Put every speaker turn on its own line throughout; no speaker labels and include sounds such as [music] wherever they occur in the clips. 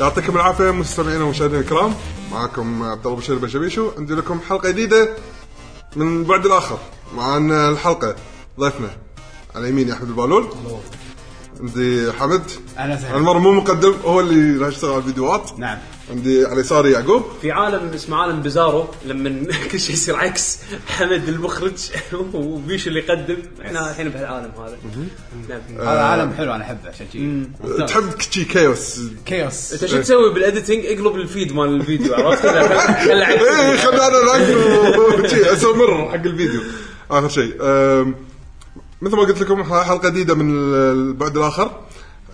يعطيكم العافيه مستمعينا ومشاهدينا الكرام معكم عبد الله بشير بشبيشو عندي لكم حلقه جديده من بعد الاخر معنا الحلقه ضيفنا على يميني احمد البالول عندي حمد
أهلا وسهلا.
المر مو مقدم هو اللي راح يشتغل على الفيديوهات
نعم.
عندي على يساري يعقوب
في عالم اسمه عالم بيزارو لما [laughs] كل شيء يصير عكس حمد المخرج [laughs] وبيش اللي يقدم احنا الحين بهالعالم هذا نعم
هذا عالم حلو انا احبه عشان شي
تحب شي كيوس
كيوس
انت شو تسوي بالاديتنج اقلب الفيد مال الفيديو عرفت [laughs] خل-
ايه
خل-
خلنا انا [laughs] ناكل وشي اسمر حق الفيديو اخر شيء أم، مثل ما قلت لكم ح- حلقه جديده من البعد الاخر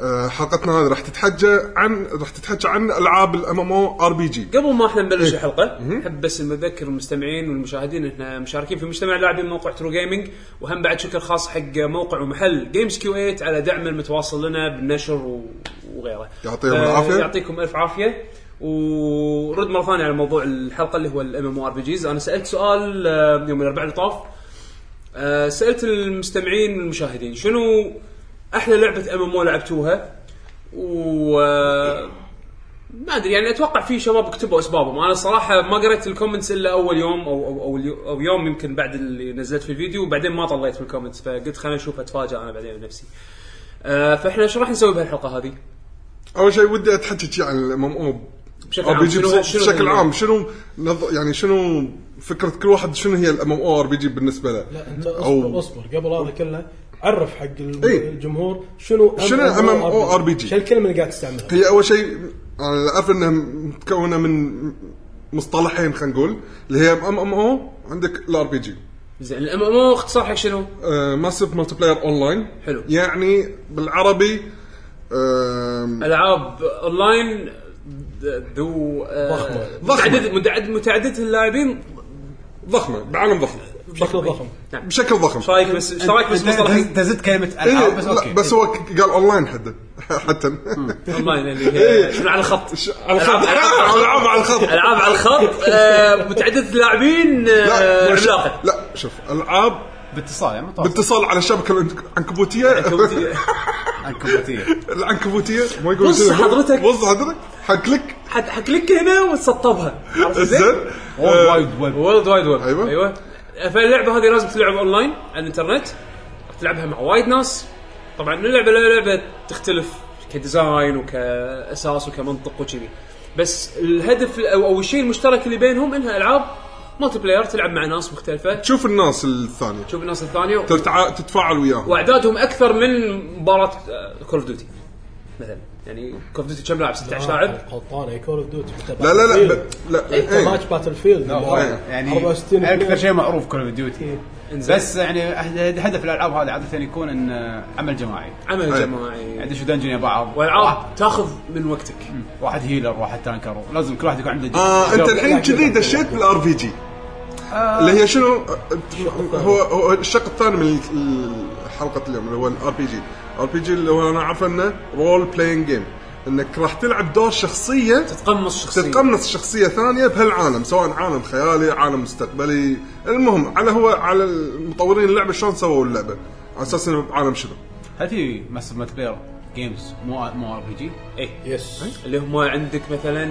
أه، حلقتنا هذه راح تتحجى عن راح تتحجى عن العاب الام ام او ار بي جي
قبل ما احنا
إيه.
نبلش الحلقه احب بس إني اذكر المستمعين والمشاهدين ان احنا مشاركين في مجتمع لاعبين موقع ترو جيمنج وهم بعد شكر خاص حق موقع ومحل جيمز كيو 8 على دعم المتواصل لنا بالنشر و- وغيره
يعطيهم
آه،
العافية.
يعطيكم الف عافيه ورد مره ثانيه على موضوع الحلقه اللي هو الام ام ار بي جيز انا سالت سؤال آه، يوم الاربعاء اللي طاف آه، سالت المستمعين والمشاهدين شنو احلى لعبه ام ام او لعبتوها و آه، ما ادري يعني اتوقع في شباب كتبوا اسبابهم انا الصراحه ما قريت الكومنتس الا اول يوم او او او, اليو- أو يوم يمكن بعد اللي نزلت في الفيديو وبعدين ما طليت من الكومنتس فقلت خلينا نشوف اتفاجئ انا بعدين بنفسي آه، فاحنا ايش راح نسوي بهالحلقه هذه؟
اول شيء ودي اتحجى شي عن الام ام او
بشكل
ار
عام
بي جي
شنو- شنو
بشكل
هي؟
عام شنو نظ- يعني شنو فكره كل واحد شنو هي الام ام او ار بي جي بالنسبه له
لا انت اصبر
أو-
اصبر قبل هذا كله عرف حق الم-
إيه.
الجمهور شنو
شنو MMORPG؟
شو الكلمه اللي قاعد تستعملها؟
هي اول شيء انا اعرف انها متكونه من مصطلحين خلينا نقول اللي هي ام ام او عندك الار بي جي آه،
زين الام ام او اختصار حق شنو؟
ماسف مالتي بلاير اون لاين
حلو.
يعني بالعربي آه، آم،
العاب اونلاين ذو آه،
ضخمة.
متعدد متعدد متعدد اللاعبين
ضخمه بعالم ضخم
بشكل ضخم
نعم ايش
بشكل ضخم
رايك بس ايش رايك بس مصطلح
انت زدت كلمه العاب
آه،
إيه،
بس
لا،
اوكي
بس هو ك- قال اون لاين حتى حتى
اونلاين اللي هي شنو على الخط
[laughs] إيه. على الخط
ألعاب-
العاب على الخط
العاب على الخط آه، متعدده اللاعبين آه،
لا مش-
عملاقه
لا شوف العاب
باتصال يعني متواصل
باتصال على الشبكه العنكبوتيه [laughs]
عنكبوتية.
العنكبوتيه ما يقولون
بص
كذا.
حضرتك.
بص حضرتك حكلك
حد حق لك هنا وتسطبها عرفت
زين
زين؟
وورلد وايد ويب
وورلد وايد ويب
أيوة.
ايوه فاللعبه هذه لازم تلعب اونلاين على الانترنت تلعبها مع وايد ناس طبعا اللعبه لعبه تختلف كديزاين وكاساس وكمنطق وكذي بس الهدف او او الشيء المشترك اللي بينهم انها العاب مالتي بلاير تلعب مع ناس مختلفه
تشوف الناس الثانيه
تشوف الناس الثانيه
تتع- تتفاعل وياهم
واعدادهم اكثر من مباراه كول اوف ديوتي مثلا يعني كول اوف ديوتي كم لاعب 16
آه،
لاعب
آه.
غلطانه كول اوف ديوتي حتى
لا لا لا
Battlefield.
ب- لا
حتى
إيه.
ماتش باتل فيلد
يعني اكثر شيء معروف كول اوف
إيه.
ديوتي
إنزين.
بس يعني أحد- هدف الالعاب هذه عاده يكون ان عمل جماعي
عمل
أي.
جماعي
يعني شو دنجن يا بعض واحد-
والعاب تاخذ من وقتك
واحد هيلر واحد تانكر لازم كل واحد يكون عنده
اه
جوب.
انت الحين كذي دشيت بالار بي جي اللي هي شنو هو هو الشق الثاني من ال- حلقه اليوم اللي هو الار بي جي الار بي جي اللي هو انا اعرف انه رول بلاينج جيم انك راح تلعب دور شخصيه
تتقمص شخصيه
تتقمص شخصيه ثانيه بهالعالم سواء عالم خيالي عالم مستقبلي المهم على هو على المطورين اللعبه شلون سووا اللعبه على اساس انه بعالم شنو
هل في ماستر مات بلاير جيمز مو مو ار بي جي
ايه
يس
اللي هم عندك مثلا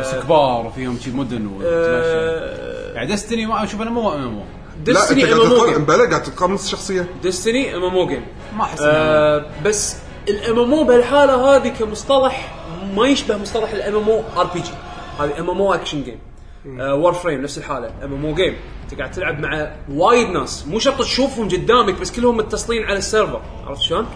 بس
آه،
كبار وفيهم شي مدن وتمشى.
آه،
يعني دستني ما اشوف انا مو ام ام
لا انت
ديستني
قاعد
ام ام
تتقمص
جيم
بلا قاعد تتقمص شخصيه
ديستني ام ام جيم
ما أحس
آه بس الام ام او بهالحاله هذه كمصطلح ما يشبه مصطلح الام ام او ار بي جي هذه ام ام او اكشن جيم وور فريم آه، نفس الحاله ام ام او جيم انت قاعد تلعب مع وايد ناس مو شرط تشوفهم قدامك بس كلهم متصلين على السيرفر عرفت شلون؟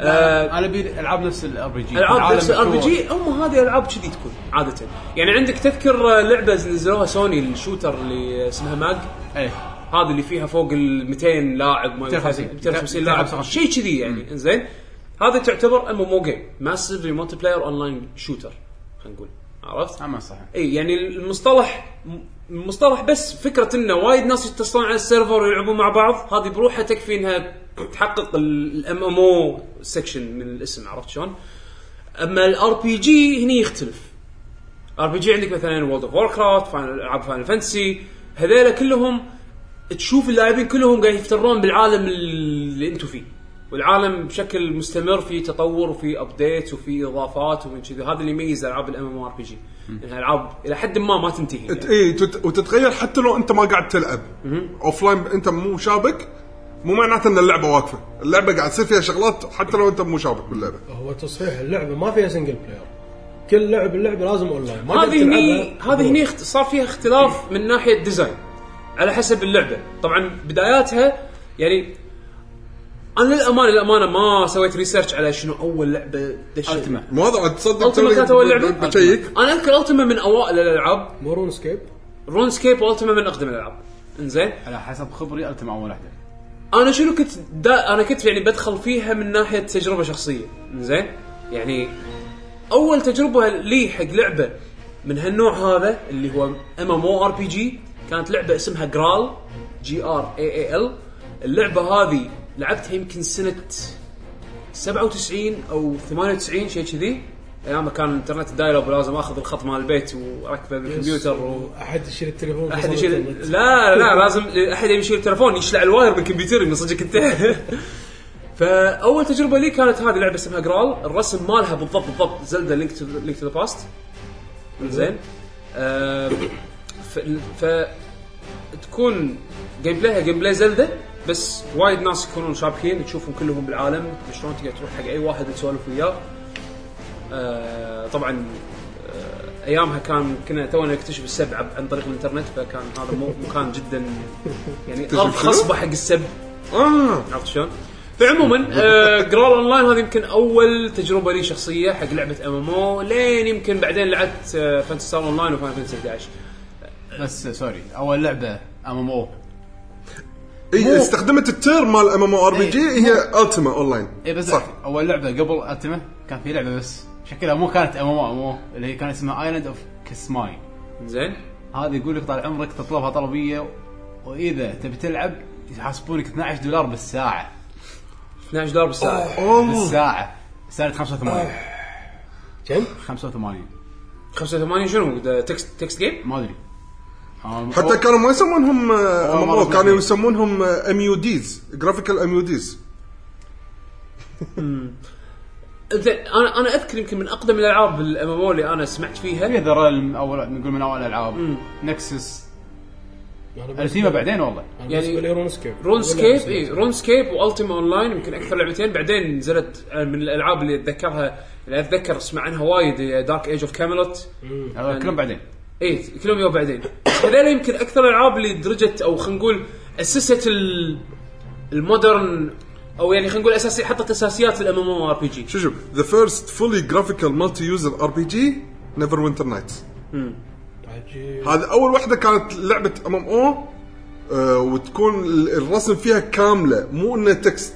آه،
انا ابي العاب نفس الار بي جي
العاب نفس الار بي جي هم هذه العاب كذي تكون عاده يعني عندك تذكر آه، لعبه نزلوها سوني الشوتر اللي اسمها ماج
ايه
هذه اللي فيها فوق ال 200 لاعب ما
250.
250 لاعب
255.
شيء كذي يعني انزين هذا تعتبر ام ام او جيم ماسف مالتي بلاير اون لاين شوتر خلينا نقول عرفت؟
اما صح
اي يعني المصطلح المصطلح بس فكره انه وايد ناس يتصلون على السيرفر ويلعبون مع بعض هذه بروحها تكفي انها تحقق الام ام او سكشن من الاسم عرفت شلون؟ اما الار بي جي هني يختلف ار بي جي عندك مثلا وولد اوف ووركرافت العاب فاينل فانتسي هذيلا كلهم تشوف اللاعبين كلهم قاعد يفترون بالعالم اللي انتم فيه والعالم بشكل مستمر في تطور وفي ابديت وفي اضافات ومن كذي هذا اللي يميز العاب الام ام ار بي جي انها العاب الى يعني حد ما ما تنتهي يعني.
اي إيه، تت- وتتغير حتى لو انت ما قاعد تلعب اوف لاين انت مو شابك مو معناته ان اللعبه واقفه، اللعبه قاعد تصير فيها شغلات حتى لو انت مو شابك باللعبه.
هو تصحيح اللعبه ما فيها سنجل بلاير كل لعب اللعبه لازم اونلاين ما تقدر
هذه هني
تلعبها
هذه هني اخت- صار فيها اختلاف من ناحيه ديزاين على حسب اللعبه طبعا بداياتها يعني انا للامانه للامانه ما سويت ريسيرش على شنو اول لعبه دشيت
Ultima.
ما ادري عاد تصدق
التما
توني
كانت اول لعبه
ب- بشيك
انا اذكر التما من اوائل الالعاب
مو رون سكيب
رون سكيب والتما من اقدم الالعاب انزين
على حسب خبري التما اول واحده
انا شنو كنت دا انا كنت يعني بدخل فيها من ناحيه تجربه شخصيه زين يعني اول تجربه لي حق لعبه من هالنوع هذا اللي هو ام ام او ار بي جي كانت لعبه اسمها جرال جي ار اي اي ال اللعبه هذه لعبتها يمكن سنه 97 او 98 شيء كذي ايام كان الانترنت دايلوب ولازم اخذ الخط مال البيت واركبه بالكمبيوتر و...
احد يشيل التليفون
احد يشيل لا لا لازم احد يشيل التليفون يشلع الواير من كمبيوتري من صدقك [laughs] انت فاول تجربه لي كانت هذه لعبه اسمها جرال الرسم مالها بالضبط بالضبط زلدا لينك تو لينك تو ذا باست زين آه، آم، ف, ف تكون جيم بلايها جيم بلاي زلده بس وايد ناس يكونون شابكين تشوفهم كلهم بالعالم شلون تقدر تروح حق اي واحد تسولف وياه آه، طبعا آه، ايامها كان كنا تونا نكتشف السب عب- عن طريق الانترنت فكان هذا مو- مكان جدا يعني
شنو؟
ارض خصبه حق السب
اه
عرفت شلون؟ فعموما آه جرال اونلاين هذه يمكن اول تجربه لي شخصيه حق لعبه ام ام او لين يمكن بعدين لعبت آه فانتسي ستار اونلاين وفاين فانتسي 11
بس سوري اول لعبه ام ام او
اي إيه، استخدمت التيرم مال ام ام ار بي جي هي التما اونلاين
اي بس
صح.
اول لعبه قبل التما كان في لعبه بس شكلها مو كانت ام ام او اللي هي كان اسمها ايلاند اوف كسماي
زين
هذا يقول لك طال عمرك تطلبها طلبيه واذا تبي تلعب يحاسبونك 12 دولار بالساعه
12 دولار بالساعه
اوه
بالساعه سنه 85
كم؟
85
85 شنو ده تكست تكست جيم
ما ادري أم-
حتى كانوا ما يسمونهم آه، ام
مرة
كانوا
ثانية.
يسمونهم آه، ام يو ديز جرافيكال ام يو ديز
زين انا انا اذكر يمكن من اقدم الالعاب الام ام او اللي انا سمعت
في
فيها
ذا ريلم اول نقول من اول الالعاب نكسس التيمه بعدين والله
يعني بالنسبه لي رون سكيب
رون سكيب اي رون سكيب والتيما اون لاين يمكن اكثر لعبتين بعدين نزلت آه، من الالعاب اللي اتذكرها اللي اتذكر اسمع عنها وايد آه، دارك ايج اوف كاميلوت
هذا كلهم بعدين
اي إيه، كلهم يوم بعدين بس هذول يمكن اكثر الالعاب اللي درجت او خلينا نقول اسست ال- المودرن او يعني خلينا نقول اساسي حطت اساسيات الام ام او ار بي جي
شو شوف ذا فيرست فولي جرافيكال مالتي يوزر ار بي جي نيفر وينتر نايتس
عجيب
هذا اول واحده كانت لعبه ام ام او آه، وتكون ال- الرسم فيها كامله مو انه تكست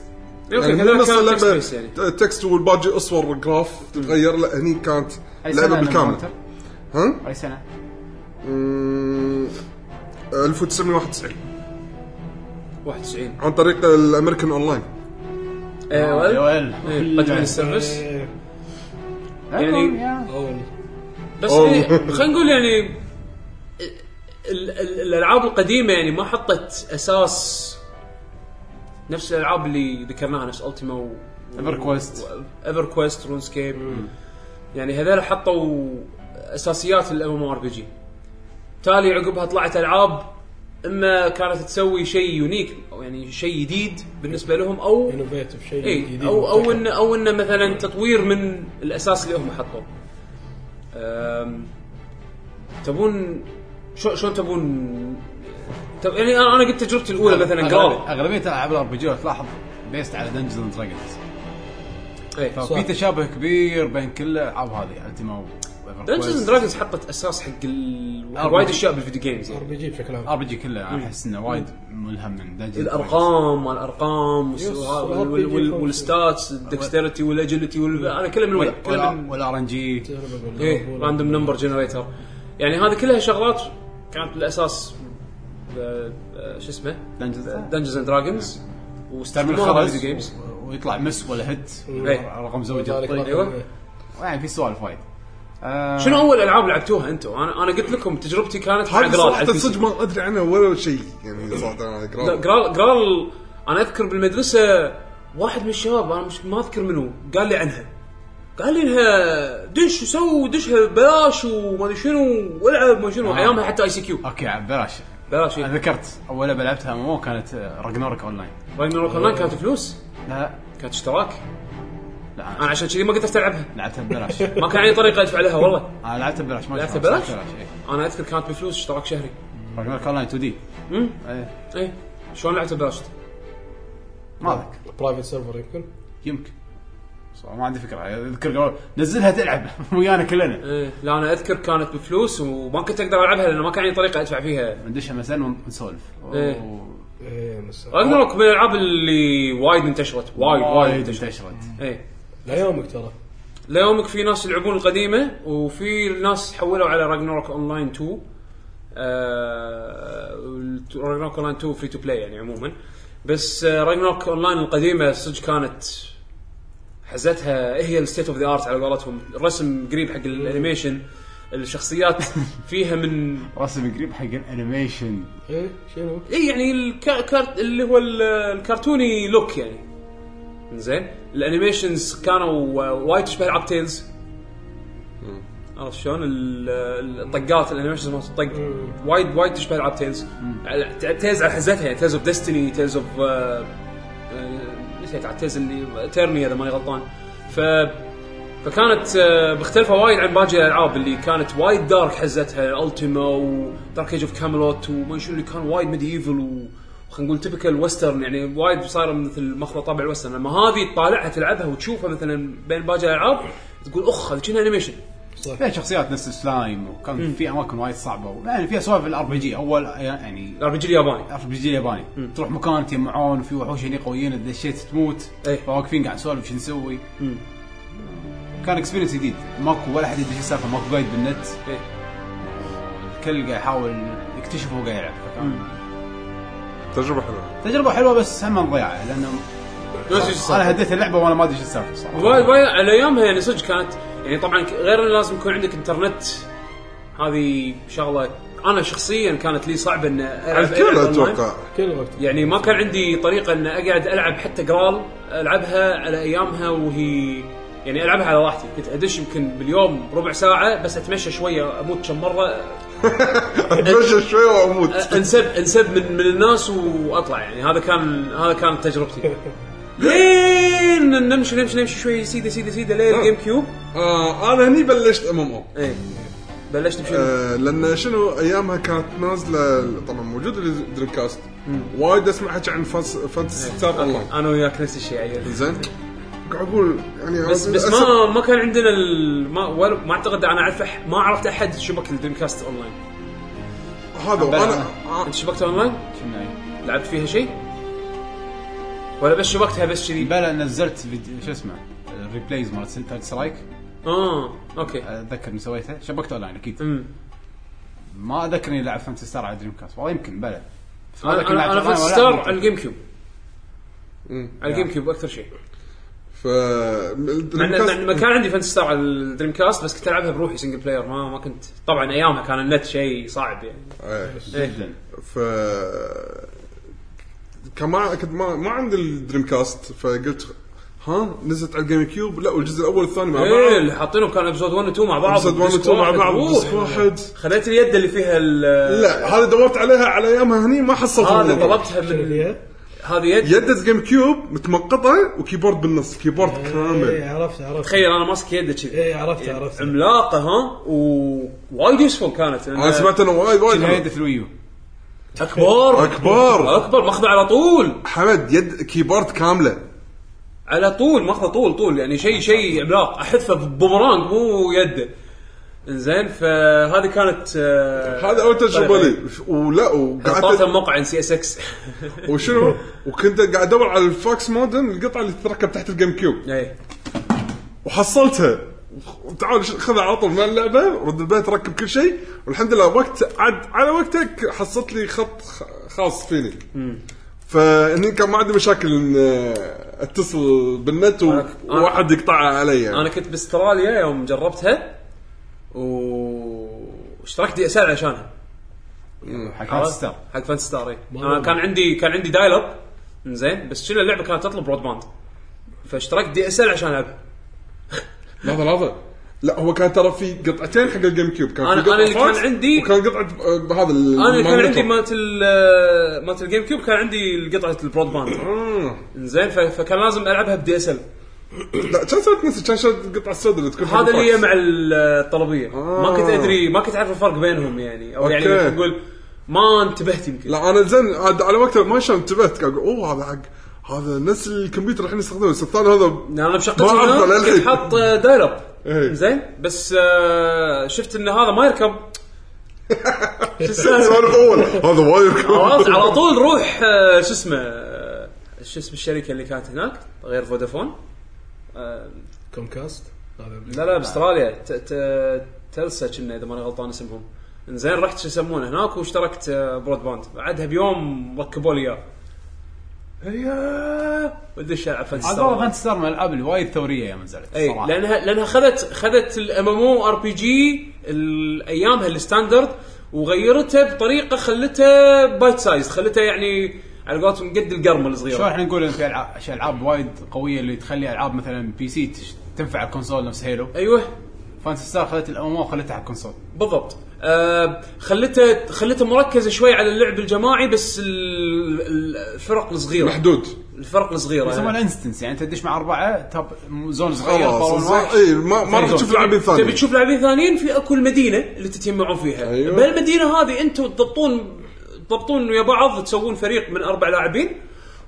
أوكي،
مو
كذلك
نفس
كانت
يعني اللعبة
text based يعني.
ت- تكست والباقي اصور جراف تتغير لا هني كانت
اي
لعبه
سنه
بالكامل
بالكامل
ها؟
اي سنه
مم، آه، 1991
91
عن طريق الامريكان اونلاين
اي
أول.
قدم السيرفس
إيه،
يعني-
يا.
اول
بس
أوه.
إيه، خلينا نقول يعني ال- ال- الالعاب القديمه يعني ما حطت اساس نفس الالعاب اللي ذكرناها نفس التيما و
Ever Quest.
ايفر كويست رون سكيب يعني هذول حطوا اساسيات الام ام ار بي جي تالي عقبها طلعت العاب اما كانت تسوي شيء يونيك او يعني شيء جديد بالنسبه لهم او
انوفيتف شيء
اي
جديد
او او
مبتكر.
انه او انه مثلا تطوير من الاساس اللي هم حطوه. أم، تبون شو- شلون تبون تب يعني انا أنا قلت تجربتي الاولى مثلا
أغلب-
جرال
اغلبيه العاب الار بي جي تلاحظ بيست على دنجنز اند دراجونز
صح.
إيه.
ففي طيب، تشابه كبير بين كل الالعاب هذه يعني التيما
دنجنز دراجونز حطت اساس حق ال-
أربعة.
وايد اشياء بالفيديو جيمز
ار
يعني.
بي جي بشكل عام
ار بي جي كله انا احس انه وايد ملهم من دنجنز
الارقام مال الارقام
يس،
وال- وال- وال- والستاتس الدكستيرتي والاجيلتي وال- انا كله من وين كله من
والار ان جي
أنا بقول
ايه
لك.
راندوم نمبر جنريتر يعني هذه كلها شغلات كانت بالاساس آه، آه، شو اسمه
Dungeons and-
دنجنز اند دراجونز
تعمل
واستعملوا
خرز
فيديو جيمز
و- ويطلع مس ولا هت
إيه.
رقم زوجة
ذلك
الطريق.
رقم-
أيوة.
إيه.
يعني في سوالف وايد
شنو اول العاب لعبتوها انتم؟ انا انا قلت لكم تجربتي كانت مع
هذا
جرال على
صراحه
البي سي.
صدق ما ادري عنها ولا شيء يعني صراحه انا
لا،
جرال
جرال جرال انا اذكر بالمدرسه واحد من الشباب انا مش ما اذكر منو قال لي عنها قال لي انها دش وسوي دشها ببلاش وما ادري شنو والعب ما شنو
آه.
ايامها حتى اي سي كيو
اوكي عاد بلاش
بلاش
انا ذكرت اول لعبه لعبتها مو كانت آه، راجنورك اون لاين
راجناروك اونلاين كانت فلوس
لا
كانت اشتراك
لا
انا
انا
عشان كذي ما قدرت العبها
لعبتها ببلاش
ما كان عندي طريقه ادفع لها والله
انا لعبتها ببلاش ما
لعبتها
كان-
ببلاش؟
إيه.
انا اذكر كانت بفلوس اشتراك شهري
راجنورك اون لاين 2 دي
امم
إيه.
اي شلون لعبتها ببلاش؟
ما اذكر
برايفت سيرفر يمكن
يمكن صراحة ما عندي فكره اذكر قالوا نزلها تلعب [laughs] ويانا كلنا
ايه لا انا اذكر كانت بفلوس وما كنت اقدر العبها لانه ما كان عندي طريقه ادفع فيها
ندشها مثلا ونسولف
إيه.
أوه.
ايه مس-
راجناروك من الالعاب اللي وايد انتشرت وايد وايد انتشرت
انتشرت
ايه
ليومك ترى
ليومك في ناس يلعبون القديمه وفي ناس حولوا على راجناروك اونلاين 2 آه راجناروك اونلاين 2 فري تو بلاي يعني عموما بس آه راجناروك اونلاين القديمه صدق كانت حزتها إيه هي الستيت اوف ذا ارت على قولتهم الرسم قريب حق الانيميشن الشخصيات فيها من
رسم قريب حق الانيميشن
ايه شنو؟
اي يعني الكارت اللي هو ال- الكرتوني لوك يعني زين الانيميشنز كانوا وايد تشبه العاب تيلز عرفت شلون ال- ال- الطقات الانيميشنز مالت الطق وايد وايد تشبه العاب تيلز على- تيلز على حزتها يعني تيلز اوف ديستني تيلز اوف آه، نسيت على تيلز اللي تيرني اذا ماني غلطان ف فكانت آه، مختلفة وايد عن باقي الالعاب اللي كانت وايد دارك حزتها التيما ودارك ايج اوف كاملوت وما شنو اللي كان وايد ميديفل و خلينا نقول تبكال وسترن يعني وايد صايره مثل ماخذه طابع الوسترن لما هذه تطالعها تلعبها وتشوفها مثلا بين باقي الالعاب تقول اخ هذا كأنها انيميشن
فيها شخصيات نفس سلايم وكان في اماكن وايد صعبه و- يعني فيها سوالف الار بي جي اول يعني
الار بي جي الياباني
ار بي جي الياباني تروح مكان تجمعون وفي وحوش هني قويين دشيت تموت
إيه.
فواقفين قاعد نسولف شو نسوي كان اكسبيرينس جديد ماكو ولا حد يدري شو السالفه ماكو جايد بالنت
إيه.
الكل قاعد يحاول يكتشف وهو قاعد يلعب فكان
تجربه حلوه
تجربه حلوه بس هم نضيعه لانه
نفس الشيء صار.
انا هديت اللعبه وانا ما ادري شو السالفه صراحه
وايد وايد على ايامها يعني صدق كانت يعني طبعا ك- غير إنه لازم يكون عندك انترنت هذه شغله انا شخصيا كانت لي صعبه ان العب
الكل
ألعب إيه، أونلاين.
اتوقع
كل وقت
يعني ما كان عندي طريقه ان اقعد العب حتى جرال العبها على ايامها وهي يعني العبها على راحتي كنت ادش يمكن باليوم ربع ساعه بس اتمشى شويه اموت كم مره
اتمشى شوي واموت [laughs]
انسب انسب من من الناس واطلع يعني هذا كان هذا كانت تجربتي لين نمشي نمشي نمشي شوي سيده سيده سيده لين الجيم كيوب
آه انا هني بلشت ام ام او
ايه بلشت بشنو؟
آه، لان شنو ايامها كانت نازله طبعا موجود الدريم كاست وايد اسمع حكي عن فانس-
إيه.
فانتسي ستار اونلاين
انا وياك نفس الشيء عيل
زين قاعد اقول يعني
بس بس ما ما كان عندنا ال... ما ولا ما اعتقد انا اعرف أح... ما عرفت احد شبك الدريم كاست اونلاين
هذا وانا
انت شبكت اونلاين؟
كنا-
لعبت فيها شيء؟ ولا بس شبكتها بس كذي؟
بلا نزلت فيديو شو اسمه الريبليز مالت سنتا سترايك
اه اوكي
اتذكر اني سويته شبكت اون لاين اكيد
امم
ما اذكر اني لعب فانتسي ستار على دريم كاست والله يمكن بلا بس ما
انا
أذكر لعبت
انا, أنا
أونلاين
فت
ولا
ستار
لعبت.
على الجيم كيوب
مم.
على الجيم كيوب اكثر شيء
ف
مع
الدريم
إن- مع إن ما
كاست
كان عندي فانتسي ستار على الدريم كاست بس كنت العبها بروحي سنجل بلاير ما ما كنت طبعا ايامها كان النت شيء صعب يعني
إيه.
جدا
ف كما كنت ما ما عندي الدريم كاست فقلت ها نزلت على الجيم كيوب لا والجزء الاول والثاني مع
ايه
بعض
اللي حاطينهم كان ابزود 1 و 2 مع بعض
ابسط
وديسك
وان مع
واحد.
بعض
أوه.
بس واحد
خليت اليد اللي فيها ال
لا هذا دورت عليها على ايامها هني ما حصلتها
هذا
بالمرة.
طلبتها
شنو
من
فيها؟
هذه يد
يدة جيم كيوب متمقطه وكيبورد بالنص كيبورد
إيه،
ايه
كامل
عرفت عرفت
تخيل انا ماسك يده كذي
ايه عرفت عرفت
عملاقه ها ووايد يوسفول كانت لأن
انا سمعت انه وايد وايد
كنا [laughs]
حلو.
يد في الويو
اكبر
أكبر.
اكبر ماخذه على طول
حمد يد كيبورد كامله
على طول ماخذه طول طول يعني شيء شيء عملاق احذفه ببومرانج مو يده انزين فهذه كانت آه،
هذا اول تجربه
طيب.
لي ولا وقعدت
حطيتها بموقع سي اس [laughs] اكس
وشنو وكنت قاعد ادور على الفاكس مودم القطعه اللي تتركب تحت الجيم كيوب
ايه
وحصلتها تعال ش- خذها على طول من اللعبه رد البيت ركب كل شيء والحمد لله وقت عد على وقتك حصلت لي خط خ- خاص فيني فاني كان ما عندي مشاكل ان آه، اتصل بالنت و-
أنا- أنا-
وواحد يقطعها علي يعني.
انا كنت باستراليا يوم جربتها واشتركت دي اس ال عشانها
حق ستار
Uh, حق فانتسي ستار إيه. انا كان عندي كان عندي دايل اب زين بس شنو اللعبه كانت تطلب برود باند فاشتركت دي اس ال عشان العبها
لحظه لحظه لا هو كان ترى في قطعتين حق الجيم كيوب كان
أنا-
في قطعة
أنا اللي كان
فاكس
عندي-
وكان قطعه آه، هذا
انا كان عندي مالت ال- مالت الجيم كيوب كان عندي قطعه البرود باند
آه.
زين ف- فكان لازم العبها بدي اس ال
لا كان سويت نفسي كان شاد قطعه السوداء اللي تكون
هذا
حق
اللي هي
الفاكس.
مع ال- الطلبيه ما كنت ادري ما كنت اعرف الفرق بينهم يعني او يعني
آه. أوكي.
مثل تقول ما انتبهت يمكن
لا انا زين عاد على وقتها ما شلون انتبهت كان اقول اوه هذا حق هذا نفس الكمبيوتر الحين يستخدمه بس الثاني
[laughs]
هذا
انا
ما
بشقتي
أعرفه
هنا
للحين.
كنت حاط دايل اب
إيه.
زين بس آه، شفت ان هذا
[laughs]
ما يركب شو السالفه
سوالف اول هذا
[laughs] آه.
وايد
خلاص على طول روح آه، شو اسمه آه، شو اسم الشركه اللي كانت هناك غير فودافون آه،
كوم كاست
لا لا باستراليا ت- ت- تلسا كنا اذا ماني غلطان اسمهم انزين رحت شو يسمونه هناك واشتركت آه، برود باند بعدها بيوم ركبوا لي اياه هيا ودي الشارع
عاد والله فانتسي ستار من الالعاب الوايد ثوريه يوم نزلت
اي
صراحة.
لانها لانها إيه، خذت خذت الام ام او ار بي جي ايامها الستاندرد وغيرته بطريقه خلته بايت سايز خلته يعني على قولتهم قد القرمه
شلون
الصغيره
احنا نقول ان في العاب شي العاب وايد قويه اللي تخلي العاب مثلا بي سي تش- تنفع على الكونسول نفس هيلو
ايوه
فانتسي ستار خذت الام وخلتها على الكونسول
طيب. بالضبط آه خلته خلته مركزه شوي على اللعب الجماعي بس ال- ال- الفرق الصغيره
محدود
الفرق الصغيره
يسمونها
يعني.
انستنس يعني تدش مع اربعه تاب زون
أيوة،
صغير طاولة
خلاص
واحد.
اي إيه، ما ما راح
زين.
تشوف لاعبين
تبي
ثانيين
تشوف لاعبين ثانيين في اكو المدينه اللي تتجمعون فيها
أيوة.
أيوة. بهالمدينه هذه انتم تضبطون تضبطون ويا بعض تسوون فريق من اربع لاعبين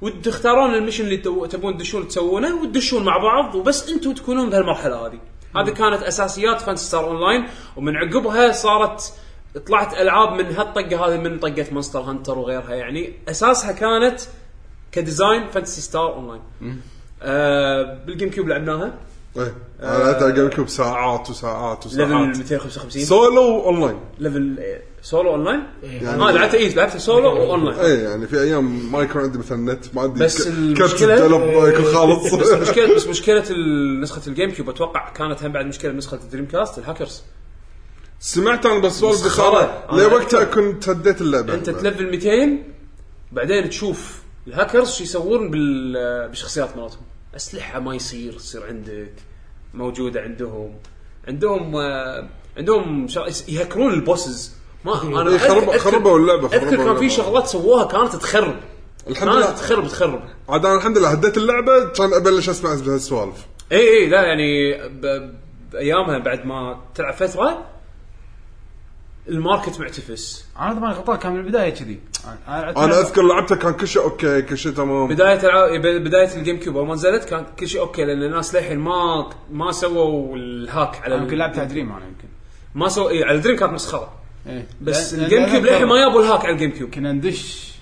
وتختارون المشن اللي تو- تبون تدشون تسوونه وتدشون مع بعض وبس انتم تكونون بهالمرحله هذه هذه كانت اساسيات فانتسي ستار اونلاين ومن عقبها صارت طلعت العاب من هالطقه هذه من طقه مونستر هانتر وغيرها يعني اساسها كانت كديزاين فانتسي ستار اونلاين آه بالجيم كيوب لعبناها
إيه.
آه.
انا لعبت على الجيم كيوب ساعات وساعات
ليفل
وساعات
255
سولو اونلاين
ليفل إيه، سولو اونلاين؟
يعني-
اه لعبت اي لعبت سولو واونلاين
اي يعني في ايام ما يكون عندي مثلا نت ما عندي
بس
ك- كرت
المشكلة-
التلف ما يكون خالص
بس مشكلة بس مشكلة ال- نسخة الجيم كيوب اتوقع كانت هم بعد مشكلة نسخة الدريم كاست الهاكرز
سمعت انا بس سوالف
مسخرة.
بخارة
أنا
لوقتها
أعرف.
كنت هديت اللعبه
انت تلفل 200 بعدين تشوف الهاكرز شو يسوون بال- بالشخصيات مالتهم اسلحة ما يصير تصير عندك موجودة عندهم عندهم آه، عندهم شغ- يهكرون البوسز ما انا
إيه، خرب-
أذكر- أذكر-
خربوا اللعبة،
اذكر
خربوا
كان في
اللعبة.
شغلات سووها كانت تخرب
الحمد
كانت
لله
تخرب تخرب
عاد انا الحمد لله هديت اللعبه كان ابلش اسمع هالسوالف
اي اي لا يعني ب... بايامها بعد ما تلعب فتره الماركت معتفس
انا اذا ماني غلطان كان من البدايه كذي أنا- لعبت
انا
نعم.
لعبة-
اذكر لعبتها كان كل شيء اوكي كل شيء تمام
بدايه الع... ب- بدايه الجيم كيوب اول ما نزلت كان كل شيء اوكي لان الناس للحين ما ما سووا الهاك على
أنا يمكن
ال...
لعبتها دريم انا يمكن
ما سووا اي على الدريم كانت مسخره
إيه.
بس
لأن-
الجيم
لأن
كيوب
أذكر
للحين ما يابوا الهاك على الجيم كيوب
كنا ندش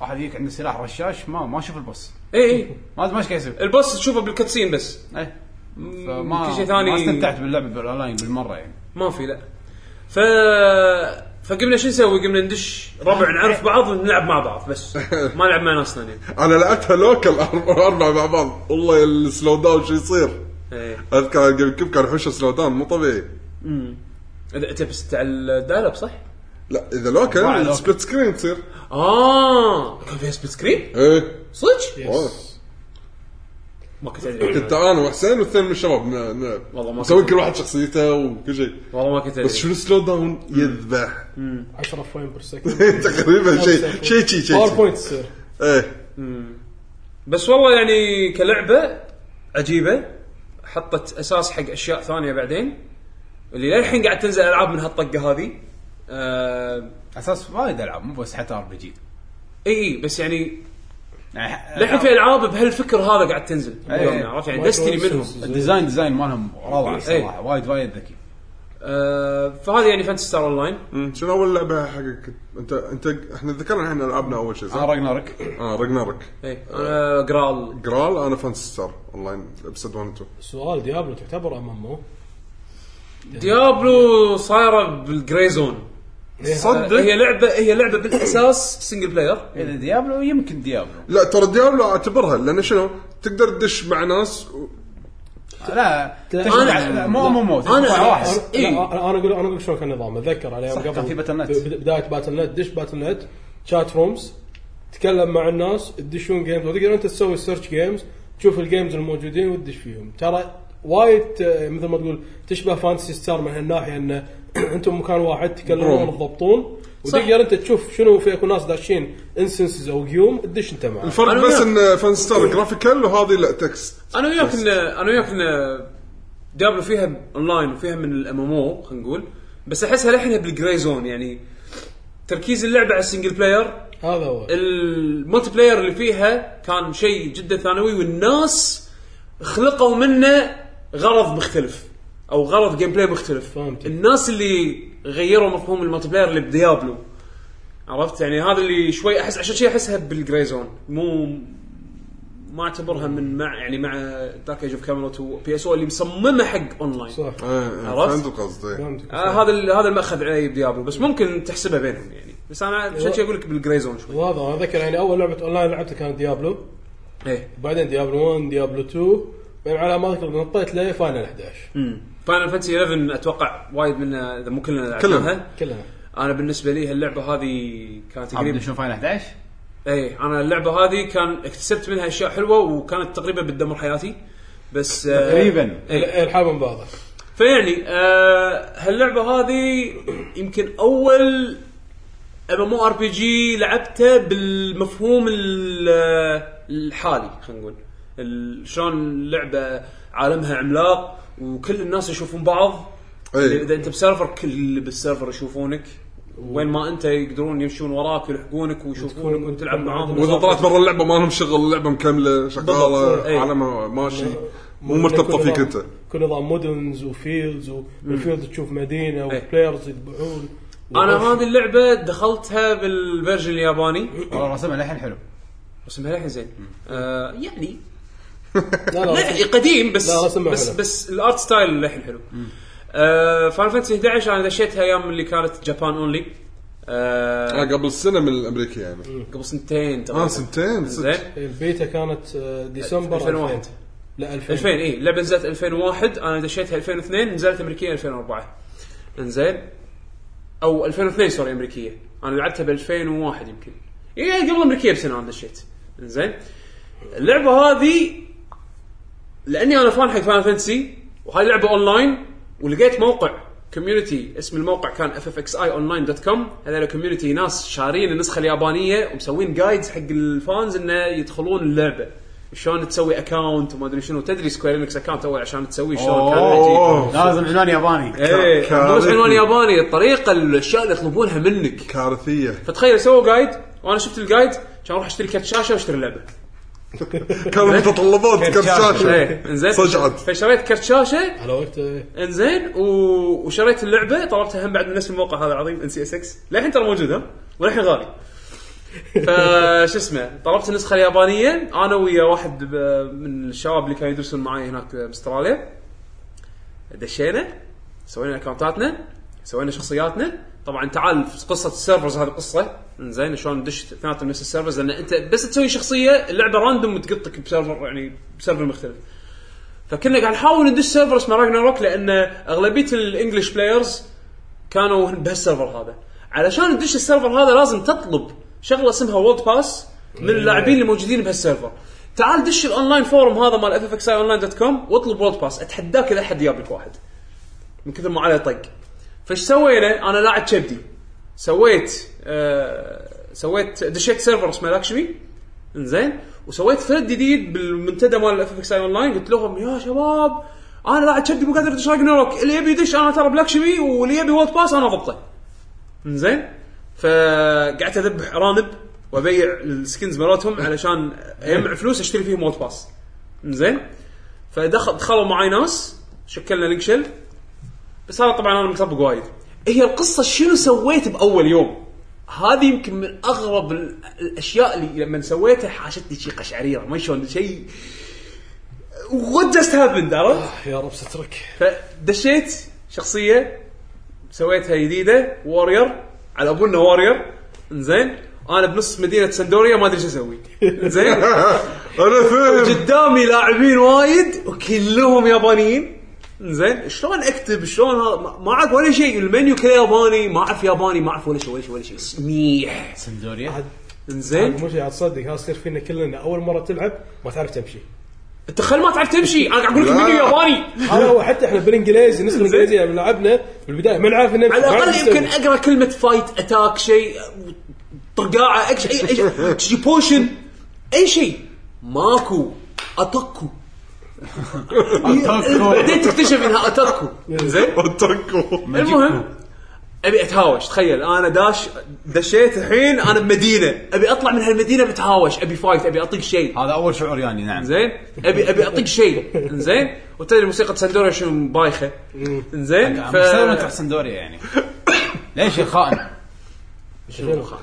واحد يجيك عنده سلاح رشاش ما ما اشوف البوس
اي اي
ما ادري ما ايش قاعد يسوي
البوس تشوفه بالكاتسين بس
إيه.
فما
فما
كل شيء ثاني
ما استمتعت باللعبه بالاونلاين بالمره يعني
ما في لا ف فقمنا شو نسوي؟ قمنا ندش ربع نعرف بعض ونلعب مع بعض بس ما نلعب مع ناس ثانيين
انا لعبتها لوكل أربعة أربعة مع بعض والله السلو داون شو يصير
إيه.
اذكر على الجيم كيوب كان حوش سلو داون مو طبيعي
اذا انت بس على الدايل اب صح؟
لا اذا
أربعة
لوكل
لوكل.
سبليت سكرين تصير
اه كان فيها سبليت سكرين؟
ايه
صدق؟
واو.
ما كنت ادري
كنت انا وحسين والثاني من الشباب ن- ن-
والله ما
مسوين
كنت-
كل واحد شخصيته وكل شيء
والله ما كنت
بس
ادري
شنو سلو داون يذبح [laughs]
10 فريم بير سكند
تقريبا
[laughs]
شيء شيء شيء
باور
شيء
بوينت تصير
ايه
بس والله يعني كلعبه عجيبه حطت اساس حق اشياء ثانيه بعدين اللي للحين قاعد تنزل العاب من هالطقه هذه آه،
اساس وايد العاب مو بس حتى ار بي جي
اي اي بس يعني
يعني
للحين في العاب بهالفكر هذا قاعد تنزل
إيه.
اليوم عرفت يعني دستني منهم
الديزاين ديزاين مالهم روعه صراحه وايد وايد ذكي
آه، فهذه يعني فانتسي ستار اون لاين
مم. شنو اول لعبه حقك انت انت احنا ذكرنا احنا لعبنا اول شيء
آه.
انا
صح؟
راجنارك
اه رجنارك
انا جرال
جرال انا فانسي ستار اونلاين ابسود 1 2
سؤال ديابلو تعتبر ام ام او
ديابلو صايره بالجري زون
صدق
آه، هي لعبه هي لعبه بالاساس سنجل بلاير
اذا ديابلو يمكن ديابلو
لا ترى ديابلو اعتبرها لان شنو تقدر تدش مع ناس و...
لا
أنا-
تشجع لا، مو مو مو
أنا-
تشجع واحد
أنا-
إيه؟
إيه.
انا انا اقول انا اقول لك شلون كان النظام اتذكر على أيام
صح، كان في باتل نت.
بد- بدايه باتل نت دش باتل نت شات رومز تتكلم مع الناس تدشون جيمز وتقدر انت تسوي سيرش جيمز تشوف الجيمز الموجودين وتدش فيهم ترى وايد آه، مثل ما تقول تشبه فانتسي ستار من هالناحيه [clears throat] انه انتم مكان واحد تكلمون
بروم.
تضبطون وتقدر انت تشوف شنو في اكو ناس داشين انسنسز او قيوم تدش انت معاه
الفرق
أنا
بس
وياك.
ان فان ستار جرافيكال وهذه لا تكست
انا وياك ان انا وياك ان دابلو فيها اونلاين وفيها من الام ام او خلينا نقول بس احسها للحين بالجري زون يعني تركيز اللعبه على السنجل بلاير
هذا هو
الملتي بلاير اللي فيها كان شيء جدا ثانوي والناس خلقوا منه غرض مختلف او غرض جيم بلاي مختلف
فهمت.
الناس اللي غيروا مفهوم الملتي بلاير اللي بديابلو عرفت يعني هذا اللي شوي احس عشان شيء احسها بالجري زون مو ما اعتبرها من مع يعني مع دارك ايج اوف كاميرا وبي اس او اللي مصممه حق اونلاين
صح
آه،
عرفت؟
فهمت القصد إيه.
فهمت
آه هذا ال- هذا المأخذ عليه بديابلو بس ممكن تحسبها بينهم يعني بس انا عشان شي اقول لك بالجري زون شوي
وهذا انا اذكر يعني اول لعبه اونلاين لعبتها كانت ديابلو
ايه
وبعدين ديابلو 1 ديابلو 2 بعدين على ما اذكر نطيت لفاينل 11
فاينل فانتسي 11 اتوقع وايد منا اذا مو كلنا
كلنا.
لعبناها
كلها
انا بالنسبه لي هاللعبه هذه كانت
عبد
تقريبا
شلون فاينل 11
اي انا اللعبه هذه كان اكتسبت منها اشياء حلوه وكانت تقريبا بتدمر حياتي بس آه،
تقريبا
إيه.
الحاب من بعضها
فيعني آه هاللعبه هذه يمكن اول ام ام ار بي جي لعبته بالمفهوم ال- الحالي خلينا نقول ال- شلون اللعبه عالمها عملاق وكل الناس يشوفون بعض
إيه.
اذا انت بسيرفر كل اللي بالسيرفر يشوفونك وين ما انت يقدرون يمشون وراك ويلحقونك ويشوفونك وانت تلعب معاهم
واذا طلعت برا اللعبه ما لهم شغل اللعبه مكمله
بالضبط، إيه.
شغاله عالمها ماشي مو مرتبطه
كل
فيك
نظام-
انت
كل نظام مدنز وفيلدز والفيلد تشوف مدينه
إيه.
وبلايرز يذبحون
انا
وغش.
هذه اللعبه دخلتها بالفيرجن الياباني
والله رسمها للحين حلو
اسمها للحين زين آه يعني
لا لا
لا يعني قديم بس
لا، رسمها
بس
حلو.
بس الارت ستايل الحين حلو آه، فاين فانتسي 11 انا دشيتها ايام اللي كانت جابان اونلي
آه،
آه
قبل سنه من الامريكي يعني
قبل سنتين تقريبا
اه سنتين
زين
صدق
البيتا كانت آه، ديسمبر
2001
لا 2000
2000 اي اللعبه إيه، نزلت 2001 انا دشيتها 2002 نزلت امريكيه 2004 انزين او 2002 سوري امريكيه انا لعبتها ب 2001 يمكن اي قبل امريكيه بسنه انا دشيت انزين اللعبه هذه لاني انا فان حق فان فانتسي وهاي لعبه اونلاين ولقيت موقع كوميونتي اسم الموقع كان اف اف اكس اي اونلاين دوت كوم هذول كوميونتي ناس شارين النسخه اليابانيه ومسوين جايدز حق الفانز انه يدخلون اللعبه شلون تسوي اكونت وما ادري شنو تدري سكوير انكس اكونت اول عشان تسويه شلون كان عجيب
أوه.
لازم عنوان ياباني
ايه
كارثي.
مو عنوان ياباني الطريقه الاشياء اللي يطلبونها منك
كارثيه
فتخيل سووا جايد وانا شفت الجايد كان اروح اشتري كرت شاشه واشتري اللعبه
كانوا
إيه؟
متطلبات كرت شاشه
ايه انزين
صجعت.
فشريت كرت شاشه
على وقت آه،
انزين و... وشريت اللعبه طلبتها هم بعد من نفس الموقع هذا العظيم ان سي اس اكس للحين ترى موجود ها وللحين غالي فش اسمه طلبت النسخه اليابانيه انا ويا واحد ب- من الشباب اللي كانوا يدرسون معي هناك باستراليا دشينا سوينا اكونتاتنا سوينا شخصياتنا طبعا تعال في قصه السيرفرز هذه قصه زين شلون ندش اثنيناتهم نفس السيرفرز لان انت بس تسوي شخصيه اللعبه راندوم تقطك بسيرفر يعني بسيرفر مختلف فكنا قاعد نحاول ندش سيرفر اسمه روك لان اغلبيه الانجلش بلايرز كانوا [laughs] بهالسيرفر هذا علشان تدش السيرفر هذا لازم تطلب شغله اسمها وولد باس من اللاعبين اللي موجودين بهالسيرفر تعال دش الاونلاين فورم هذا مال اف اف اكس اي اونلاين دوت كوم واطلب وولد باس اتحداك اذا احد جاب لك واحد من كثر ما عليه طق فايش سوينا؟ انا لاعب كبدي سويت آه سويت دشيت سيرفر اسمه لاكشمي انزين وسويت ثريد جديد بالمنتدى مال الاف اف اكس اي اونلاين قلت لهم يا شباب انا لاعب كبدي مو قادر ادش راجناروك اللي يبي يدش انا ترى بلاكشمي واللي يبي وولد باس انا اضبطه انزين فقعدت اذبح ارانب وابيع السكنز مالتهم علشان اجمع فلوس اشتري فيهم وولد باس انزين فدخل دخلوا معي ناس شكلنا لينك شيل بس هذا طبعا انا مطبق وايد هي القصه شنو سويت باول يوم هذه يمكن من اغرب ال- الاشياء اللي لما سويتها حاشتني شي قشعريره ما شلون شيء وات جاست هابند عرفت؟
يا رب سترك
فدشيت شخصيه سويتها جديده وورير على ابونا وورير انزين انا بنص مدينه سندوريا ما ادري شو اسوي انزين
انا فاهم
قدامي لاعبين وايد وكلهم يابانيين زين شلون اكتب شلون هذا ما- ما اعرف ولا شيء المنيو كله ياباني ما اعرف ياباني ما اعرف ولا شيء ولا شيء ولا شيء منيح
[laughs] سندوريا
عاد
زين إيه؟
مو شيء عاد تصدق هذا يصير فينا كلنا اول مره تلعب ما تعرف تمشي
انت خل ما تعرف تمشي انا قاعد اقول لك
لا.
فيديو ياباني
هذا هو حتى احنا بالانجليزي النسخه الانجليزيه لما لعبنا بالبدايه ما نعرف انه
على الاقل يمكن اقرا كلمه فايت اتاك شيء طقاعه اي شيء أي شيء، شي بوشن اي شيء ماكو اتاكو بعدين تكتشف انها اتاكو زين
اوتاكو
المهم ابي اتهاوش تخيل انا داش دشيت الحين انا بمدينه ابي اطلع من هالمدينه بتهاوش ابي فايت ابي اطق شيء
هذا اول شعور يعني نعم
زين ابي ابي اطق شيء زين وتدري موسيقى سندوريا شنو بايخه زين
ف... مستوى تروح سندوريا
[laughs]
يعني ليش يا خائن؟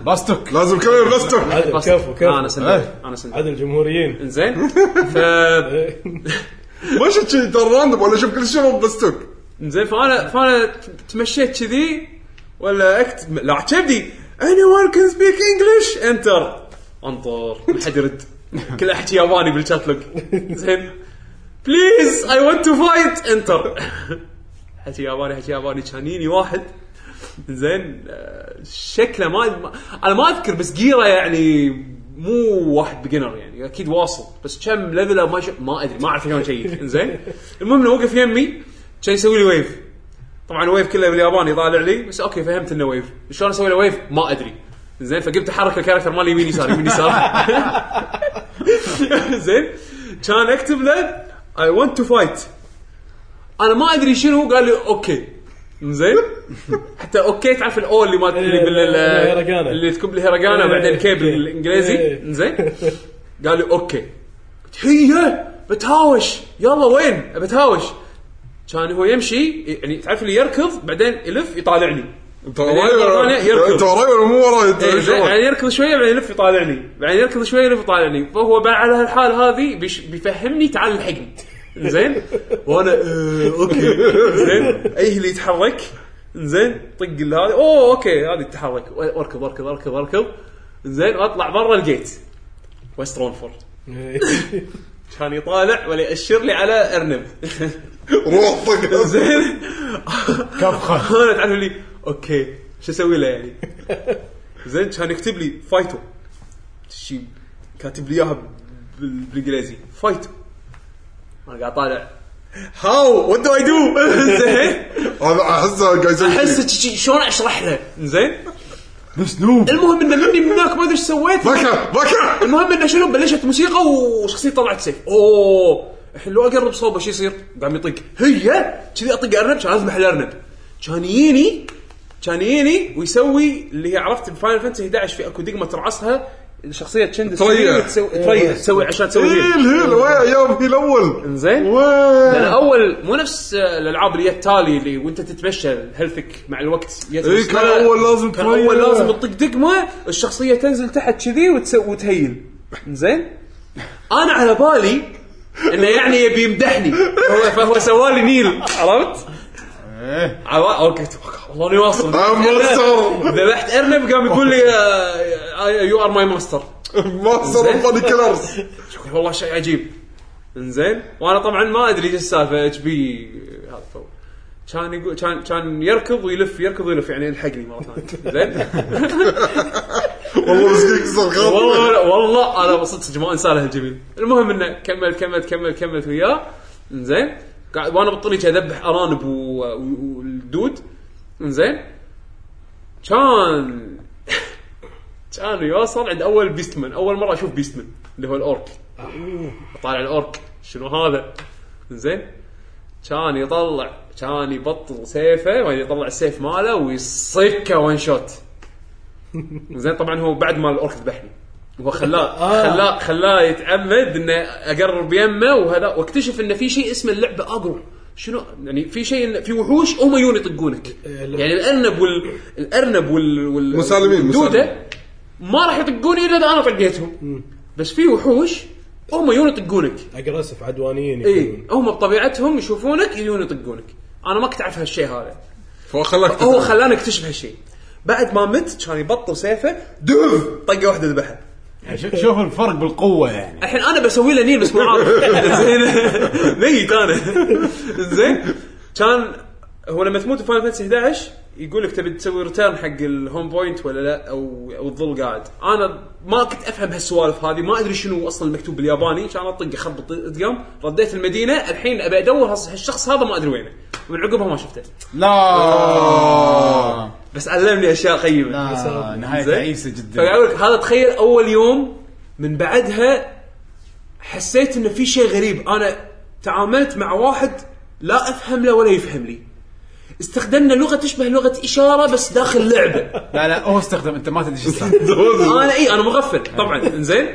باستك
لازم كلام يرغستر
عدل كفو كفو
انا سندوريا انا سندوريا
عدل جمهوريين
زين ف إيه.
[laughs]
ما شفت شيء ترى راندوم ولا شوف كل شيء رب بستوك
زين فانا فانا ت- تمشيت كذي ولا اكتب لا كبدي اني ون كان سبيك انجلش انتر انطر ما حد يرد كل احكي ياباني بالشات لوك زين بليز اي ونت تو فايت انتر [laughs] حكي ياباني حكي ياباني كان يجيني واحد زين آه، شكله ما ما- انا ما اذكر بس جيره يعني مو واحد بجنر يعني اكيد واصل بس كم ليفل أو ما ش... ما ادري ما اعرف شلون شيء زين المهم انه وقف يمي كان يسوي لي ويف طبعا ويف كله بالياباني طالع لي بس اوكي فهمت انه ويف شلون اسوي له ويف ما ادري زين فقمت احرك الكاركتر مالي يمين يسار يمين يسار [laughs] زين كان اكتب له اي ونت تو فايت انا ما ادري شنو قال لي اوكي زين حتى اوكي تعرف الاو اللي ما اللي بال
الهيرجانا.
اللي تكب لي هيرجانا
إيه،
بعدين كيب
أوكي.
الانجليزي
إيه.
زين قال لي اوكي قلت هي بتهاوش يلا وين بتهاوش كان هو يمشي يعني تعرف اللي يركض بعدين يلف يطالعني
انت وراي ولا
إيه، يركض.
انت وراي ولا مو وراي انت
إيه،
ايش
زين،
وراك؟
يعني يركض شويه بعدين يلف يطالعني بعدين يركض شويه يلف يطالعني فهو بقى على هالحال هذه بيش- بيفهمني تعال الحقني زين وانا آه، اوكي زين اي اللي يتحرك زين طق ال- هذا اوه اوكي هذه تتحرك واركض اركض اركض اركض زين اطلع برا الجيت ويست رونفورد كان يطالع ولا ياشر لي على ارنب [laughs]
روح طق
زين كفخه انا تعرف لي اوكي شو اسوي له يعني زين كان يكتب لي فايتو شي كاتب لي اياها بال- بالانجليزي فايتو انا قاعد طالع هاو وات دو اي دو [laughs] زين
هذا احسه قاعد يسوي
احس
احس
شي- شي- شلون اشرح له زين
مسنوب
المهم انه مني من هناك ما ادري ايش سويت
بكى بكى
المهم انه شنو بلشت موسيقى وشخصيه طلعت سيف اوه الحين لو اقرب صوبه شو يصير؟ قام يطق هي كذي اطق ارنب كان لازم احل ارنب كان يجيني كان يجيني ويسوي اللي هي عرفت بفاينل فانتسي 11 في اكو دقمه ترعصها الشخصيه تشندس
تريح.
تسوي تريح تسوي عشان تسوي هيل.
هيل هيل ويا ايام هيل اول
زين لان
وين
اول مو نفس آه، الالعاب اللي هي التالي اللي وانت تتمشى هيلثك مع الوقت يزيد.
إيه، كان
لا،
أول لازم إيه.
كان
تريح.
اول لازم تطق دقمه الشخصيه تنزل تحت كذي وتسو وتهيل زين انا على بالي انه يعني يبي يمدحني هو فهو سوالي نيل عرفت؟
إيه.
على بال- اوكي والله اني واصل [laughs]
ماستر
ذبحت ارنب قام يقول لي آه، يو ار ماي ماستر
ماستر اوف بادي كيلرز
شوف والله شيء عجيب انزين وانا طبعا ما ادري ايش السالفه اتش بي هذا فو. كان يقول كان كان يركض ويلف يركض ويلف يعني يلحقني مره [laughs] ثانيه زين
والله مسكين كسر خاطر
والله والله انا صدق ما انسى له الجميل المهم انه كمل كمل كمل كملت وياه انزين قاعد وانا بالطريق اذبح ارانب و- و- والدود انزين كان كان يوصل عند اول بيستمن اول مره اشوف بيستمن اللي هو الاورك طالع الاورك شنو هذا زين كان يطلع كان يبطل سيفه وبعدين يطلع السيف ماله ويصكه وان شوت [laughs] زين طبعا هو بعد ما الاورك ذبحني هو خلاه خلاه خلاه يتعمد انه اقرب يمه وهذا واكتشف انه في شيء اسمه اللعبه اجرو شنو يعني في شيء إن- في وحوش هم يجون يطقونك يعني الارنب وال الارنب وال, وال...
مسالمين،
والدوده
مسالمين.
ما راح يطقوني الا اذا انا طقيتهم بس في وحوش هم يجون يطقونك
اجرسف عدوانيين
اي
يكونون.
إيه، هم بطبيعتهم يشوفونك يجون يطقونك انا ما كنت اعرف هالشيء هذا
فخلاك
هو خلاني اكتشف هالشيء بعد ما مت كان يبطل سيفه دف طقه واحده ذبحها
يعني شوف الفرق بالقوه يعني
الحين انا بسوي له نيل بس مو عارف [laughs] زين ميت انا زين كان هو لما تموت في فاينل فانتسي 11 يقول لك تبي تسوي ريتيرن حق الهوم بوينت ولا لا او او تظل قاعد انا ما كنت افهم هالسوالف هذه ما ادري شنو اصلا المكتوب بالياباني كان اطق اخبط ادقم رديت المدينه الحين ابي ادور هالص- هالشخص هذا ما ادري وينه من عقبها ما شفته
لا
بس علمني اشياء قيمه
لا نهايه
زين.
تعيسه
فقاعد
جدا
اقول لك هذا تخيل اول يوم من بعدها حسيت انه في شيء غريب انا تعاملت مع واحد لا افهم له ولا يفهم لي استخدمنا لغه تشبه لغه اشاره بس داخل لعبه
لا لا هو استخدم انت ما تدري شو
[laughs]
السالفة.
انا اي انا إيه، مغفل طبعا انزين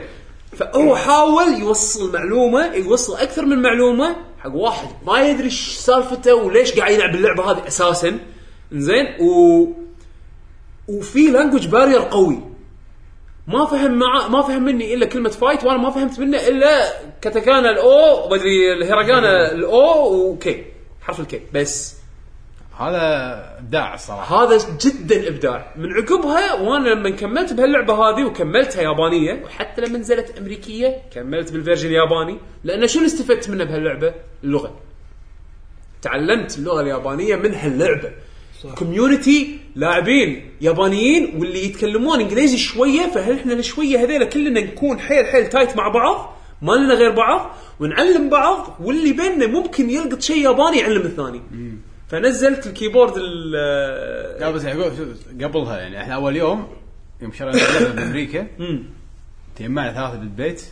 فهو حاول يوصل معلومه يوصل اكثر من معلومه حق واحد ما يدري ايش سالفته وليش قاعد يلعب اللعبه هذه اساسا انزين و وفي لانجوج بارير قوي ما فهم مع ما فهم مني الا كلمه فايت وانا ما فهمت منه الا كاتاكانا الاو ومدري الهيراغانا الاو وكي حرف الكي بس
هذا ابداع الصراحه
هذا جدا ابداع من عقبها وانا لما كملت بهاللعبه هذه وكملتها يابانيه وحتى لما نزلت امريكيه كملت بالفيرجن الياباني لان شنو استفدت منه بهاللعبه؟ اللغه تعلمت اللغه اليابانيه من هاللعبه كوميونتي لاعبين يابانيين واللي يتكلمون انجليزي شويه فهل احنا شويه هذيلا كلنا نكون حيل حيل تايت مع بعض ما لنا غير بعض ونعلم بعض واللي بيننا ممكن يلقط شيء ياباني يعلم الثاني فنزلت الكيبورد ال-
لا بس يعقوب شوف قبلها يعني احنا اول يوم يوم شرينا اللعبه بامريكا
[laughs] مم.
تجمعنا ثلاثه بالبيت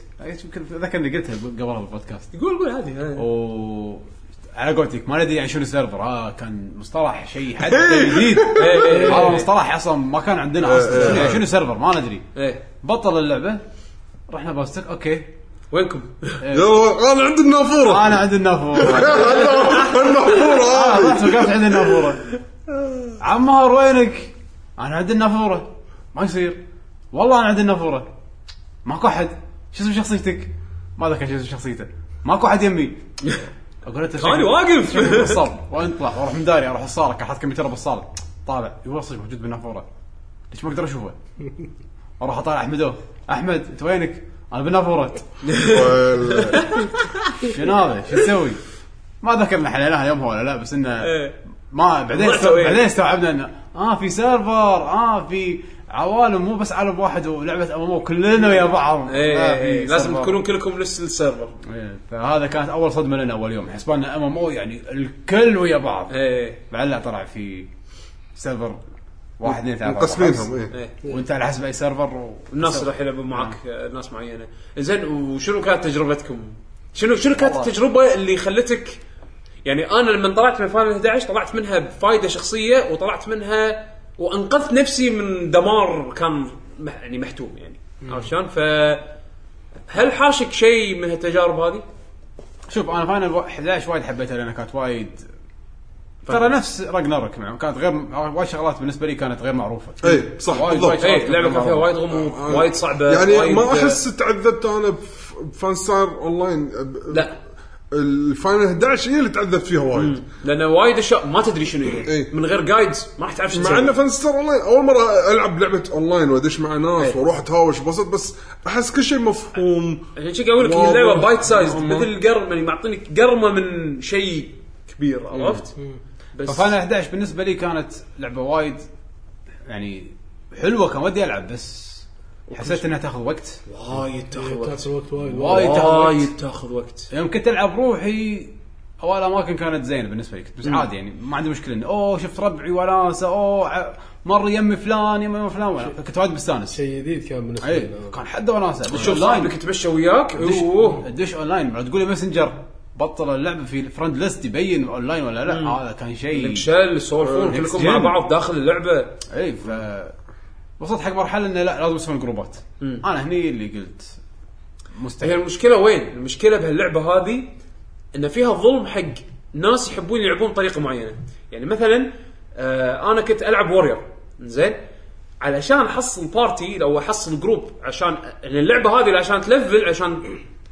يمكن ذاك اللي قلتها قبلها بالبودكاست
يقول قول عادي
و على قولتك ما ندري عن شنو السيرفر اه كان مصطلح شيء
[laughs]
حتى جديد
إيه.
هذا مصطلح اصلا ما كان عندنا اصلا شنو- شنو السيرفر ما ندري
ايه
بطل اللعبه رحنا باستك اوكي
وينكم؟
يو، انا عندي
آه.
النافوره
انا عندي النافوره
النافوره
[laughs]
آه،
هذه
رحت وقفت عند النافوره عمار وينك؟ انا عند النافوره ما يصير والله انا عند النافوره ماكو احد شو اسم شخصيتك؟ ما ذكر شو اسم شخصيته ماكو احد يمي اقول انت
أنا واقف.
صار وانطلع واروح مداري اروح الصاله كان حاط كمبيوتر بالصاله طالع يقول صدق موجود بالنافوره ليش ما اقدر اشوفه؟ اروح اطالع احمدو احمد انت وينك؟ انا بالنافوره
وال-
شنو هذا؟ شو تسوي؟ ما ذكرنا حليناها يومها ولا لا بس انه
إيه.
ما بعدين
ما
است...
سوينا.
بعدين استوعبنا انه اه في سيرفر اه في عوالم مو بس عالم واحد ولعبه ام كلنا ويا بعض آه، في
ايه لازم
سيرفر.
تكونون كلكم نفس السيرفر
إيه، فهذا كانت اول صدمه لنا اول يوم حسبنا ام ام او يعني الكل ويا بعض
ايه
بعد لا طلع في سيرفر واحد اثنين ثلاثه
مقسمينهم
أربعة،
إيه.
ايه
خمسة. وانت على حسب اي سيرفر نعم. و...
الناس راح يلعبون معك آه، ناس معينه زين وشنو كانت تجربتكم؟ شنو شنو كانت التجربه اللي خلتك يعني انا لما طلعت من فاينل 11 طلعت منها بفائده شخصيه وطلعت منها وانقذت نفسي من دمار كان مح- يعني محتوم يعني عرفت شلون؟ ف هل حاشك شيء من هالتجارب هذه؟
شوف انا فاينل 11 وايد حبيتها لانها كانت وايد ترى
طيب.
نفس راجنارك معهم كانت غير وايد شغلات بالنسبه لي كانت غير معروفه
إيه، صح،
وايد
بالضبط.
وايد شغلات
ايه
كانت
لعبه
غير
كان فيها
معروفة.
وايد غموض
آه.
وايد صعبه
يعني
وايد-
ما احس تعذبت انا بف- بفان ستار اونلاين ب-
لا
الفاينل 11 هي اللي تعذبت فيها وايد
لان وايد اشياء ما تدري شنو هي
إيه.
من غير جايدز ما راح تعرف شو
مع انه
تسوي.
فان ستار اونلاين اول مره العب لعبه اونلاين وادش مع ناس
إيه.
واروح اتهاوش بسط بس احس كل شيء مفهوم
عشان شي اقول لك
واو.
اللعبه بايت سايز
أما.
مثل القرم يعني معطينك قرمه من شيء كبير عرفت؟ بس
ففاينل 11 بالنسبه لي كانت لعبه وايد يعني حلوه كان ودي العب بس حسيت انها تاخذ وقت
وايد إيه، تاخذ
كانت
وقت
الوقت وايد
وايد تاخذ وقت
وايد تاخذ وقت
يوم كنت العب روحي اول اماكن كانت زينه بالنسبه لي كنت بس عادي يعني ما عندي مشكله انه اوه شفت ربعي وناسه اوه ع- مر يمي فلان يمي فلان ولا- كنت وايد مستانس
شيء جديد كان
إيه.
بالنسبه
إيه.
اي
لنا
كان حد وناسه بس
شوف صاحبك يتمشى وياك
دش
اوه
دش اونلاين بعد تقول لي ماسنجر بطل اللعبه في الفرند ليست يبين اونلاين ولا لا هذا كان شيء
لينكشل سولفون
Next
كلكم
gen.
مع بعض داخل اللعبه
اي إيه، ف وصلت حق مرحله انه لا لازم اسوي جروبات انا هني اللي قلت
هي
مستحيل
المشكله وين؟ المشكله بهاللعبه هذه ان فيها ظلم حق ناس يحبون يلعبون بطريقه معينه، يعني مثلا آه انا كنت العب وورير زين علشان احصل بارتي لو احصل جروب عشان يعني اللعبه هذه عشان تلفل عشان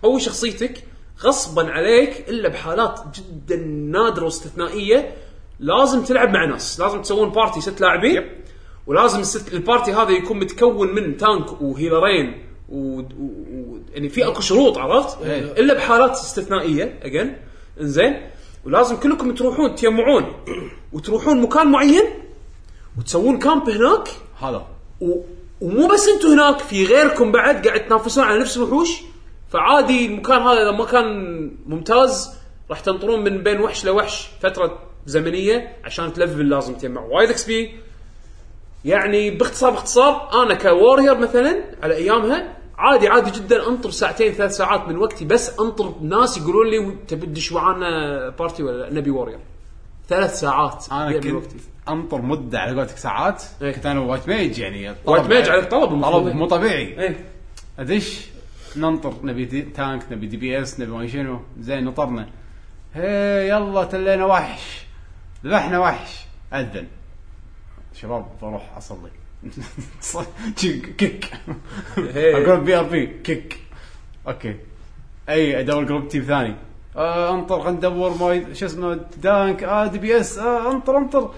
تقوي شخصيتك غصبا عليك الا بحالات جدا نادره واستثنائيه لازم تلعب مع ناس، لازم تسوون بارتي ست لاعبين ولازم الست البارتي هذا يكون متكون من تانك وهيلرين و... و... و... يعني في اكو شروط عرفت؟
إيه.
الا بحالات استثنائيه اجين انزين ولازم كلكم تروحون تجمعون وتروحون مكان معين وتسوون كامب هناك
هذا
و... ومو بس انتم هناك في غيركم بعد قاعد تنافسون على نفس الوحوش فعادي المكان هذا اذا ما كان ممتاز راح تنطرون من بين وحش لوحش فتره زمنيه عشان تلفل لازم تجمع وايد اكس بي يعني باختصار باختصار انا كورير مثلا على ايامها عادي عادي جدا انطر ساعتين ثلاث ساعات من وقتي بس انطر ناس يقولون لي تبي تدش معانا بارتي ولا لا؟ نبي وورير ثلاث ساعات
انا
من
كنت
وقتي.
انطر مده على قولتك ساعات
إيه.
كنت انا وايت ميج يعني
وايت ميج عليك طلب المفروض.
طلب مو طبيعي
ايه
ادش ننطر نبي دي تانك نبي دي بي اس نبي ما أدري شنو زين نطرنا هي يلا تلينا وحش ذبحنا وحش اذن شباب بروح [laughs] اصلي كيك- كيك
إيه.
اقول بي ار بي كيك اوكي اي ادور جروب تيم ثاني آه انطر خلينا ندور ما شو اسمه دانك اه دي بي اس آه انطر انطر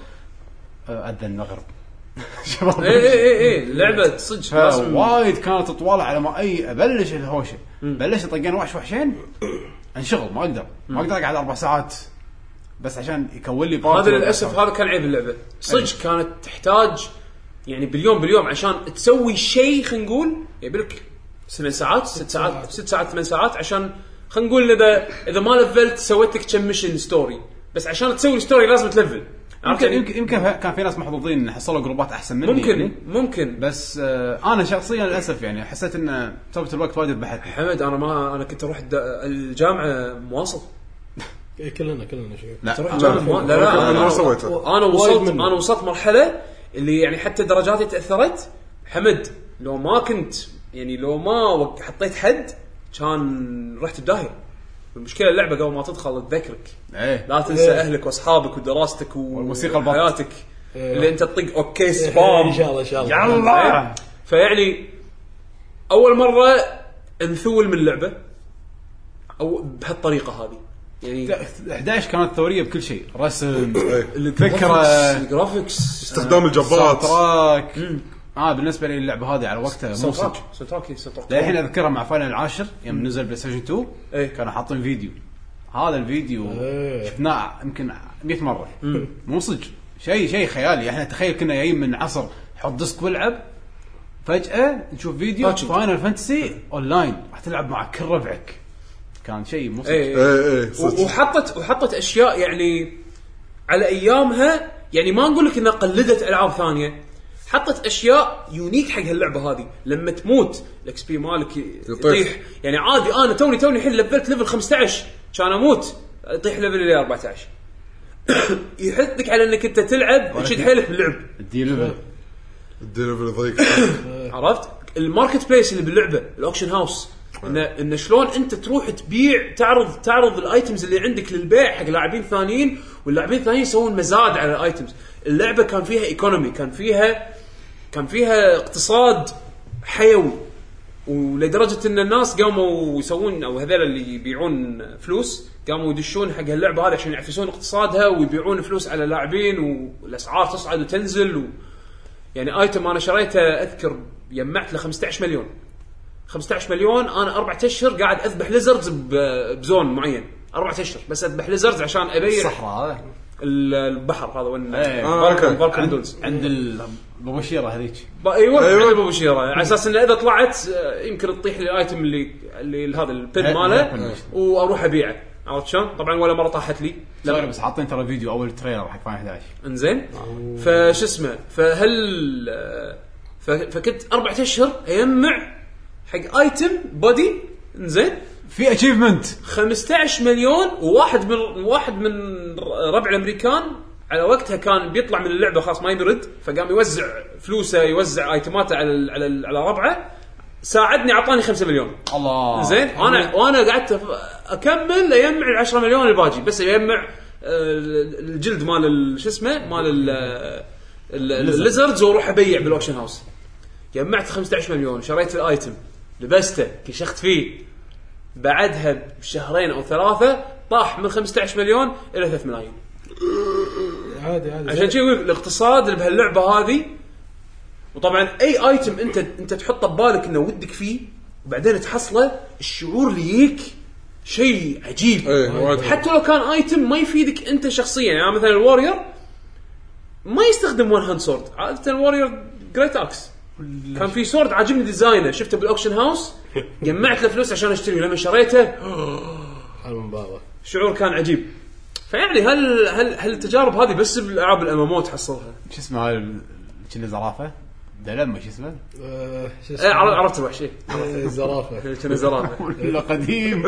آه اذن المغرب [laughs] شباب
اي اي اي اي لعبه صدق لازم
وايد كانت تطول على ما اي ابلش الهوشه بلشت طقين وحش وحشين انشغل ما اقدر ما اقدر اقعد اربع ساعات بس عشان يكون لي بارتي
هذا
ولا
للاسف
أربع
هذا كان عيب اللعبه صدق كانت تحتاج يعني باليوم باليوم عشان تسوي شيء خلينا نقول يبيلك ثمان ساعات ست ساعات
ساعات.
ست ساعات ثمان ساعات عشان خلينا نقول اذا اذا ما لفلت سويت لك كم ميشن ستوري بس عشان تسوي الستوري لازم تلفل عرفت
يمكن
يعني؟
يمكن, يمكن كان في ناس محظوظين إن حصلوا جروبات احسن مني
ممكن
يعني.
ممكن
بس آه انا شخصيا للاسف يعني حسيت ان ثبت الوقت وايد ذبحتني
حمد انا ما انا كنت اروح الد- الجامعه مواصل
إيه، كلنا كلنا شيء
لا
تروح
آه،
جامعة مو- لا لا
انا
انا
ما سويته
انا
وايد
وصلت
منه.
انا وصلت مرحله اللي يعني حتى درجاتي تاثرت حمد لو ما كنت يعني لو ما وق- حطيت حد كان رحت بداهيه المشكله اللعبه قبل ما تدخل تذكرك
ايه
لا تنسى
إيه.
اهلك واصحابك ودراستك
والموسيقى البط.
وحياتك
إيه.
اللي انت تطق اوكي
ان
سبام
إيه،
إيه.
شاء الله ان شاء الله
يلا
فيعني اول مره انثول من اللعبه او بهالطريقه هذه يعني
11 كانت ثوريه بكل شيء رسم
إيه.
الفكره
الجرافيكس- الجرافيكس
استخدام
ساوند
الجبات
تراك اه بالنسبه لي اللعبه هذه على وقتها مو صدق
سنتراك سنتراك سنتراك
للحين اذكرها مع فاينل العاشر يوم نزل بلاي ستيشن 2
إيه.
كانوا حاطين فيديو هذا الفيديو
إيه.
شفناه يمكن 100 مره مو صدق شيء شيء خيالي احنا تخيل كنا جايين من عصر حط ديسك والعب فجاه نشوف فيديو
Touching.
فاينل فانتسي اونلاين راح تلعب مع كل ربعك كان شيء مو صدق
إيه.
اي اي صدق.
و- وحطت وحطت اشياء يعني على ايامها يعني ما نقول لك انها قلدت العاب ثانيه حطت اشياء يونيك حق هاللعبه هذه لما تموت الاكس بي مالك ي- يطيح يعني عادي انا توني توني الحين لفلت ليفل 15 كان اموت يطيح ليفل الى 14 [coughs] يحثك على انك انت تلعب وتشد حيلك باللعب
الدي ليفل
الدليفري ضيق
عرفت الماركت بليس اللي باللعبه الاوكشن هاوس ان ان شلون انت تروح تبيع تعرض تعرض الايتمز اللي عندك للبيع حق لاعبين ثانيين واللاعبين الثانيين يسوون مزاد على الايتمز اللعبه كان فيها ايكونومي كان فيها كان فيها اقتصاد حيوي ولدرجه ان الناس قاموا يسوون او هذول اللي يبيعون فلوس قاموا يدشون حق اللعبه هذه عشان يعفسون اقتصادها ويبيعون فلوس على لاعبين والاسعار تصعد وتنزل و... يعني ايتم انا شريته اذكر جمعت له 15 مليون 15 مليون انا اربع اشهر قاعد اذبح ليزردز ب- بزون معين اربع اشهر بس اذبح ليزردز عشان ابيع
الصحراء هذا
ال- البحر هذا وين
إيه.
آه، أوكي.
فالكون
عند,
دولز
عند ال- ابو بشيره هذيك
ب- ايوه
أيوة.
عند ابو بشيره على اساس انه اذا طلعت آه، يمكن تطيح لي الايتم اللي اللي هذا البن
هي-
ماله
هي-
واروح ابيعه عرفت شلون؟ طبعا ولا مره طاحت لي
سوري بس حاطين ترى فيديو اول تريلر حق فاينل 11
انزين فش اسمه فهل ف- فكنت اربعة اشهر اجمع حق ايتم بودي انزين
في اتشيفمنت
15 مليون وواحد من واحد من ربع الامريكان على وقتها كان بيطلع من اللعبه خلاص ما يبي يرد فقام يوزع فلوسه يوزع ايتماته على ال- على ال- على ربعه ساعدني اعطاني 5 مليون
الله
زين انا وانا قعدت أف- اكمل اجمع ال 10 مليون الباجي بس اجمع آه، الجلد مال ال- شو اسمه مال ال- ال- الليزردز واروح ابيع بالاوكشن هاوس جمعت 15 مليون شريت الايتم لبسته كشخت فيه بعدها بشهرين او ثلاثه طاح من 15 مليون الى 3 ملايين
عادي عادي
عشان كذي يقول الاقتصاد اللي بهاللعبه هذه وطبعا اي ايتم انت انت تحطه ببالك انه ودك فيه وبعدين تحصله الشعور اللي يجيك شيء عجيب
إيه.
[laughs]
اي وايد حلو.
حتى لو كان ايتم ما يفيدك انت شخصيا يعني أنا مثلا الوارير ما يستخدم ون هاند سورد عاده الوارير جريت اكس كان في سورد عاجبني ديزاينه شفته بالاوكشن هاوس جمعت له فلوس عشان اشتريه لما شريته
المباراة
شعور كان عجيب فيعني هل هل هل التجارب هذه بس بالالعاب الامامو تحصلها؟
شو اسمه هاي ال- كنا زرافه دلما شو اسمه
آه، شو
ايه
اسمه؟
عر- عرفت الوحش إيه.
آه، زرافة
كنا [laughs] زرافه
ولا قديم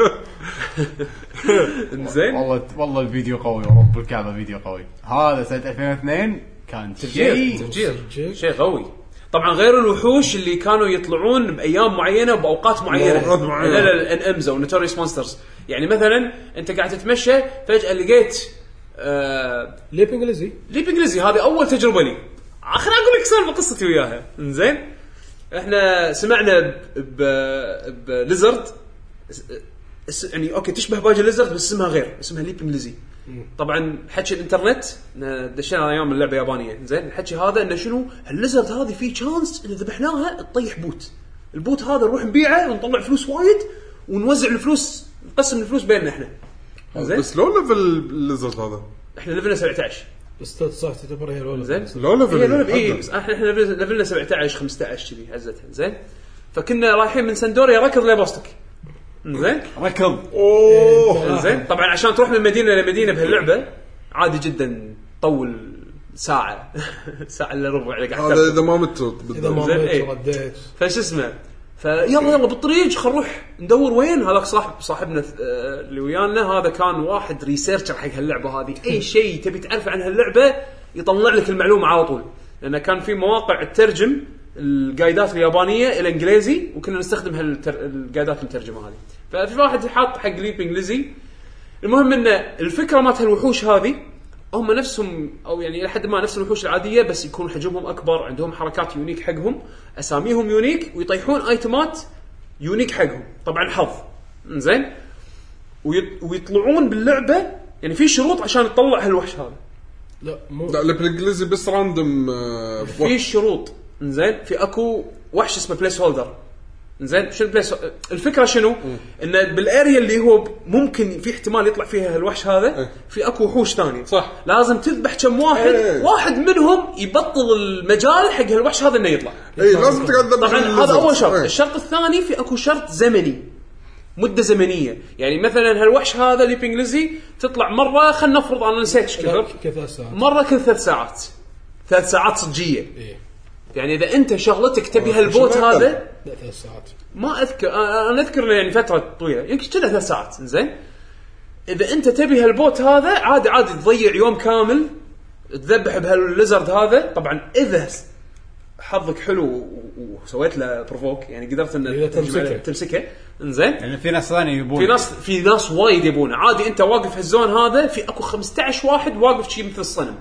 زين
والله والله الفيديو قوي ورب الكعبه فيديو قوي هذا سنه 2002 كان
تفجير
شيء
تفجير شيء قوي طبعا غير الوحوش اللي كانوا يطلعون بايام معينه وباوقات معينه
بأوقات معينة.
لا لا الان امز او نوتوريوس مونسترز يعني مثلا انت قاعد تتمشى فجاه لقيت آه
ليه بانجليزي؟
ليب انجليزي هذه اول تجربه لي خليني اقول لك سالفه قصتي وياها زين احنا سمعنا ب ب- بليزرد اس- اس- يعني اوكي تشبه باجي ليزرد بس اسمها غير اسمها ليب انجليزي طبعا حكي الانترنت إن دشينا ايام اللعبه يابانيه زين الحكي هذا انه شنو الليزرد هذه في تشانس اذا ذبحناها تطيح بوت البوت هذا نروح نبيعه ونطلع فلوس وايد ونوزع الفلوس نقسم الفلوس بيننا احنا زين
بس لو ليفل الليزرد هذا
احنا ليفلنا 17
بس صح تعتبر هي الأولى.
زين
لو ليفل
هي لولب اي
حقه.
إيه، بس احنا احنا ليفل- ليفلنا 17 15 كذي عزتها زين فكنا رايحين من سندوريا ركض لبوستك زين إيه.
ركض
اوه
زين طبعا عشان تروح من مدينه لمدينه بهاللعبه عادي جدا تطول [laughs] ساعه ساعه الا ربع اللي قاعد
هذا
تركض.
اذا ما مت
اذا
بالضبط
ما
زين،
ميت
إيه.
ورديت
فش اسمه فيلا يلا بالطريق خل نروح ندور وين هذاك صاحب صاحبنا آه، اللي ويانا هذا كان واحد ريسيرشر حق هاللعبه هذه اي شيء تبي تعرفه عن هاللعبه يطلع لك المعلومه على طول لان كان في مواقع تترجم الجايدات اليابانيه الى انجليزي وكنا نستخدم هالتر... الجايدات المترجمه هذه ففي واحد حاط حق ليب انجليزي المهم ان الفكره مالت الوحوش هذه هم نفسهم او يعني الى حد ما نفس الوحوش العاديه بس يكون حجمهم اكبر عندهم حركات يونيك حقهم اساميهم يونيك ويطيحون ايتمات يونيك حقهم طبعا حظ زين ويطلعون باللعبه يعني في شروط عشان تطلع هالوحش هذا
لا مو
لا اللي بالانجليزي بس آه، راندوم
في شروط زين في اكو وحش اسمه بليس هولدر زين شنو بليس الفكره شنو؟ انه بالاريا اللي هو ممكن في احتمال يطلع فيها الوحش هذا
إيه.
في اكو وحوش ثاني
صح.
لازم تذبح كم واحد
إيه.
واحد منهم يبطل المجال حق هالوحش هذا انه يطلع
اي إيه، لازم تقعد تذبح
طبعا
الليزرد.
هذا اول شرط
إيه.
الشرط الثاني في اكو شرط زمني مده زمنيه يعني مثلا هالوحش هذا اللي بانجليزي تطلع مره خلينا نفرض انا نسيت ايش كثر
لا، كذا ساعة
مره كل ثلاث ساعات ثلاث ساعات صجيه
ايه
يعني اذا انت شغلتك تبي هالبوت
شو ما أقدر.
هذا
لا ثلاث ساعات
ما اذكر أنا- انا اذكر إنه يعني فتره طويله يمكن كذا ثلاث ساعات زين اذا انت تبي هالبوت هذا عادي عادي تضيع يوم كامل تذبح بهالليزرد هذا طبعا اذا س- حظك حلو و- و- وسويت له بروفوك يعني قدرت
إذا
ان تهجم عليه-
تمسكه.
تمسكه انزين
لان في ناس ثانيه يبون
في ناس في ناس وايد يبونه عادي انت واقف هالزون هذا في اكو 15 واحد واقف شي مثل الصنم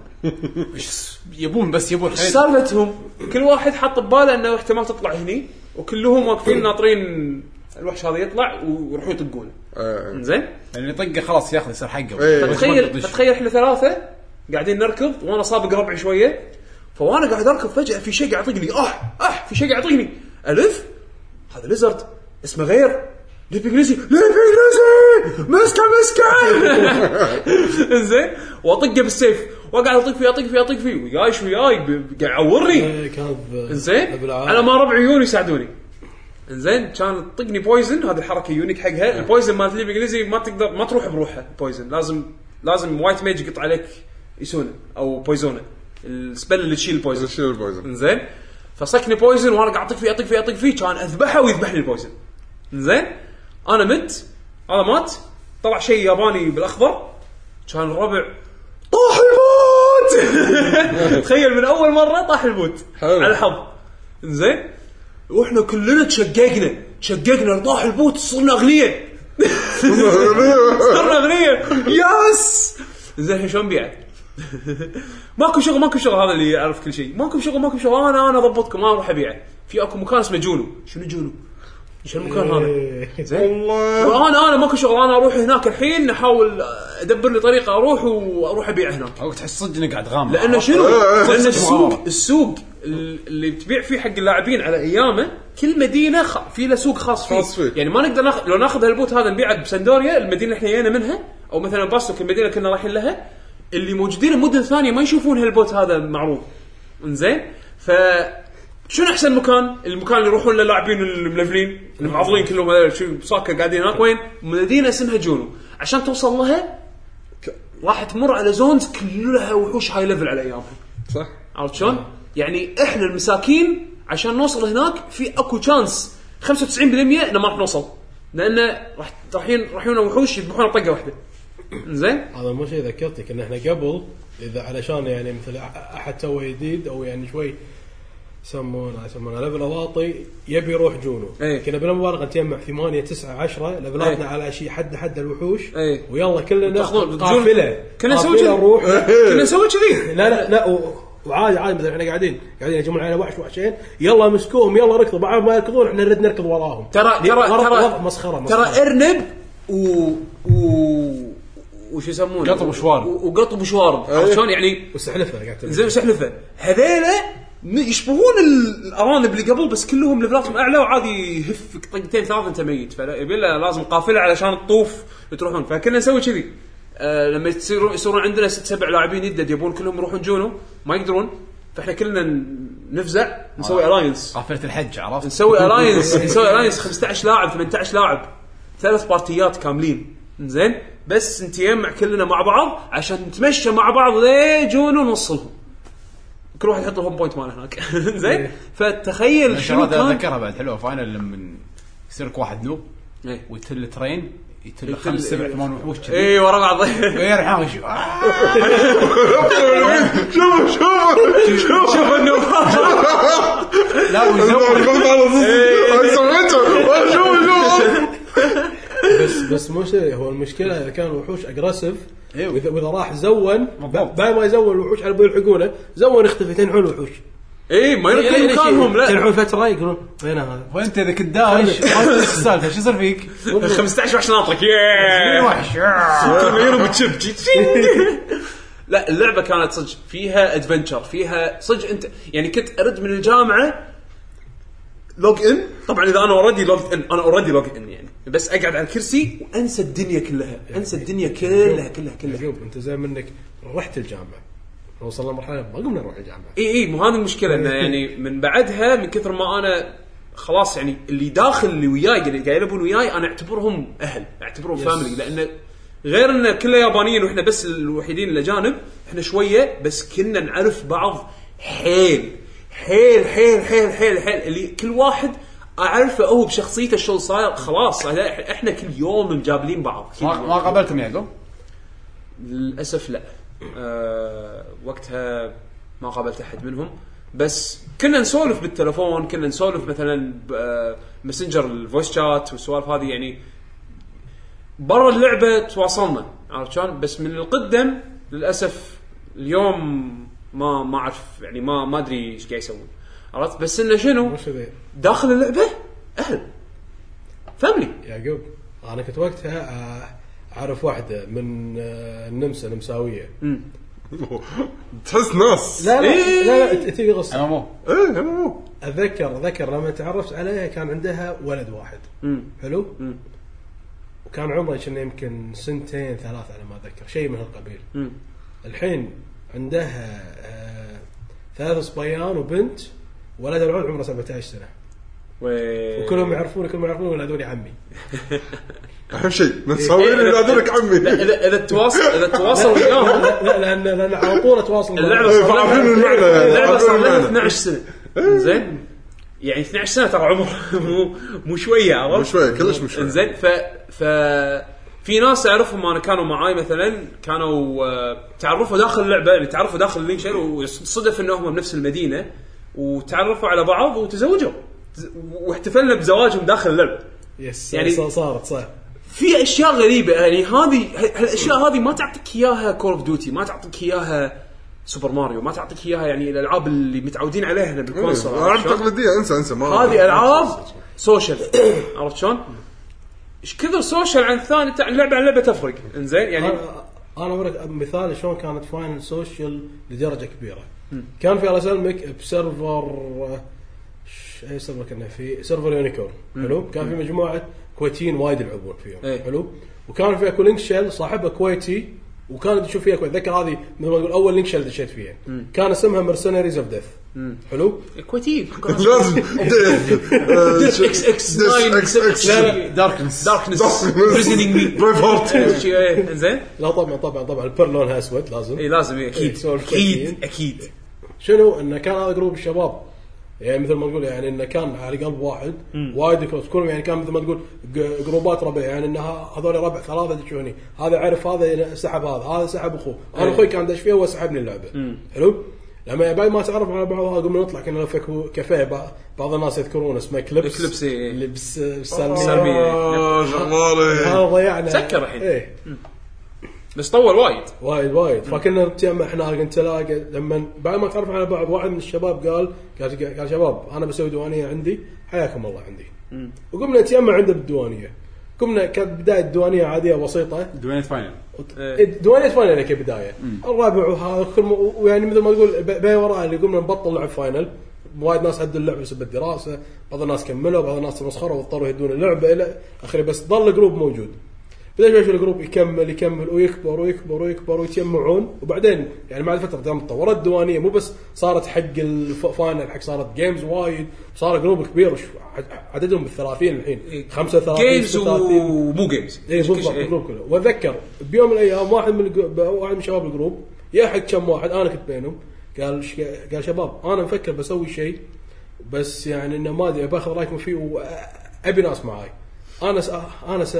يبون بس يبون
إيه.
ايش سالفتهم؟ كل واحد حاط بباله انه احتمال تطلع هني وكلهم واقفين ناطرين الوحش هذا يطلع ويروحون يطقونه
إيه.
زين
لان يطقه خلاص ياخذ يصير حقه
إيه.
فتخيل فتخيل احنا ثلاثه قاعدين نركض وانا سابق ربعي شويه فوانا قاعد اركض فجاه في شيء قاعد يطقني اه اه في شيء قاعد يطقني الف هذا ليزرد اسمه غير ليب انجليزي ليب انجليزي مسكه [laughs] مسكه زين واطقه بالسيف واقعد اطق فيه اطق فيه اطق فيه وياي شو وياي ب- ب- قاعد يعورني
إيه، كان
زين على ما ربع عيوني يساعدوني زين كان طقني بويزن هذه الحركه يونيك حقها البويزن مالت اللي بالانجليزي ما تقدر ما تروح بروحها بويزن لازم لازم وايت ميج يقط عليك يسونه او بويزونه السبل اللي تشيل البويزن
شيل البويزن
زين فصكني بويزن وانا قاعد اطق فيه اطق فيه اطق فيه كان اذبحه ويذبحني البويزن زين انا مت هذا مات طلع شيء ياباني بالاخضر كان الربع طاح البوت [laughs] تخيل من اول مره طاح البوت
حلو.
على الحظ زين واحنا كلنا تشققنا تشققنا طاح البوت صرنا [laughs] اغنياء صرنا اغنياء يس زين الحين شلون نبيعه؟ ماكو شغل ماكو شغل هذا اللي يعرف كل شيء ماكو شغل ماكو شغل انا انا اضبطكم انا اروح ابيعه في اكو مكان اسمه جونو شنو جونو؟ شنو المكان
إيه.
هذا؟
إيه.
زين
والله
وانا انا ماكو شغل انا اروح هناك الحين احاول ادبر لي طريقه اروح واروح ابيع هناك
او تحس صدق انك قاعد غامض
لانه شنو؟
إيه.
لان السوق
مغامرة.
السوق اللي تبيع فيه حق اللاعبين على ايامه كل مدينه خ... في له سوق خاص فيه.
خاص فيه.
يعني ما نقدر ناخذ لو ناخذ هالبوت هذا نبيعه بسندوريا المدينه اللي احنا جينا منها او مثلا باستوك المدينه كنا رايحين لها اللي موجودين المدن الثانيه ما يشوفون هالبوت هذا معروض انزين ف شنو احسن مكان؟ المكان اللي يروحون له اللاعبين الملفلين المعضلين كلهم هذول شو بصاكه قاعدين هناك وين؟ مدينه اسمها جونو عشان توصل لها ك- راح تمر على زونز كلها وحوش هاي ليفل على ايامها [laughs]
صح
عرفت شلون؟ يعني احنا المساكين عشان نوصل هناك في اكو تشانس 95% انه ما راح نوصل لانه راح رايحين رايحين وحوش يذبحون طقه واحده زين
هذا مو شيء ذكرتك ان احنا قبل اذا علشان يعني مثل أح- احد سوى جديد او يعني شوي يسمونه يسمونه ليفل واطي يبي يروح جونو
إيه.
كنا بلا مبالغه نجمع 8 9 10 ليفلاتنا
إيه.
على شيء حد حد الوحوش
إيه.
ويلا كلنا
تاخذون
قافله
آه، كنا نسوي
قافلة
كذي
نروح
كنا نسوي كذي
لا لا لا و- وعادي عادي مثلا احنا قاعدين قاعدين يجمعون علينا وحش وحشين يلا مسكوهم يلا ركضوا بعد ما يركضون احنا نرد نركض وراهم
ترى ترى
وضع-
ترى
وضع مسخره مسخرة.
ترى إيه؟ ارنب و و وش يسمونه
قطب وشوارب. إيه.
و- وقطب وشوارب عرفت شلون يعني
واستحلفها قاعد تلعب.
زين سحلفه هذيلا ن- يشبهون ال- الارانب اللي قبل بس كلهم ليفلاتهم اعلى وعادي يهفك طقتين ثلاث انت ميت فيبي له لازم قافله علشان تطوف تروحون فكنا نسوي كذي آه لما تصيرون يصيرون عندنا ست سبع لاعبين يدد يبون كلهم يروحون جونو ما يقدرون فاحنا كلنا ن- نفزع نسوي الاينس
قافله الحج عرفت؟ [laughs]
نسوي الاينس نسوي الاينس 15 لاعب 18 لاعب ثلاث بارتيات كاملين زين بس نتجمع كلنا مع بعض عشان نتمشى مع بعض لجون ونوصلهم كل واحد يحط الهوم بوينت ماله هناك [laughs] زين فتخيل شنو
الشغلات
كان
اتذكرها بعد حلوه فاينل لما يصير لك واحد نوب
إيه.
ويتل ترين يتل
يتل- إيه.
خمس سبع ثمان وحوش كذي
اي ورا بعض [laughs]
غير حاوي شو آه،
شوفوا شوفوا شوفوا
شوف النوم
لا ويسوي
الغلط على ضد هاي سمعته شوفوا شوفوا
بس بس مو شيء هو المشكله اذا كان الوحوش اجريسف
إيوه.
واذا واذا راح زون
بالضبط.
بعد ما يزون الوحوش على بول يلحقونه زون اختفي تنحون الوحوش
اي إيه، ما يركب مكانهم لا
تنحون فتره يقولون وين هذا؟
وانت اذا كنت داش ما تدري شو السالفه شو يصير فيك؟
15 وحش ناطرك ياه
وحش
كورنيرو بتشب تشي- تشينج. آه. [laughs] لا اللعبه كانت صدق فيها ادفنتشر فيها صدق انت يعني كنت ارد من الجامعه لوج ان طبعا اذا انا اوريدي لوج ان انا اوريدي لوج ان يعني بس اقعد على الكرسي وانسى الدنيا كلها انسى الدنيا كلها كلها كلها
يعقوب انت زي منك رحت الجامعه وصلنا مرحله ما قمنا نروح الجامعه
اي اي مو هذه المشكله انه يعني من بعدها من كثر ما انا خلاص يعني اللي داخل اللي وياي اللي قاعد يلعبون وياي انا اعتبرهم اهل اعتبرهم فاميلي لان غير ان كله يابانيين واحنا بس الوحيدين الاجانب احنا شويه بس كنا نعرف بعض حيل حيل حيل حيل حيل حيل اللي كل واحد اعرفه هو بشخصيته شو صاير خلاص احنا كل يوم مجابلين بعض كل
ما ما قابلتهم يعقوب؟
للاسف لا أه وقتها ما قابلت احد منهم بس كنا نسولف بالتلفون كنا نسولف آه، مثلا بمسنجر الفويس شات والسوالف هذه يعني برا اللعبه تواصلنا عرفت شلون بس من القدم للاسف اليوم ما ما اعرف يعني ما ما ادري ايش قاعد يسوون عرفت بس انه شنو
مو شذي
داخل اللعبه اهل فاملي
يعقوب انا كنت وقتها آه، اعرف واحده من آه، النمسا نمساويه
تحس ناس
لا
إيه.
لا لا, لا تبي قصه
انا مو
ايه انا مو
اتذكر اتذكر لما تعرفت عليها كان عندها ولد واحد
مم.
حلو
مم.
وكان عمره كنا يمكن سنتين ثلاث على ما اتذكر شيء من هالقبيل
مم.
الحين عندها آه ثلاث صبيان وبنت ولد العود عمره 17 سنه
و-
وكلهم يعرفوني كلهم يعرفوني ولا هذول عمي
اهم شيء نسوي لي نادرك
إيه، لا،
عمي
اذا اذا تواصل اذا تواصل
[laughs]
وياهم
لا لان لان على طول اتواصل معهم.
اللعبه
إيه،
صار لها-
فعارفين المعنى يعني،
اللعبه صار
عارفين
لها
المعنى. إيه.
12 سنه زين يعني 12 سنه ترى عمر [laughs] مو مو شويه عرفت
مو شوية، كلش مو شوية.
زين ف ف في ناس اعرفهم انا كانوا معاي مثلا كانوا آه، تعرفوا داخل اللعبه يعني تعرفوا داخل اللينشر وصدف انهم بنفس المدينه وتعرفوا على بعض وتزوجوا واحتفلنا بزواجهم داخل اللعبه
يس
يعني-
يعني صارت صار
في اشياء غريبه يعني هذه هالاشياء هذه ما تعطيك اياها كول اوف ديوتي ما تعطيك اياها سوبر ماريو ما تعطيك اياها يعني الالعاب اللي متعودين عليها احنا
إيه،
بالكونسول
العاب
عرفت شلون؟
تقليديه انسى انسى ما
هذه العاب سوشيال عرفت شلون؟ ايش كثر سوشيال عن الثاني عن لعبه عن لعبه تفرق انزين يعني
انا انا اوريك مثال شلون كانت فاينل سوشيال لدرجه كبيره كان في الله يسلمك بسيرفر ش- اي سيرفر كنا فيه سيرفر يونيكورن حلو كان في مجموعه كويتيين وايد يلعبون فيهم
إيه.
حلو وكان في اكو لينك شيل صاحبه كويتي وكانت تشوف فيها كويس اتذكر هذه مثل ما تقول اول لينك شل دشيت فيها كان اسمها مرسنريز اوف ديث حلو
كويتيين
[laughs]
[laughs]
لازم
ديث اكس اكس 9
اكس اكس
داركنس
داركنس بريزنينج مي
بريف
[laughs]
هارت
زين
لا طبعا طبعا طبعا البر لونها اسود لازم
اي لازم إيه، اكيد
سولف
اكيد
كويتيين.
اكيد
شنو انه كان هذا جروب الشباب يعني مثل ما نقول يعني انه كان على قلب واحد وايد كروس كلهم يعني كان مثل ما تقول ج- جروبات ربع يعني انه هذول ربع ثلاثه دشوا هني هذا عرف هذا يعني سحب هذا هذا سحب اخوه
إيه.
انا اخوي كان دش فيها وهو سحبني اللعبه حلو لما بعد ما تعرف على بعض قمنا نطلع كنا نلف كو- كافيه بع- بعض الناس يذكرون اسمه كليبس
كليبس، إيه.
لبس
سلبي.
سلبي
آه، شغاله
هذا ضيعنا
سكر الحين.
ايه
بس طول وايد
وايد وايد فكنا نتجمع هناك نتلاقى لما بعد ما تعرف على بعض واحد من الشباب قال قال قال شباب انا بسوي ديوانيه عندي حياكم الله عندي وقمنا نتجمع عنده بالديوانيه قمنا كانت بدايه ديوانيه عاديه بسيطه
دوينت فاينل
إيه.
الديوانيه فاينل كبدايه الرابع وهذا كل م... ويعني مثل ما تقول ب- بي وراء اللي قمنا نبطل لعب فاينل وايد ناس عدوا اللعبه بسبب الدراسه بعض الناس كملوا بعض الناس مسخره واضطروا يهدون اللعبه الى اخره بس ضل الجروب موجود بدا شوي شوي الجروب يكمل يكمل ويكبر ويكبر ويكبر ويتجمعون وبعدين يعني مع الفتره دام تطورت الديوانيه مو بس صارت حق الفاينل حق صارت جيمز وايد صار جروب كبير وش- عددهم بالثلاثين الحين
إيه.
35
جيمز
36.
ومو جيمز
اي بالضبط
إيه.
الجروب كله واتذكر بيوم من الايام واحد من الجروب واحد من شباب الجروب يا حق كم واحد انا كنت بينهم قال ش... قال شباب انا مفكر بسوي شيء بس يعني انه ما ادري باخذ رايكم فيه وابي ناس معاي انا س... انا س...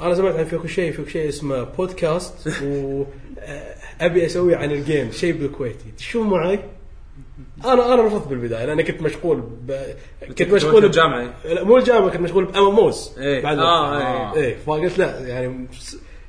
انا سمعت عن فيكو شيء فيكو شيء اسمه بودكاست [laughs] وابي اسوي عن الجيم شيء بالكويتي شو معي؟ انا انا رفضت بالبدايه لان كنت مشغول ب... كنت
كنت
مشغول ب-
بالجامعة.
لا، مو الجامعه كنت مشغول بام موز
إيه.
بعد
آه،
وقت.
إيه.
ايه فقلت لا يعني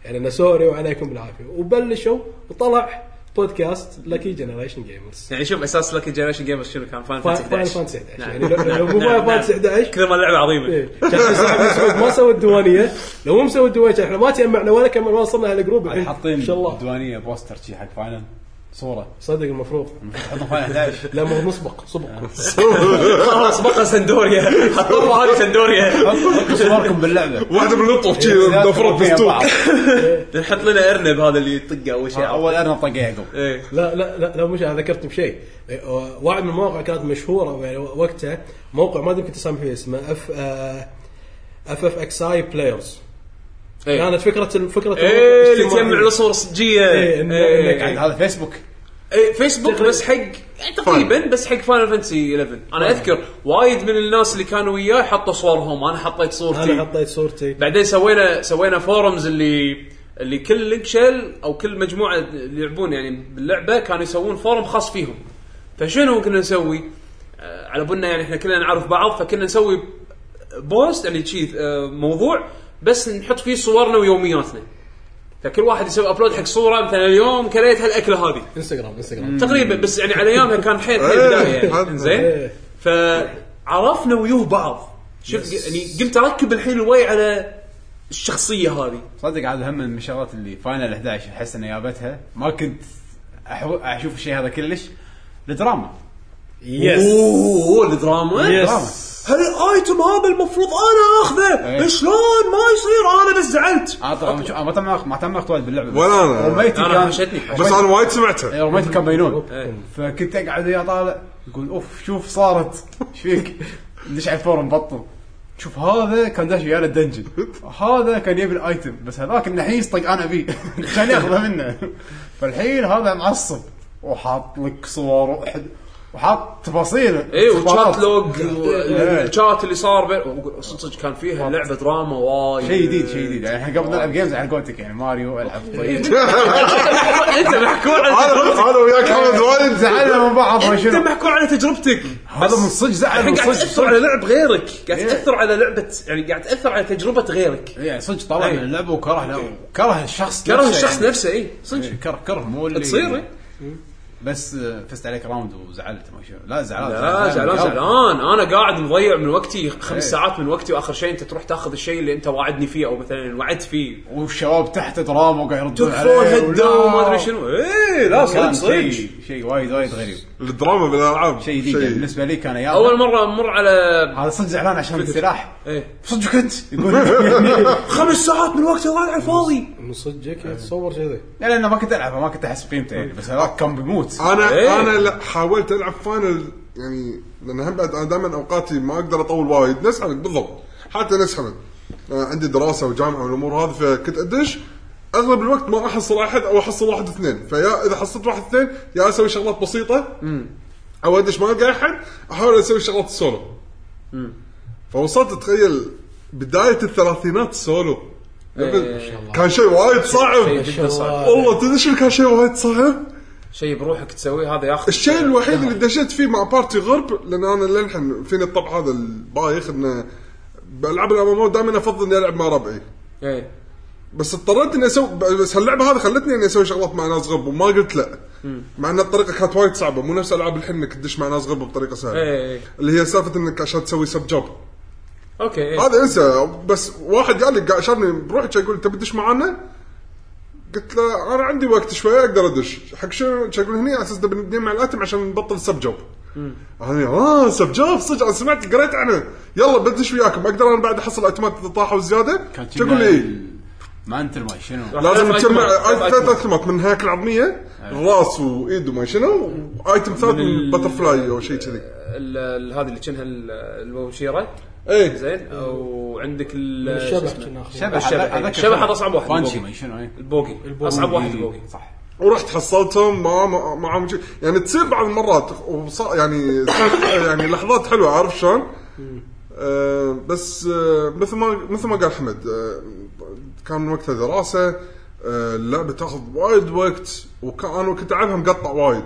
يعني انا سوري وعليكم بالعافيه وبلشوا وطلع بودكاست لكي جنريشن جيمرز
يعني شوف اساس لك جنريشن جيمرز شنو كان فاين فانتسي
فاينل
11
فانتسي 11
نعم.
يعني لو- لو
نعم،
مو
نعم،
فاينل فانتسي
نعم.
11
كثر ما اللعبه
إيه.
عظيمه
كان صاحبي سعود ما سوى الديوانيه لو مو مسوي الديوانيه احنا ما تجمعنا ولا كمل ما وصلنا هالجروب الحين
حاطين
ان إيه، شاء الله
دوانيه بوستر شي حق فاينل صوره
صدق المفروض
حطوا فاينل 11
لا مو مسبق سبق
خلاص بقى سندوريا حطوا هذه سندوريا
حطوا صوركم
إيه،
باللعبه
واحده من اللطف شي دفرت بالسوق
نحط لنا ارنب هذا اللي يطقه اول شيء
آه.
اول انا طقه يعقوب
ايه
لا لا لا, لا مش أنا ذكرت بشيء واحد من المواقع كانت مشهوره يعني وقتها موقع ما ادري يمكن تسمع فيه اسمه آه، اف اف اف اكس اي بلايرز
ايه
كانت فكره فكره
إيه، اللي تجمع له صور صجيه
إيه، إن-
إيه.
إنك
يعني هذا فيسبوك
إيه، فيسبوك بس حق يعني تقريبا بس حق فاينل فانتسي 11 انا اذكر وايد من الناس اللي كانوا وياي حطوا صورهم انا حطيت صورتي
انا حطيت صورتي
بعدين سوينا سوينا فورمز اللي اللي كل لينك شيل او كل مجموعه اللي يلعبون يعني باللعبه كانوا يسوون فورم خاص فيهم فشنو كنا نسوي؟ آه، على بالنا يعني احنا كلنا نعرف بعض فكنا نسوي بوست يعني شيء موضوع بس نحط فيه صورنا ويومياتنا فكل واحد يسوي ابلود حق صوره مثلا اليوم كليت هالاكله هذه
انستغرام انستغرام
تقريبا بس يعني على ايامها كان حيل حيل
إيه،
بدايه
حد-
يعني زين
إيه.
فعرفنا ويوه بعض شفت يعني قمت اركب الحين الوي على الشخصيه هذه
صدق هذا هم من الشغلات اللي فاينل 11 احس اني جابتها ما كنت أحو... اشوف الشيء هذا كلش الدراما
يس
اوه الدراما
دراما
هالايتم هذا المفروض انا اخذه
إيه.
شلون ما يصير انا بس زعلت
انا طبعا شو- أنا ما تعمقت ما تعمقت وايد باللعبه بس
ولا أنا.
رميتي
أنا
كان
حشتني.
بس انا وايد سمعتها [laughs]
إيه، رميتي كان بينون
إيه.
فكنت اقعد وياه طالع يقول اوف شوف صارت [laughs] ايش فيك؟ ليش على الفورم بطل شوف هذا كان داش ويانا الدنجن هذا كان يبي الايتم بس هذاك النحيس طق انا [laughs] بيه عشان ياخذه منه فالحين هذا معصب وحاط لك صور وحد وحاط تفاصيل
اي
استخبارات.
وشات إيه، لوج
إيه.
الشات اللي صار بين صدق صدق كان فيها لعبه دراما وايد
شيء
[laughs]
جديد شيء جديد يعني احنا قبل نلعب جيمز على قولتك يعني ماريو العب
[laughs]
طيب [laughs]
انت محكور على تجربتك
انا انا وياك حمد وايد
[laughs]
زعلنا من بعض ما
انت
شنو
محكور على تجربتك
هذا من صدق زعل
الحين
من
قاعد
صدق
تاثر على لعب غيرك قاعد
إيه.
تاثر على لعبه يعني قاعد تاثر على تجربه غيرك
يعني صدق طلع
أي.
من اللعبه وكره لا كره الشخص
إيه. كره
نفسه
الشخص
يعني.
نفسه اي صدق
إيه، كره كره مو اللي
تصير إيه.
بس آه، فزت عليك راوند وزعلت ما شو لا زعلان
لا زعلان
قلب.
زعلان انا قاعد مضيع من وقتي خمس
آه، إيه.
ساعات من وقتي واخر شيء انت تروح تاخذ الشيء اللي انت واعدني فيه او مثلا وعدت فيه
والشباب تحت دراما وقاعد يردون
تكفون
عليه
هدا
ولا-
وما ادري شنو اي لا صدق
كان
صدق
شيء شيء وايد وايد غريب
الدراما بالالعاب
شيء جديد [laughs] يعني بالنسبه لي كان ايام
اول مره مر على
هذا صدق زعلان عشان السلاح
ايه
صدق كنت يقول [laughs]
خمس ساعات من وقتي ضايع على الفاضي
من صدقك
إيه.
اتصور كذي
لا لان ما كنت العبها ما كنت احس بقيمته يعني بس هذاك كان بيموت
انا
إيه.
ايه؟ انا لا حاولت العب فاينل يعني لان هم بعد انا دائما اوقاتي ما اقدر اطول وايد نفس حمد بالضبط حتى نفس حمد آه، عندي دراسه وجامعه والامور هذه فكنت ادش اغلب الوقت ما احصل احد او احصل واحد اثنين فيا اذا حصلت واحد اثنين يا اسوي شغلات بسيطه او ادش ما القى احد احاول اسوي شغلات سولو فوصلت تخيل بدايه الثلاثينات سولو كان شيء وايد صعب
شيء إيه، جدا صعب
والله تدري شنو كان شيء وايد صعب
شيء بروحك تسويه هذا ياخذ
الشيء الوحيد اللي دشيت فيه مع بارتي غرب لان انا للحين فيني الطبع هذا البايخ انه بالعاب الام دائما افضل اني العب مع ربعي
ايه
بس اضطريت اني اسوي بس هاللعبه هذه خلتني اني اسوي شغلات مع ناس غرب وما قلت لا مع ان الطريقه كانت وايد صعبه مو نفس العاب الحين انك تدش مع ناس غرب بطريقه سهله
إيه، إيه.
اللي هي سالفه انك عشان تسوي سب جوب
اوكي ايه
هذا انسى بس واحد قال لي قا- شافني بروحي شا يقول تبي تدش معانا؟ قلت له انا عندي وقت شوي اقدر ادش حق شنو شا يقول هني على اساس نبي نجمع الاتم عشان نبطل سب جوب انا اه سب جوب صدق انا سمعت قريت عنه يلا بدش وياكم اقدر انا بعد احصل اتمات طاحوا زياده
كان
شا يقول لي
ما انت الماي شنو
لازم
ثلاث
تجمع
أيتمات.
آي- ثلاث اتمات من هاك العظميه راس وايد وما شنو وايتم ثالث من
ال-
بتر فلاي او شيء كذي
ال- ال- هذه اللي كانها ال- المبشره
إيه.
ايه
زين وعندك
من
ال- شو
الشبح
اسمه؟
كنا ناخذ.
شبح
الشبح،
هذاك-
إيه.
هذاك
الشبح
كان-
هذا أصعب واحد،
بانشي
البوغي.
ما شنو إيه. اي
البوقي اصعب واحد البوقي
صح
ورحت حصلتهم ما ما ما عم يجي- يعني تصير بعض المرات وصار يعني يعني لحظات حلوه عارف شلون؟ آه بس آه مثل ما مثل ما قال حمد آه كان من وقتها دراسه آه اللعبه تاخذ وايد وقت وكان انا كنت العبها مقطع وايد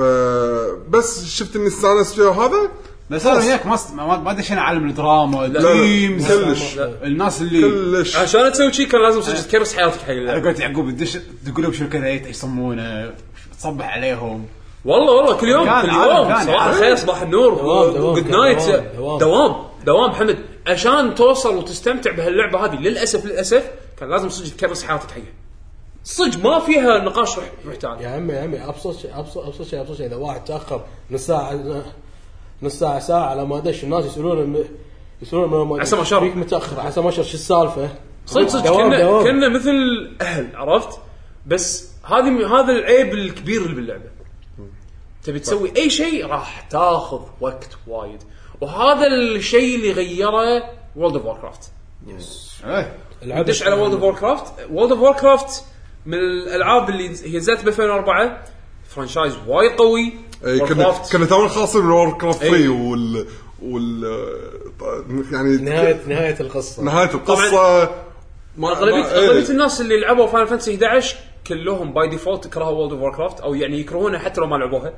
فبس شفت اني استانست فيها وهذا
بس انا وياك ما است- ما ما دشينا عالم الدراما
لا،
التيمز
كلش.
الناس اللي
كلش
عشان آه، تسوي شيء كان لازم صدق
آه.
تكرس حياتك حق اللعبه
انا قلت يعقوب تدش تقول لهم شو الكريت ايش يسمونه تصبح عليهم
والله والله كل يوم
كان
كل
عالم،
يوم
كان
صباح
عالم.
الخير صباح النور
دوام، دوام،
جود
كان
نايت
دوام،
دوام
دوام.
دوام دوام حمد عشان توصل وتستمتع بهاللعبه هذه للاسف للاسف كان لازم صدق تكرس حياتك حقها صدق ما فيها نقاش رح رح تعال
يا عمي يا عمي ابسط شيء ابسط ابسط شيء ابسط شيء اذا واحد تاخر نص ساعه نص ساعه ساعه على ما دش الناس يسالون يسالون من ما
عسى ما شر.
فيك متاخر عسى ما شر شو السالفه؟
صدق صدق
دوام،
كنا
دوام.
كنا مثل الاهل عرفت بس هذه هذا العيب الكبير اللي باللعبه تبي تسوي اي شيء راح تاخذ وقت وايد وهذا الشيء اللي غيره وورلد اوف كرافت
ايه
العبث.
دش على وورلد اوف وور كرافت وورلد اوف وور كرافت من الالعاب اللي هي نزلت ب 2004 فرانشايز وايد قوي
اي كنا
Warcraft.
كنا تونا خالصين من وور كرافت
إي.
3 وال وال يعني
نهايه نهايه القصه
نهايه القصه ما-
اغلبيه
ما- إيه.
اغلبيه الناس اللي لعبوا فاينل فانتسي 11 كلهم باي ديفولت يكرهوا وورلد اوف كرافت او يعني يكرهونها حتى لو ما لعبوها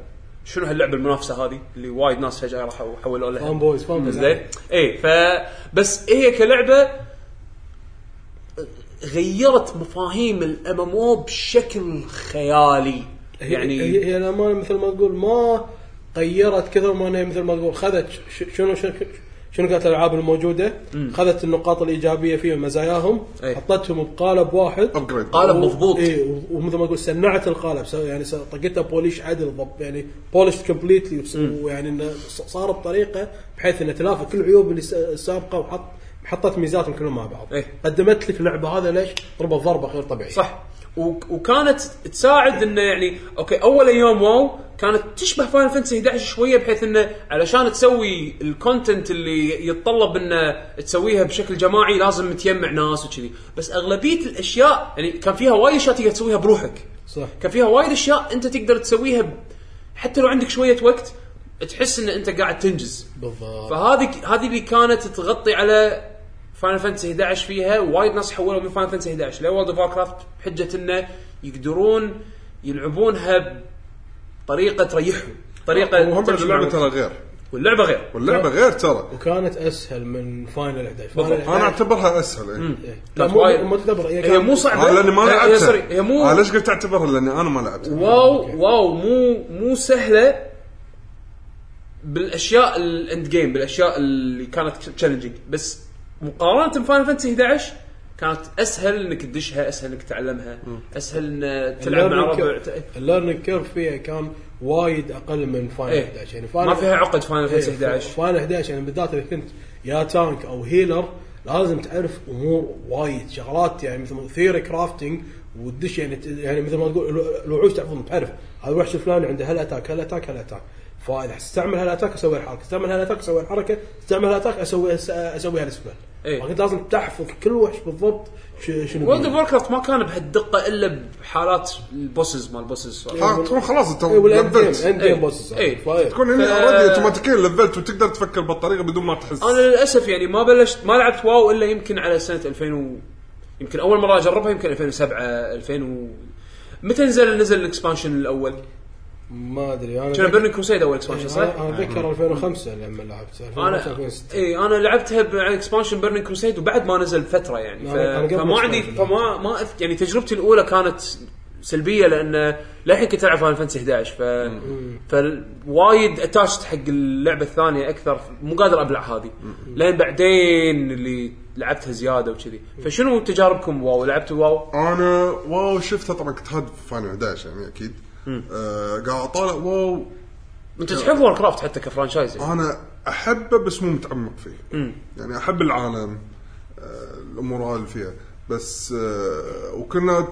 شنو هاللعبه المنافسه هذه اللي وايد ناس فجاه راحوا حولوا لها
فان بويز فان بويز
زين اي ف بس هي كلعبه غيرت مفاهيم الام ام او بشكل خيالي
يعني
يعني
هي هي الامانه مثل ما تقول ما غيرت كثر ما انها مثل ما تقول خذت ش- شنو شنو شنو كانت الالعاب الموجوده؟ خذت النقاط الايجابيه فيهم مزاياهم
إيه.
حطتهم بقالب واحد
ابجريد
قالب مضبوط
اي و- ومثل ما اقول صنعت القالب سو- يعني س- طقتها بوليش عدل ضب- يعني بولش كومبليتلي ويعني انه ص- صار بطريقه بحيث انه تلافى كل العيوب اللي س- السابقه وحط حطت ميزاتهم كلهم مع بعض
إيه.
قدمت لك اللعبه هذا ليش ضربه ضربه غير طبيعيه
صح و- وكانت تساعد انه يعني اوكي اول ايام واو كانت تشبه فاين فانتسي 11 شويه بحيث انه علشان تسوي الكونتنت اللي يتطلب انه تسويها بشكل جماعي لازم تجمع ناس وكذي بس اغلبيه الاشياء يعني كان فيها وايد اشياء تقدر تسويها بروحك
صح
كان فيها وايد اشياء انت تقدر تسويها ب... حتى لو عندك شويه وقت تحس ان انت قاعد تنجز
بالضبط
فهذه هذه اللي كانت تغطي على فاينل فانتسي 11 فيها وايد ناس حولوا من فاينل فانتسي 11 لورد اوف كرافت بحجه انه يقدرون يلعبونها بطريقه تريحهم طريقه
وهم
تمشي
اللعبه
معهم.
ترى غير
واللعبه غير
واللعبه غير ترى
وكانت اسهل من فاينل 11
بالضبط.
فاينل
انا
11
اعتبرها اسهل إيه.
إيه. لا
كانت
مو
وايد-
مو تعتبر
هي مو
آه،
صعبه
لاني ما
هي- هي,
لعبتها
sorry، هي مو إيه،
آه، ليش قلت اعتبرها لاني انا ما لعبتها
واو واو مو مو سهله بالاشياء الاند جيم بالاشياء اللي كانت تشالنجينج بس مقارنه بفاينل فانتسي 11 كانت اسهل انك تدشها اسهل انك تتعلمها اسهل ان تلعب مع ربع
الليرنينج كيرف فيها كان وايد اقل من فاينل
إيه.
11 يعني
ما
فاينل
إيه.
إيه.
فيها عقد فاينل فانتسي 11
فاينل 11 يعني بالذات اذا كنت يا تانك او هيلر لازم تعرف امور وايد شغلات يعني مثل ثيري كرافتنج وتدش يعني ت- يعني مثل ما تقول الو- الوحوش تعرفهم تعرف هذا الوحش الفلاني عنده هالاتاك هالاتاك هالاتاك فاذا استعمل هالاتاك اسوي الحركه استعمل هالاتاك اسوي الحركه استعمل هالاتاك اسوي أس- اسوي هالسبل
إيه.
فكنت لازم تحفظ كل وحش بالضبط ش- شنو
وورد اوف
بيه.
ووركرافت ما كان بهالدقه الا بحالات البوسز مال البوسز
ها، تكون خلاص انت
إيه، والاند جيم
لفلت
اند جيم
إيه.
بوسز
إيه.
تكون هني
ف-
اوريدي اوتوماتيكيا لفلت وتقدر تفكر بالطريقه بدون ما تحس
انا للاسف يعني ما بلشت ما لعبت واو الا يمكن على سنه 2000 و... يمكن اول مره اجربها يمكن 2007 2000 و... متى نزل نزل الاكسبانشن الاول؟
ما ادري انا
كان
أتذكر-
بيرنينج كروسيد اول اكسبانشن صح؟
انا اتذكر 2005 لما لعبت 2005
انا
2006
اي انا لعبتها ب- على اكسبانشن بيرنينج كروسيد وبعد ما نزل فتره يعني ف...
أنا- أنا قبل
فما عندي
Expansion.
فما ما أذ- يعني تجربتي الاولى كانت سلبيه لان للحين كنت العب فاينل فانتسي 11 ف فوايد اتاشت حق اللعبه الثانيه اكثر مو قادر ابلع هذه لين بعدين اللي لعبتها زياده وكذي فشنو تجاربكم واو لعبتوا واو
انا واو شفتها طبعا كنت هاد فاينل 11 يعني اكيد آه، قاعد اطالع واو
انت تحب وور كرافت حتى كفرانشايز يعني.
انا احبه بس مو متعمق فيه يعني احب العالم آه، الامور هاي اللي فيها بس آه، وكنا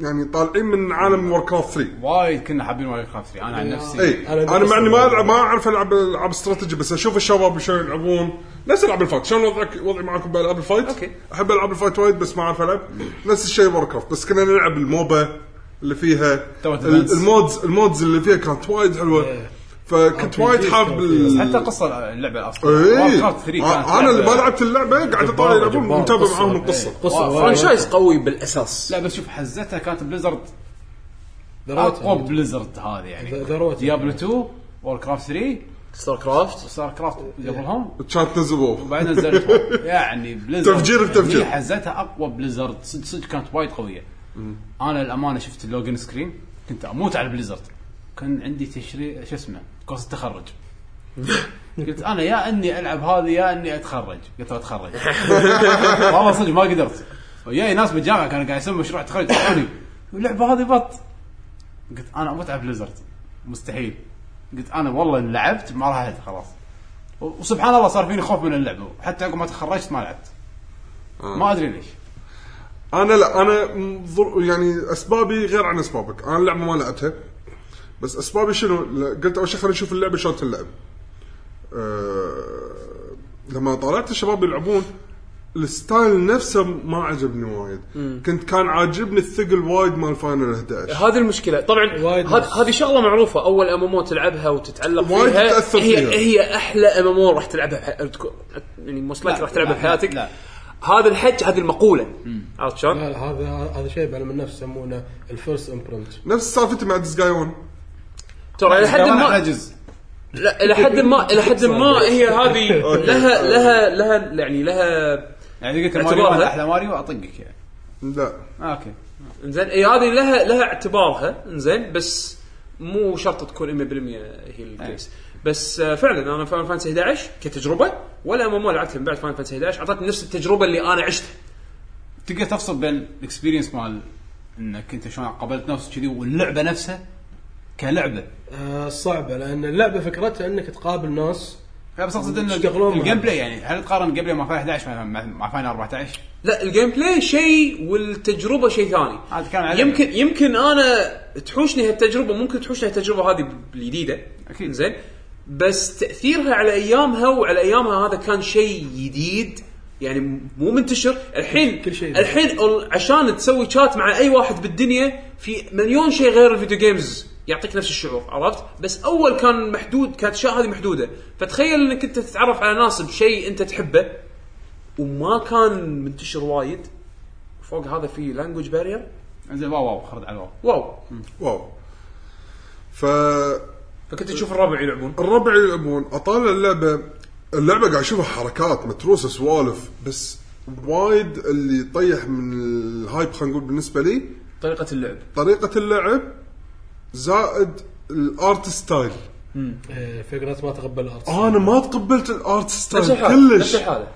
يعني طالعين من عالم ووركرافت 3
وايد كنا حابين وايد خاف انا عن نفسي
اي
أنا
انا مع اني ما
درست-
العب ما اعرف العب العاب استراتيجي بس اشوف الشباب شلون يلعبون نفس العاب الفايت شلون وضعك وضعي معكم بالعاب الفايت
أوكي.
احب العاب الفايت وايد بس ما اعرف العب نفس الشيء ووركرافت بس كنا نلعب الموبا اللي فيها
تو
ال-
advance.
المودز المودز اللي فيها كانت وايد حلوه
إيه.
فكنت
RPGs
وايد حاب
كانت
ال-
فيها.
حتى قصه اللعبه اصلا
اي
Warcraft 3 كانت
آه، انا
لعبة-
اللي ما لعبت اللعبه قاعد اطالع يلعبون
جبار،
ومتابع
قصة.
معاهم القصه
قصه
فرانشايز قوي بالاساس
لا بس شوف حزتها كانت بليزرد
دروت
اقوى بليزرد هذه يعني
ذا- ذا روت.
ديابلو 2 وور كرافت 3
ستار كرافت
ستار كرافت قبلهم
كانت تنزل واو
وبعدين
[laughs]
نزلت WoW. يعني بليزرد
تفجير في
يعني
تفجير.
هي حزتها اقوى بليزرد صدق صدق كانت وايد قويه انا الامانه شفت اللوجن سكرين كنت اموت على بليزرد كان عندي تشري شو اسمه
[laughs]
كورس التخرج قلت انا يا اني العب هذه يا اني اتخرج
[laughs]
قلت اتخرج والله صدق ما قدرت وياي ناس بالجامعه كانوا قاعد يسوون مشروع تخرج طلعوني اللعبه هذه بط قلت انا اموت على بليزرد مستحيل قلت انا والله إن لعبت ما راح ألعب خلاص و- وسبحان الله صار فيني خوف من اللعبه حتى عقب ما تخرجت ما لعبت ما ادري ليش
انا لا انا م- ظر- يعني اسبابي غير عن اسبابك انا اللعبه ما لعبتها بس اسبابي شنو لا، قلت اول شيء خلينا نشوف اللعبه شلون تلعب أه لما طالعت الشباب يلعبون الستايل نفسه ما عجبني وايد كنت كان عاجبني الثقل وايد مال فاينل 11
هذه المشكله طبعا
وايد
هذ-
ناس.
هذه شغله معروفه اول ام ام تلعبها وتتعلق
وايد
فيها
تتأثر
هي
فيها.
هي احلى ام ام راح تلعبها بح... تكون- يعني موست
لا،
راح تلعبها
لا،
بحياتك
لا.
هذا الحج هذه المقوله عرفت شلون؟
لا لا، هذا هذا شيء بعلم النفس يسمونه الفيرست امبرنت
نفس سالفتي مع ديسجاي 1
ترى الى حد
يعني أنا
يعني ما
عجز
لا الى حد ما الى حد ما هي
[laughs]
هذه لها لها لها يعني لها
يعني قلت
اعتبارها-
ماريو أنا احلى ماريو اطقك يعني آه،
لا
اوكي
انزين اي إيه، هذه لها لها اعتبارها انزين بس مو شرط تكون 100% هي
إيه.
الكيس بس آه، فعلا انا فاين فانسي 11 كتجربه ولا ام ام لعبتها من بعد فاين فانسي 11 اعطتني نفس التجربه اللي انا عشتها
تقدر تفصل بين الاكسبيرينس مال انك انت شلون قابلت نفسك كذي واللعبه نفسها يعني كلعبه
آه، صعبه لان اللعبه فكرتها انك تقابل ناس
لا بس اقصد ان
يشتغلون
الجيم بلاي يعني هل تقارن الجيم بلاي مع فاين 11 مع- مع- مع فاين 14
لا الجيم بلاي شيء والتجربه شيء ثاني
هذا كان عليه.
يمكن يمكن انا تحوشني هالتجربه ممكن تحوشني هالتجربه هذه بالجديده
أكيد.
زين بس تاثيرها على ايامها وعلى ايامها هذا كان شيء جديد يعني مو منتشر الحين
كل شيء جديد.
الحين ال- عشان تسوي شات مع اي واحد بالدنيا في مليون شيء غير الفيديو جيمز يعطيك نفس الشعور عرفت بس اول كان محدود كانت الاشياء هذه محدوده فتخيل انك انت تتعرف على ناس بشيء انت تحبه وما كان منتشر وايد فوق هذا في لانجوج بارير
انزين واو واو خرد على الواو
واو
واو ف
فكنت اشوف الربع يلعبون
الربع يلعبون اطالع اللعبه اللعبه قاعد اشوفها حركات متروسه سوالف بس وايد اللي طيح من الهايب خلينا نقول بالنسبه لي
طريقه اللعب
طريقه اللعب زائد الارت ستايل
آه، فكره ما تقبل الارض
انا ما تقبلت الارت ستايل
نفس الحاله نفس
طيب، كلش
الحاله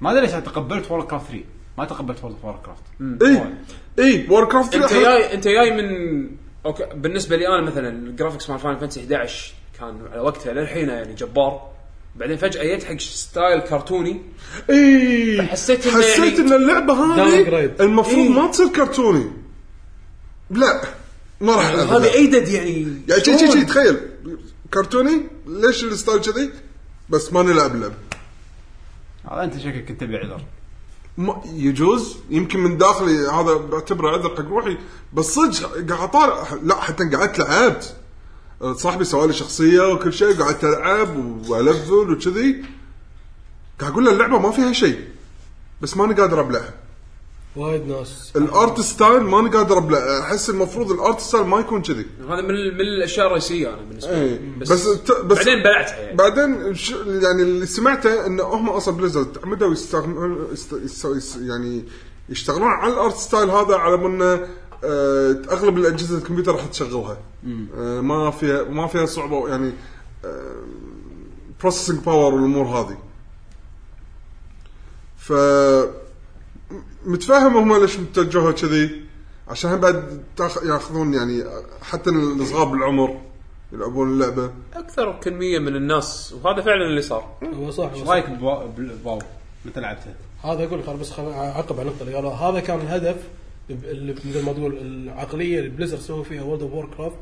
ما ادري ليش أنا تقبلت وور كرافت 3 ما تقبلت وور كرافت
اي اي وور كرافت
انت جاي انت جاي من اوكي بالنسبه لي انا مثلا الجرافكس مال فاين فانتسي 11 كان على وقتها للحين يعني جبار بعدين فجاه جت حق ستايل
[laughs]
كرتوني
اي
حسيت إنه
حسيت
يعني-
ان اللعبه هذه
Downgrade.
المفروض
إي.
ما تصير كرتوني لا ما راح ألعب
هذا
اللعبة.
ايدد يعني
يعني شي شي شي
شلون؟
تخيل كرتوني ليش الستايل كذي بس ما نلعب لعب
هذا انت شكلك كنت تبي عذر
ما- يجوز يمكن من داخلي هذا بعتبره عذر حق روحي بس صدق قاعد اطالع لا حتى قعدت لعبت صاحبي سوى لي شخصيه وكل شيء قعدت العب والفل وكذي قاعد اقول له اللعبه ما فيها شيء بس ماني قادر ابلعها
وايد ناس
الارت ستايل ماني قادر ابلع احس المفروض الارت ستايل ما يكون كذي
هذا من من الاشياء الرئيسيه انا بالنسبه لي
بس إيه. بس, الت- بس
إيه، بعدين بلعتها يعني
بعدين ش- يعني اللي سمعته ان هم اصلا بليزرد تعمدوا يستغم- يست- يست- يس- يعني يشتغلون على الارت ستايل هذا على انه اغلب الاجهزه الكمبيوتر راح تشغلها آه، ما فيها ما فيها صعوبه يعني آه، بروسيسنج باور والامور هذه ف م- متفاهم هم ليش متجهوا كذي عشان هم بعد تاخ- ياخذون يعني حتى الصغار بالعمر يلعبون اللعبه
اكثر كميه من الناس وهذا فعلا اللي صار
هو صح هو
ايش
صح.
رايك بوا- بالواو متى لعبتها؟
هذا اقول لك أنا بس خل- اعقب على النقطه اللي قالها هذا كان الهدف ب- اللي مثل ما تقول العقليه اللي بليزر سووا فيها وورد اوف وور كرافت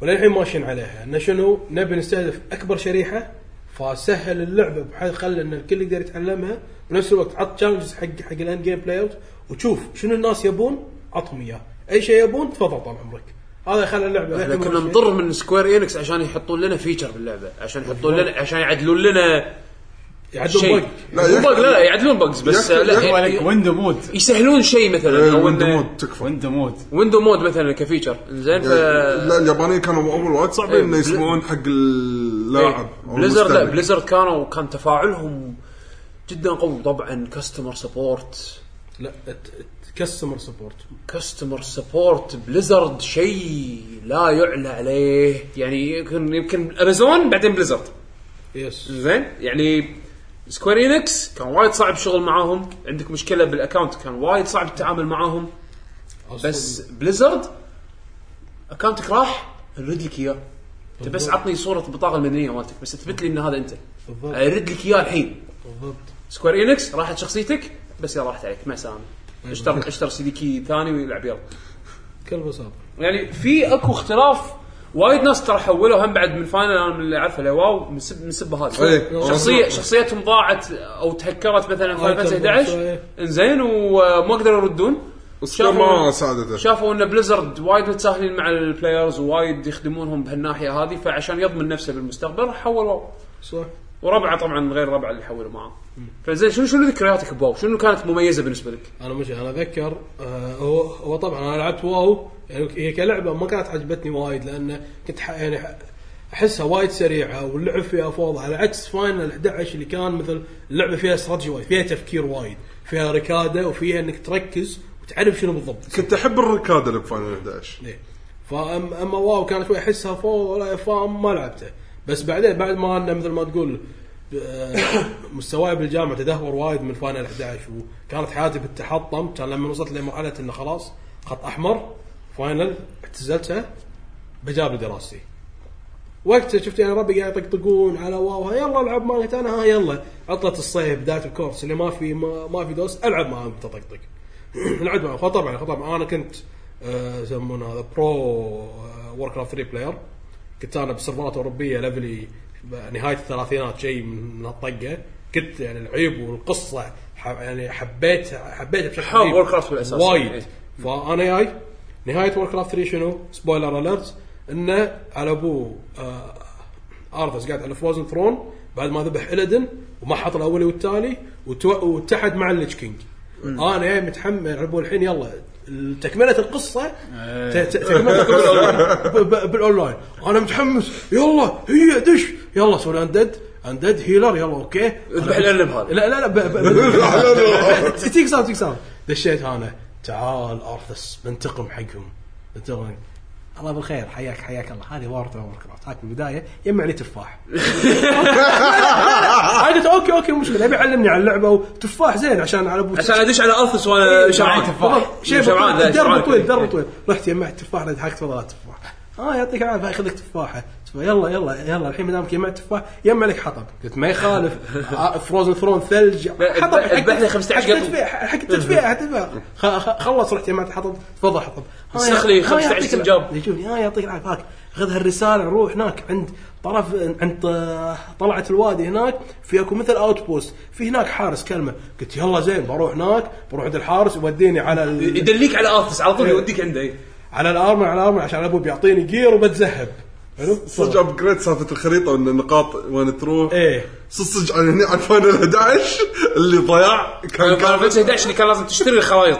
وللحين ماشيين عليها انه شنو نبي نستهدف اكبر شريحه فسهل اللعبه بحيث خلى ان الكل يقدر يتعلمها بنفس الوقت عط تشالنجز حق حق الاند جيم بلايرز وتشوف شنو الناس يبون عطهم اياه اي شيء يبون تفضل طال عمرك هذا خلى اللعبه
احنا
للحين
كنا
ماشية.
نضر من سكوير انكس عشان يحطون لنا فيتشر باللعبه عشان يحطون لنا عشان يعدلون لنا
يعدون
شيء
وقت
لا،
لا
يك-
لا لا يعدلون بجز بس
يك-
لا،
يك-
إيه،
هو عليك
يعني
ويندو مود
يسهلون شيء مثلا او
ويندو
انه
مود إيه، تكفى
ويندو مود
ويندو مود مثلا كفيتشر زين ف
لا اليابانيين كانوا اول وايد صعبين
آه، إيه،
انه
بل-
يسمعون حق
إيه،
اللاعب أو
بليزرد لا
المستمع.
بليزرد كانوا كان تفاعلهم جدا قوي طبعا كاستمر سبورت
لا كاستمر سبورت
كاستمر سبورت بليزرد شيء لا يعلى عليه
يعني يمكن يمكن امازون بعدين بليزرد
يس
زين يعني سكوير انكس كان وايد صعب الشغل معاهم عندك مشكله بالاكونت كان وايد صعب التعامل معاهم بس بليزرد اكونتك راح نرد لك اياه انت بس عطني صوره البطاقه المدنيه مالتك بس اثبت لي ان هذا انت
بالضبط.
ارد لك اياه الحين
بالضبط
سكوير انكس راحت شخصيتك بس يلا راحت عليك مع السلامه اشتر اشتر سي دي كي ثاني ويلعب يلا
كل بساطه
يعني في اكو اختلاف وايد ناس ترى حولوا هم بعد من فاينل انا من اللي اعرفه اللي واو من سب من سب هذا
إيه.
شخصيه شخصيتهم ضاعت او تهكرت مثلا في
آيتم
2011
إيه.
انزين وما قدروا يردون
وسكوير ما ساعدته
شافوا ان بليزرد وايد متساهلين مع البلايرز ووايد يخدمونهم بهالناحيه هذه فعشان يضمن نفسه بالمستقبل راح حول واو
صح
وربعه طبعا غير ربعه اللي حولوا معاه فزين شنو شنو ذكرياتك بواو؟ شنو كانت مميزه بالنسبه لك؟
انا مش انا اتذكر آه، هو هو طبعا انا لعبت واو يعني هي كلعبه ما كانت عجبتني وايد لان كنت ح- يعني ح- احسها وايد سريعه واللعب فيها فوضى على عكس فاينل 11 اللي كان مثل اللعبه فيها استراتيجي وايد فيها تفكير وايد فيها ركاده وفيها انك تركز وتعرف شنو بالضبط
كنت احب الركاده اللي بفاينل 11
إيه. فأم اما واو كانت شوي احسها فوق فما لعبته بس بعدين بعد ما انا مثل ما تقول آه، مستواي بالجامعه تدهور وايد من فاينل 11 وكانت حياتي بالتحطم كان لما وصلت لمرحله انه خلاص خط احمر فاينل اعتزلتها بجاب دراستي وقتها شفت يعني ربي قاعد يطقطقون على واو يلا العب مالت انا ها يلا عطلة الصيف بدايه الكورس اللي ما في ما, ما في دوس العب معاهم تطقطق [clears throat] لعبت معاهم فطبعا طبعا انا كنت آه، يسمونه هذا آه، برو وور كرافت 3 بلاير كنت انا بسيرفرات اوروبيه ليفلي نهايه الثلاثينات شيء من هالطقه كنت يعني العيب والقصه ح- يعني حبيت حبيتها بشكل
حاب
غريب.
War Craft بالأساس.
وايد
إيه.
فانا جاي نهايه وور كرافت 3 شنو؟ سبويلر اليرت انه على ابوه آه ارثس قاعد على فروزن ثرون بعد ما ذبح الادن وما حط الاولي والتالي وتو- واتحد مع الليتش كينج انا جاي متحمل على أبوه الحين يلا تكمله القصه ت- ت- تكمله القصه ب- ب- بالاونلاين انا متحمس يلا هي دش يلا سوي اندد اندد هيلر يلا اوكي
اذبح الارنب هذا
لا لا لا ب- ب- ب- تيك ساوند تيك ساوند دشيت انا تعال ارثس بنتقم حقهم بنتقم الله بالخير حياك حياك الله هذه وارد اوفر كرافت هاك البدايه يمعني [laughs] تفاح انا قلت اوكي اوكي مو مشكله ابي علمني على اللعبه وتفاح زين عشان على ابو
عشان ادش على ارثس
إيه،
وانا شبعان
تفاح شيء
شبعان لا،
درب
شبعان
طويل
كذي.
درب طويل رحت جمعت تفاح ضحكت والله لا تفاح اه يعطيك العافيه اخذ لك تفاحه تفاح، يلا يلا يلا الحين ما دامك يمعت تفاح يمع لك حطب قلت ما [laughs] يخالف فروزن ثرون ثلج حطب
اذبح- اذبح لي 15
حق
قطو.
تشبيع حق تشبيع تشبيع خ- خ- خلص رحت يمعت حطب تفضل حطب ها يا-
استخلي
ها
15
يعطيك الع-
سنجاب.
يجوني ها يعطيك العافيه هاك خذ هالرساله نروح هناك عند طرف عند ط- طلعه الوادي هناك في اكو مثل اوت بوست في هناك حارس كلمه قلت يلا زين بروح هناك بروح عند الحارس يوديني على ال...
يدليك على ارتس على طول
إيه.
يوديك عنده إيه.
على الارمر على الارمر عشان ابوي بيعطيني جير وبتذهب حلو
صدق ابجريد سالفه الخريطه وان النقاط وين تروح
إيه.
ايه
صدق صدق انا هني على الفاينل 11 اللي ضياع كان
فاينل
كان
فانتسي 11 اللي كان لازم تشتري الخرائط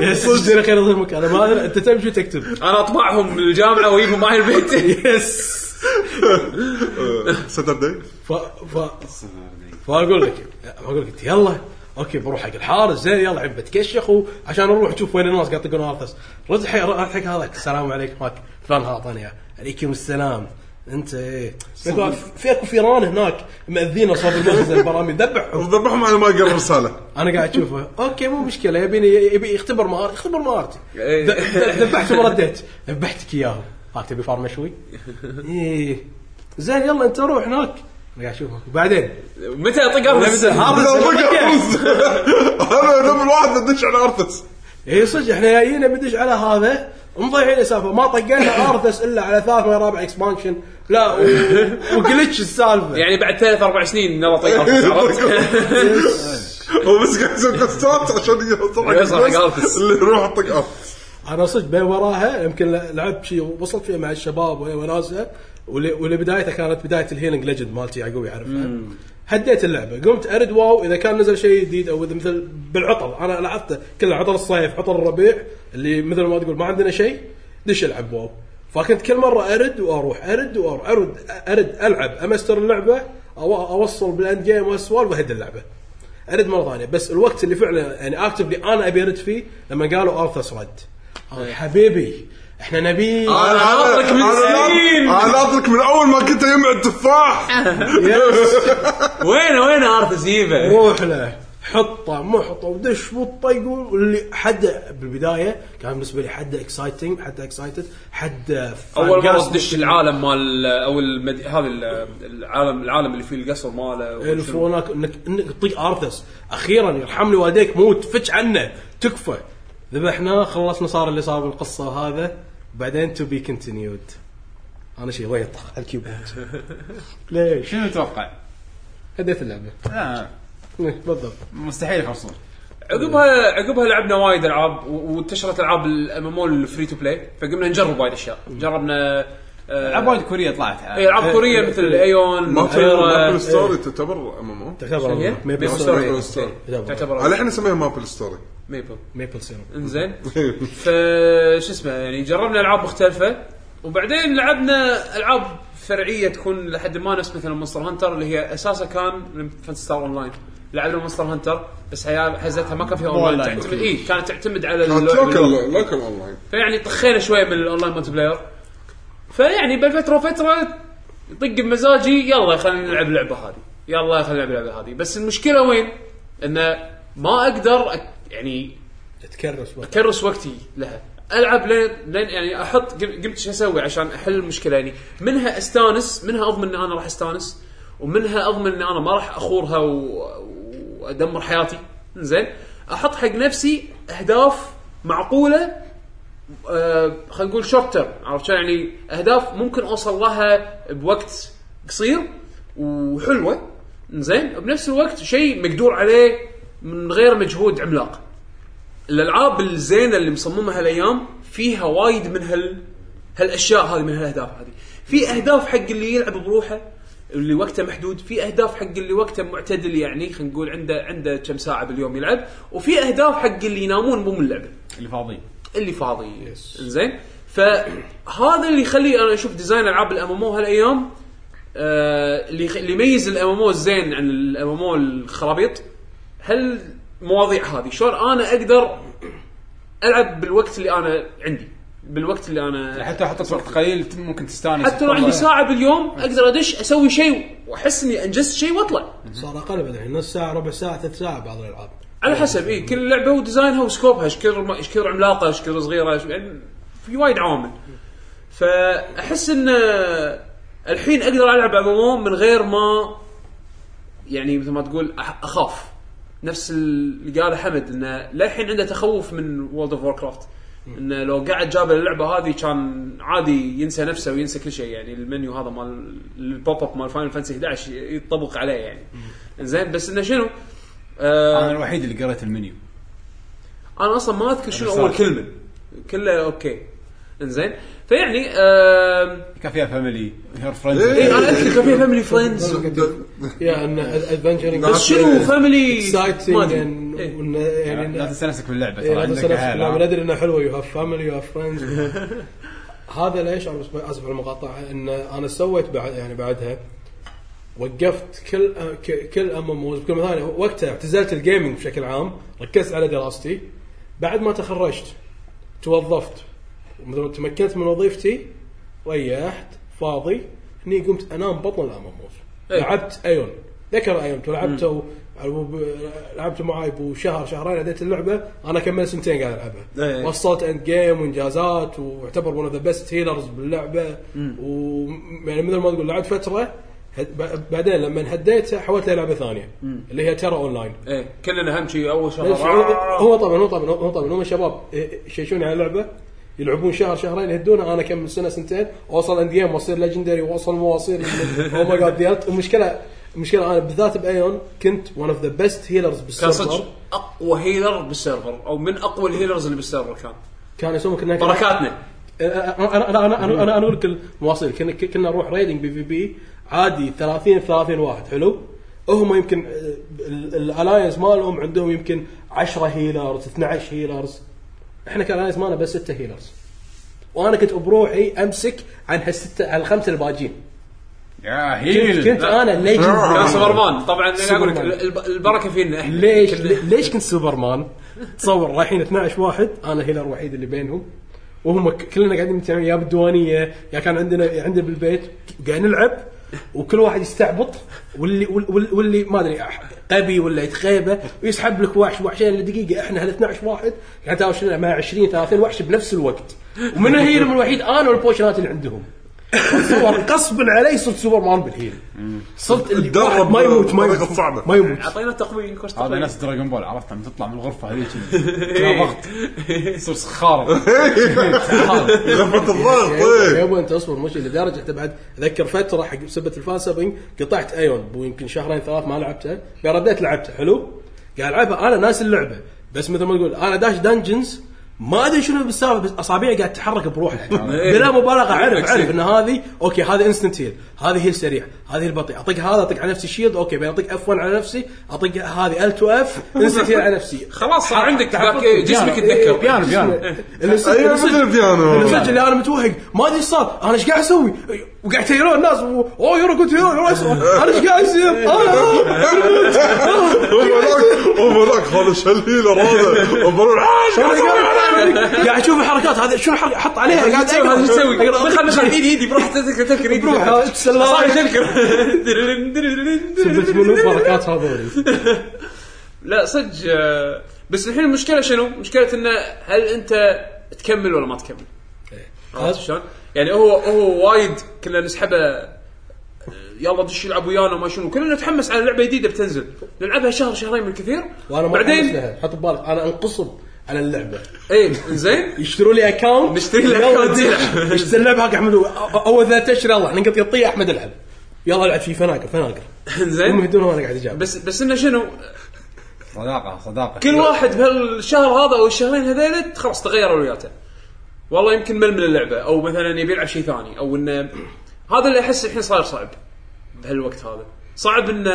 يس صدق خير ظهر مكان أنا ما ادري انت تمشي وتكتب
انا اطبعهم الجامعه واجيبهم معي
[laughs]
البيت
يس
آه، ساتردي
ف ف فاقول لك اقول لك يلا اوكي بروح حق الحارس زين يلا عيب بتكشخ وعشان نروح نشوف وين الناس قاعد يطقون ارثس رد حق رد حق هذاك السلام عليكم هاك فلان اعطاني اياه عليكم السلام انت ايه يقول في اكو فيران هناك مأذينا صوب المخزن برامي ذبحهم
ذبحهم على ما قرب رساله
انا قاعد اشوفه اوكي مو مشكله يبيني يبي يختبر مهارتي يختبر مهارتي
إيه.
د- د- ذبحته ورديت ذبحتك اياهم ها تبي فار مشوي؟ ايه زين يلا انت روح هناك انا قاعد اشوفك بعدين
متى اطق ارتس
هذا
انا
السؤال.
نمر واحد ادش على ارتس
اي إيه، صدق احنا جايين بدش على هذا مضيعين السالفه ما طقنا ارثس الا على ثالث ولا رابع اكسبانشن لا و... وجلتش السالفه
يعني بعد ثلاث اربع سنين نبى اطق ارتس عرفت؟
[laughs]
هو بس قاعد يسوي كاستات عشان يوصل حق
يوصل حق
الفلوس
أرتس.
اللي يروح طق ارتس
انا صدق بين وراها يمكن لعبت شيء وصلت فيها مع الشباب وهي وناسه واللي واللي بدايتها كانت بدايه الهيلينج ليجند مالتي يعقوب يعرفها هديت اللعبه قمت ارد واو اذا كان نزل شيء جديد او اذا مثل بالعطل انا لعبته كله عطل الصيف عطل الربيع اللي مثل ما تقول ما عندنا شيء دش العب واو فكنت كل مره ارد واروح ارد واروح ارد ارد العب امستر اللعبه أو اوصل بالاند جيم والسوالف واهد اللعبه ارد مره ثانيه بس الوقت اللي فعلا يعني اكتفلي انا ابي ارد فيه لما قالوا ارثس رد أو حبيبي احنا نبي
انا
ناطرك من
أنا ناط-
سنين.
انا ناطرك من اول ما كنت يجمع التفاح
وين وين ارتس جيبه
روح له حطه محطه ودش والطيق واللي حد بالبدايه كان بالنسبه لي حد اكسايتنج حد اكسايتد حد
اول مره
فانقاس.
تدش العالم مال او المد... هذا ال- العالم العالم اللي فيه القصر ماله
إيه،
وشنو.
الفروناك انك انك تطيق ارثس اخيرا يرحم لي والديك موت فتش عنه تكفى ذبحناه خلصنا صار اللي صار بالقصه وهذا بعدين تو بي كونتينيود انا شيء وين طخ على الكيبورد [laughs] ليش؟
شنو تتوقع؟
هديت اللعبه
لا
إيه، بالضبط
مستحيل يخلصون
عقبها عقبها لعبنا وايد العاب و- وانتشرت العاب الام ام الفري تو بلاي فقمنا نجرب وايد اشياء جربنا
العاب
آه،
وايد كوريه طلعت
إيه، العاب كوريه مثل ايون
إيه. ما في مابل
ماتيرا
ستوري تعتبر ام ام
تعتبر
هي؟
ميبل
ميبل
سيرب
مابل
ستوري.
ستوري
تعتبر
على
تعتبر
احنا نسميها مابل ستوري
ميبل
ميبل سيرب
انزين ف شو اسمه يعني جربنا العاب مختلفه وبعدين لعبنا العاب فرعيه تكون لحد ما نفس مثلا مونستر هانتر اللي هي اساسها كان من فانتستار اون لاين لعبنا مونستر هانتر بس هي حزتها ما كان فيها اون لاين
Online.
تعتمد اي كانت تعتمد على
كانت
اللعب-
لوكل لوكل اون لاين
فيعني طخينا شويه من الاونلاين مالتي بلاير فيعني بين فتره وفتره يطق بمزاجي يلا خلينا نلعب اللعبه هذه يلا خلينا نلعب اللعبه هذه بس المشكله وين؟ انه ما اقدر أك... يعني
تكرس وقت
اكرس وقتي لها العب لين لين يعني احط قم- قمت شو اسوي عشان احل المشكله يعني منها استانس منها اضمن ان انا راح استانس ومنها اضمن ان انا ما راح اخورها و... وادمر حياتي زين احط حق نفسي اهداف معقوله آه، خلينا نقول شورت تيرم عرفت شلون؟ يعني اهداف ممكن اوصل لها بوقت قصير وحلوه زين بنفس الوقت شيء مقدور عليه من غير مجهود عملاق الالعاب الزينه اللي مصممها هالايام فيها وايد من هال هالاشياء هذه من هالاهداف هذه في اهداف حق اللي يلعب بروحه اللي وقته محدود في اهداف حق اللي وقته معتدل يعني خلينا نقول عنده عنده كم ساعه باليوم يلعب وفي اهداف حق اللي ينامون مو من اللعبه
اللي فاضي
اللي فاضي زين فهذا اللي يخلي انا اشوف ديزاين العاب الام ام هالايام آه، اللي يخ- اللي يميز الام ام الزين عن الام ام الخرابيط هل مواضيع هذه شلون انا اقدر العب بالوقت اللي انا عندي بالوقت اللي انا
حتى لو حطيت وقت قليل ت- ممكن تستانس
حتى لو
تطلع.
عندي ساعه باليوم اقدر ادش اسوي شيء واحس اني انجزت شيء واطلع
صار اقل بعد الحين نص ساعه ربع ساعه ثلاث ساعه بعض الالعاب
إيه، على حسب اي كل لعبه وديزاينها وسكوبها ايش كثر ما- ايش كثر عملاقه ايش كثر صغيره إيش- يعني في وايد عوامل فاحس ان الحين اقدر العب ام من غير ما يعني مثل ما تقول أح- اخاف نفس اللي قاله حمد انه للحين عنده تخوف من وولد اوف كرافت انه لو قعد جاب اللعبه هذه كان عادي ينسى نفسه وينسى كل شيء يعني المنيو هذا مال البوب اب مال فاينل فانسي 11 يطبق عليه يعني زين بس انه شنو؟ آه
انا الوحيد اللي قريت المنيو
انا اصلا ما اذكر شنو
بس
اول
يعني صار.
كلمه كله اوكي انزين فيعني آم،
كان فيها فاميلي هير
اي
فريندز
إيه،
انا اذكر كان فيها فاميلي فريندز
يا ان ادفنشرنج
بس شنو فاميلي ما
اكسايتنج
أدري. إيه.
يعني
لا تنسى نفسك باللعبه
إيه،
ترى
لا بس
عندك
أنا- لا،
عيال،
أنا
ها؟
ادري انها حلوه يو هاف فاميلي يو هاف فريندز [laughs] هذا ليش انا بس- اسف على المقاطعه ان انا سويت بعد يعني بعدها وقفت كل ك- كل ام ام اوز بكل ثانيه وقتها اعتزلت الجيمنج بشكل عام ركزت على دراستي بعد ما تخرجت توظفت ومثل ما تمكنت من وظيفتي ريحت فاضي هني قمت انام بطن الام ام
إيه.
لعبت ايون ذكر ايون لعبته لعبته معاي بشهر شهرين عديت اللعبه انا كملت سنتين قاعد العبها
إيه.
وصلت اند جيم وانجازات واعتبر ون اوف ذا بيست هيلرز باللعبه و يعني مثل ما تقول لعبت فتره هد- ب- بعدين لما انهديت حولت للعبه ثانيه اللي هي ترى اون لاين
ايه كلنا اهم شيء اول شهر
ليش؟
آه.
هو طبعا هو طبعا هو طبعا هم الشباب يشيشون على لعبه يلعبون شهر شهرين يهدونه انا كم سنه سنتين اوصل اند جيم واصير ليجندري واوصل مو [laughs] واصير او ماي جاد ديالت المشكله المشكله انا بالذات بايون كنت ون اوف ذا بيست هيلرز
كان
بالسيرفر
صدق اقوى هيلر بالسيرفر او من اقوى الهيلرز اللي بالسيرفر كان
كان يسمون كنا
بركاتنا
انا انا انا انا انا اقول لك المواصيل كنا كنا نروح ريدنج بي في بي عادي 30 30 واحد حلو هم يمكن الالاينس مالهم عندهم يمكن 10 هيلرز 12 هيلرز احنا كان الالاينس مالنا بس 6 هيلرز وانا كنت بروحي امسك عن هالسته على الخمسه الباجين
يا
كنت,
هيل
كنت انا
كان
ليجند
سوبرمان طبعا انا اقول لك
سوبرمان.
الب- البركه فينا احنا
ليش
كنا-
ليش كنت سوبرمان؟ تصور رايحين 12 واحد انا هيلر الوحيد اللي بينهم وهم ك- كلنا قاعدين متجمعين يا بالديوانيه يا كان عندنا عندنا بالبيت قاعد نلعب وكل واحد يستعبط واللي وال- وال- واللي ما ادري أح- غبي ولا يتخيبه ويسحب لك وحش وحشين لدقيقه احنا هال 12 واحد قاعد تهاوش لنا مع 20 30 وحش بنفس الوقت ومن الهيلم الوحيد انا والبوشنات اللي عندهم تصور قصبا علي صرت سوبرمان بالهيل صرت اللي
تدرب
واحد ما يموت ما
بطريقة
يموت
صعبة.
ما يموت
اعطينا تقويم كورس
هذا
تقويم.
ناس دراجون بول عرفت لما تطلع من الغرفه هذيك كلها ضغط تصير
[laughs]
سخاره سخارة.
غرفه الضغط
يابا-
إيه.
يابا انت اصبر مش لدرجه حتى بعد اذكر فتره حق سبه الفان سبنج قطعت ايون ويمكن شهرين ثلاث ما لعبتها قال رديت لعبتها حلو قاعد العبها انا ناس اللعبه بس مثل ما تقول انا داش دنجنز ما ادري شنو بالسالفه بس اصابعي قاعد تتحرك
[laughs]
بروحها
يعني إيه.
بلا مبالغه اعرف اعرف ان هذه اوكي هذه انستنت هيل هذه هيل سريع هذه البطيء اطق هذا اطق على نفسي شيلد اوكي بين اطق اف 1 على نفسي اطق هذه ال 2 اف انستنت هيل على نفسي يعني إيه.
خلاص صار عندك
تحبط.
ذاك- جسمك يتذكر
بيانو
[laughs]
بيانو
اللي صدق-
ايوه
أيوة،
اللي صدق-
مثل
اللي
بيانو
صدق اللي انا متوهق ما ادري ايش صار انا ايش قاعد اسوي وقاعد تهيرون الناس و- اوه يورو كنت هيرو يورو أسود. انا ايش
[laughs]
قاعد يصير
وذاك هذا شليل هذا وبروح
[laughs]
قاعد اشوف الحركات هذا شنو الحركه حط عليها قاعد
شو
اقرا
هذا إيه، شو تسوي؟
أقرأ.
خلنا خلنا ايدي ايدي بروح تذكر تذكر ايدي
بروح،
بروح.
[laughs] اتسلى.
صار تذكر
سبت منو حركات هذول
لا صدق آه، بس الحين المشكله شنو؟ مشكله انه هل انت تكمل ولا ما تكمل؟ عرفت شلون؟ يعني هو هو وايد كنا نسحبه آه، يلا دش يلعب ويانا ما شنو كلنا نتحمس على لعبه جديده بتنزل نلعبها شهر شهرين بالكثير
وانا ما
بعدين-
بعدين حط ببالك انا انقصب على اللعبه
اي زين
يشتروا لي اكونت
نشتري لك account تلعب.
اشتري اللعبه حق احمد أو- اول ثلاث اشهر يلا نقط يطيه احمد العب يلا العب في فناقر فناقر هم
زين
يهدون وانا قاعد اجاوب
بس بس انه شنو؟
صداقه صداقه
كل واحد بهالشهر هذا او الشهرين هذيل خلاص تغير اولوياته. والله يمكن مل من اللعبه او مثلا يبي يلعب شيء ثاني او انه هذا اللي احس الحين صاير صعب بهالوقت هذا. صعب ان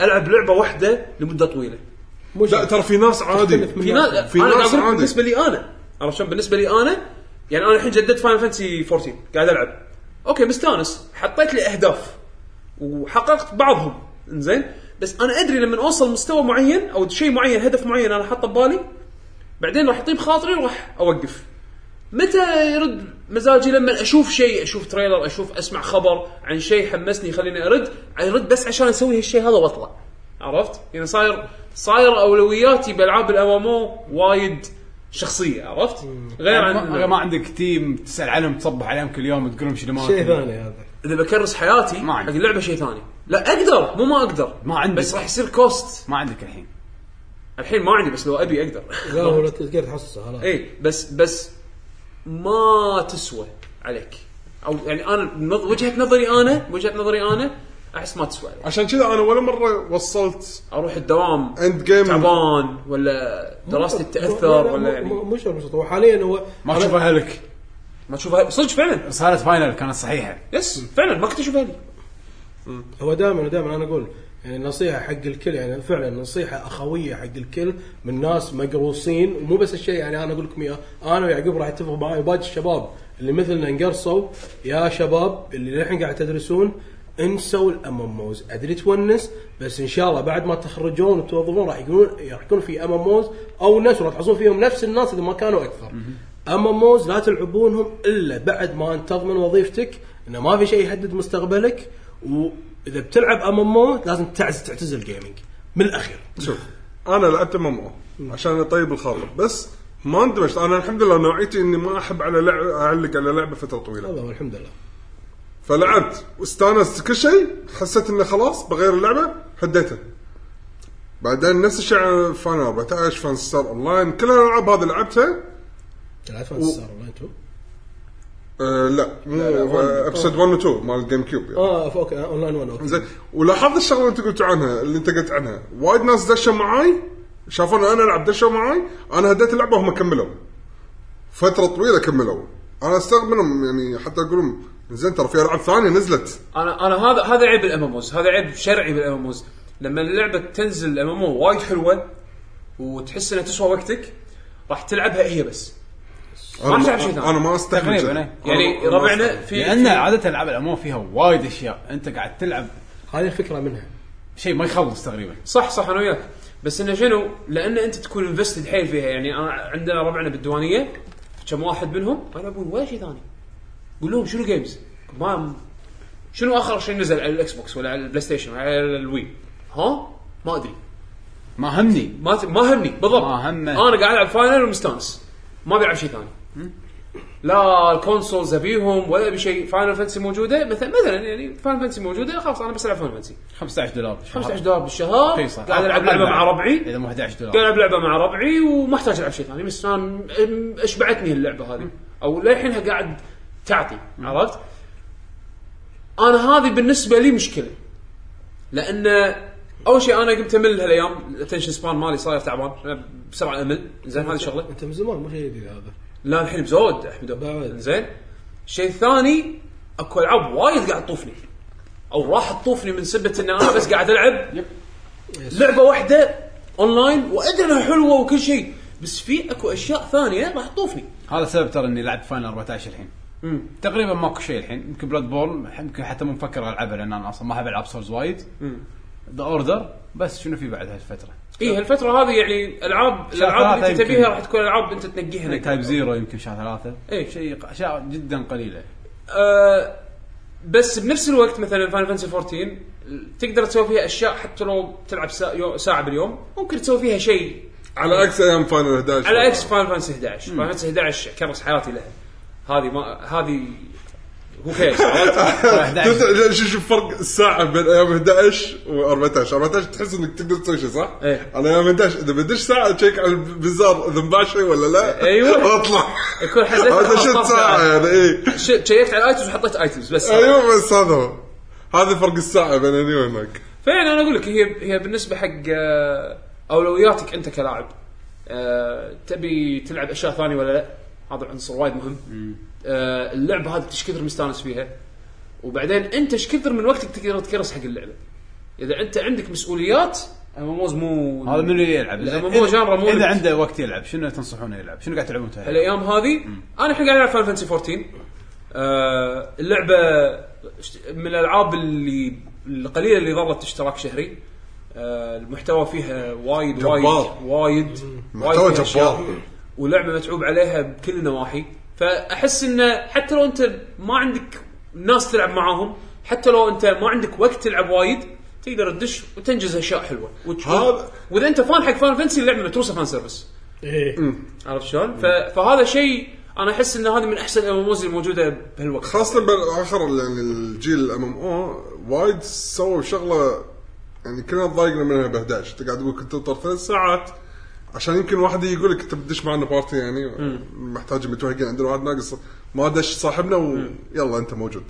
العب لعبه واحده لمده طويله.
مو
لا ترى في ناس عادي
في
في ناس
في
في انا
ناس
قاعد اقول
عادي.
بالنسبه لي انا عرفت شلون بالنسبه لي انا يعني انا الحين جددت فاينل فانتسي 14 قاعد العب اوكي مستانس حطيت لي اهداف وحققت بعضهم انزين بس انا ادري لما اوصل مستوى معين او شيء معين هدف معين انا حاطه ببالي بعدين راح اطيب خاطري وراح اوقف متى يرد مزاجي لما اشوف شيء اشوف تريلر اشوف اسمع خبر عن شيء حمسني يخليني ارد ارد بس عشان اسوي هالشيء هذا واطلع عرفت يعني صاير صاير اولوياتي بالعاب الام وايد شخصيه عرفت؟ غير
ما,
عن
ما عندك تيم تسال عنهم تصبح عليهم كل يوم تقول لهم شنو ما
شيء ثاني هذا
اذا بكرس حياتي
ما
حق
عندي.
اللعبه شيء ثاني لا اقدر مو ما اقدر
ما عندك.
بس راح يصير كوست
ما عندك الحين
الحين ما عندي بس لو ابي اقدر
لا هو لا تقدر تحصصه خلاص
اي إيه، بس بس ما تسوى عليك او يعني انا من نظ- وجهه نظري انا وجهه نظري انا احس ما تسوى عليك
عشان كذا انا ولا مره وصلت
اروح الدوام
اند جيم
تعبان ولا دراستي تاثر ولا يعني
مو شرط مو شرط هو حاليا هو
ما تشوف اهلك
ما تشوفها صدق فعلا
رساله فاينل كانت صحيحه
يس فعلا ما كنت اشوفها لي
هو دائما دائما انا اقول يعني نصيحه حق الكل يعني فعلا نصيحه اخويه حق الكل من ناس مقروصين ومو بس الشيء يعني انا اقول لكم اياه انا ويعقوب راح يتفق معي وباقي الشباب اللي مثلنا انقرصوا يا شباب اللي للحين قاعد تدرسون انسوا الام ام اوز ادري تونس بس ان شاء الله بعد ما تخرجون وتوظفون راح يقولون راح يكون في ام ام اوز او ناس راح تحصلون فيهم نفس الناس اذا ما كانوا اكثر اما موز لا تلعبونهم الا بعد ما انت تضمن وظيفتك انه ما في شيء يهدد مستقبلك واذا بتلعب ام ام او لازم تعز تعتزل الجيمنج من الاخير
شوف انا لعبت ام عشان اطيب الخاطر بس ما اندمجت انا الحمد لله نوعيتي اني ما احب على لعبه اعلق على لعبه فتره طويله
هذا هو الحمد لله
فلعبت واستانست كل شيء حسيت انه خلاص بغير اللعبه حديتها بعدين نفس الشيء على فان 14 فان ستار اون لاين كل الالعاب هذه لعبتها
تلعب فانتسي ستار اون لاين 2
أه لا مو ابسود 1 و 2 مال الجيم كيوب يعني.
اه ف- اوكي اون لاين 1 اوكي
زين ولاحظت الشغله اللي انت قلت عنها اللي انت قلت عنها وايد ناس دشوا معاي شافوني انا العب دشوا معاي انا هديت اللعبه وهم كملوا فتره طويله كملوا انا استغرب منهم يعني حتى اقول زين ترى في العاب ثانيه نزلت
انا انا هذا هذا عيب الاماموز هذا عيب شرعي بالاماموز لما اللعبه تنزل الامامو وايد حلوه وتحس انها تسوى وقتك راح تلعبها هي بس ما راح تلعب شيء ثاني.
انا ما استحمل
تقريباً،
كذا.
إيه.
أنا
يعني
ما- ما
ربعنا
أستحمل.
في
لان
في-
عاده العاب الامور فيها وايد اشياء انت قاعد تلعب
هذه الفكره منها
شيء ما يخلص تقريبا
صح صح انا وياك بس انه شنو؟ لان انت تكون انفستد حيل فيها يعني انا عندنا ربعنا بالديوانيه كم واحد منهم ما يلعبون ولا شيء ثاني. قول لهم شنو جيمز؟ ما شنو اخر شيء نزل على الاكس بوكس ولا على البلاي ستيشن ولا على الوي؟ ها؟ ما ادري
ما همني
ما ت- ما همني بالضبط آه.
ما همه.
انا قاعد العب فاينل ومستانس ما بيلعب شيء ثاني لا الكونسولز ابيهم ولا ابي شيء فاينل فانتسي موجوده مثلا مثلا يعني فاينل فانتسي موجوده خلاص انا بس العب فاينل فانتسي
15 دولار
15 دولار بالشهر
رخيصة.
قاعد العب لعبه مع ربعي
اذا مو 11 دولار
قاعد العب لعبه مع ربعي وما احتاج العب شيء ثاني بس انا م- م- اشبعتني اللعبه هذه او للحينها قاعد تعطي عرفت؟ انا هذه بالنسبه لي مشكله لان اول شيء انا قمت امل هالايام الاتنشن سبان مالي صاير تعبان أنا بسرعه امل زين هذه شغله
انت من زمان مو شيء جديد هذا
لا الحين مزود احمد
بعد.
زين الشيء الثاني اكو العاب وايد قاعد تطوفني او راح تطوفني من سبه ان انا بس قاعد العب لعبه واحده اونلاين وادري انها حلوه وكل شيء بس في اكو اشياء ثانيه راح تطوفني
هذا سبب ترى اني لعبت فاينل 14 الحين تقريبا ماكو شيء الحين يمكن بلاد بورن يمكن حتى مو مفكر العبها لان انا اصلا ما احب العب سولز وايد ذا اوردر بس شنو في بعد هالفتره؟
اي هالفتره إيه، هذه يعني العاب الالعاب اللي
ثلاثة
انت
يمكن.
تبيها راح تكون العاب انت تنقيها نقاط.
تايب زيرو يمكن شهر ثلاثه
إيه.
شيء ق- اشياء جدا قليله
آه، بس بنفس الوقت مثلا فاينل فانسي 14 تقدر تسوي فيها اشياء حتى لو تلعب ساعه يو- ساعة باليوم ممكن تسوي فيها شيء
على اكس ايام فاينل 11
على اكس فاينل فانسي 11 فاينل فانسي 11 كرس حياتي لها هذه ما هذه هو [laughs] كيس عرفت؟
11
شوف شوف فرق الساعه بين ايام 11 و14 14 تحس انك تقدر تسوي شيء صح؟
إيه.
انا ايام 11 اذا بدش ساعه تشيك على البزار اذا مباشر ولا لا
أيوة.
[laughs] واطلع
يكون حزتها
هذا
15
شد ساعه يعني اي
ش- شيكت على الايتمز وحطيت ايتمز بس
أيوه.
ايوه بس هذا هو هذا فرق الساعه بين هني وهناك
فعلا انا اقول لك هي هي بالنسبه حق آه، اولوياتك انت كلاعب آه، تبي تلعب اشياء ثانيه ولا لا هذا عنصر وايد مهم آه، اللعبه هذه ايش كثر مستانس فيها وبعدين انت ايش كثر من وقتك تقدر تكرس حق اللعبه اذا انت عندك مسؤوليات موز مو
هذا منو اللي يلعب؟
لا،
إذا-
مو- مو جانرا، مو
اذا
لعب.
عنده وقت يلعب شنو تنصحونه يلعب؟ شنو قاعد تلعبون انتم؟
الايام هذه انا الحين قاعد العب فاينل فانتسي 14 آه اللعبه من الالعاب اللي القليله اللي ظلت اشتراك شهري آه المحتوى فيها وايد وايد
جبار.
وايد
محتوى
فيها أشياء.
جبار.
ولعبه متعوب عليها بكل النواحي فاحس انه حتى لو انت ما عندك ناس تلعب معاهم حتى لو انت ما عندك وقت تلعب وايد تقدر تدش وتنجز اشياء حلوه وت-
هذا-
واذا انت فان حق فان فانسي اللعبه متروسه فان سيرفس
إيه.
عرفت شلون؟ ف- فهذا شيء انا احس ان هذه من احسن الاموز الموجوده بهالوقت
خاصة بالاخر يعني الجيل الام ام او وايد سووا شغلة يعني كنا تضايقنا منها ب 11 انت قاعد تقول كنت تنطر ثلاث ساعات عشان يمكن واحد يقول لك انت بتدش معنا بارتي يعني محتاج متوهقين عندنا واحد ناقص ما دش صاحبنا ويلا انت موجود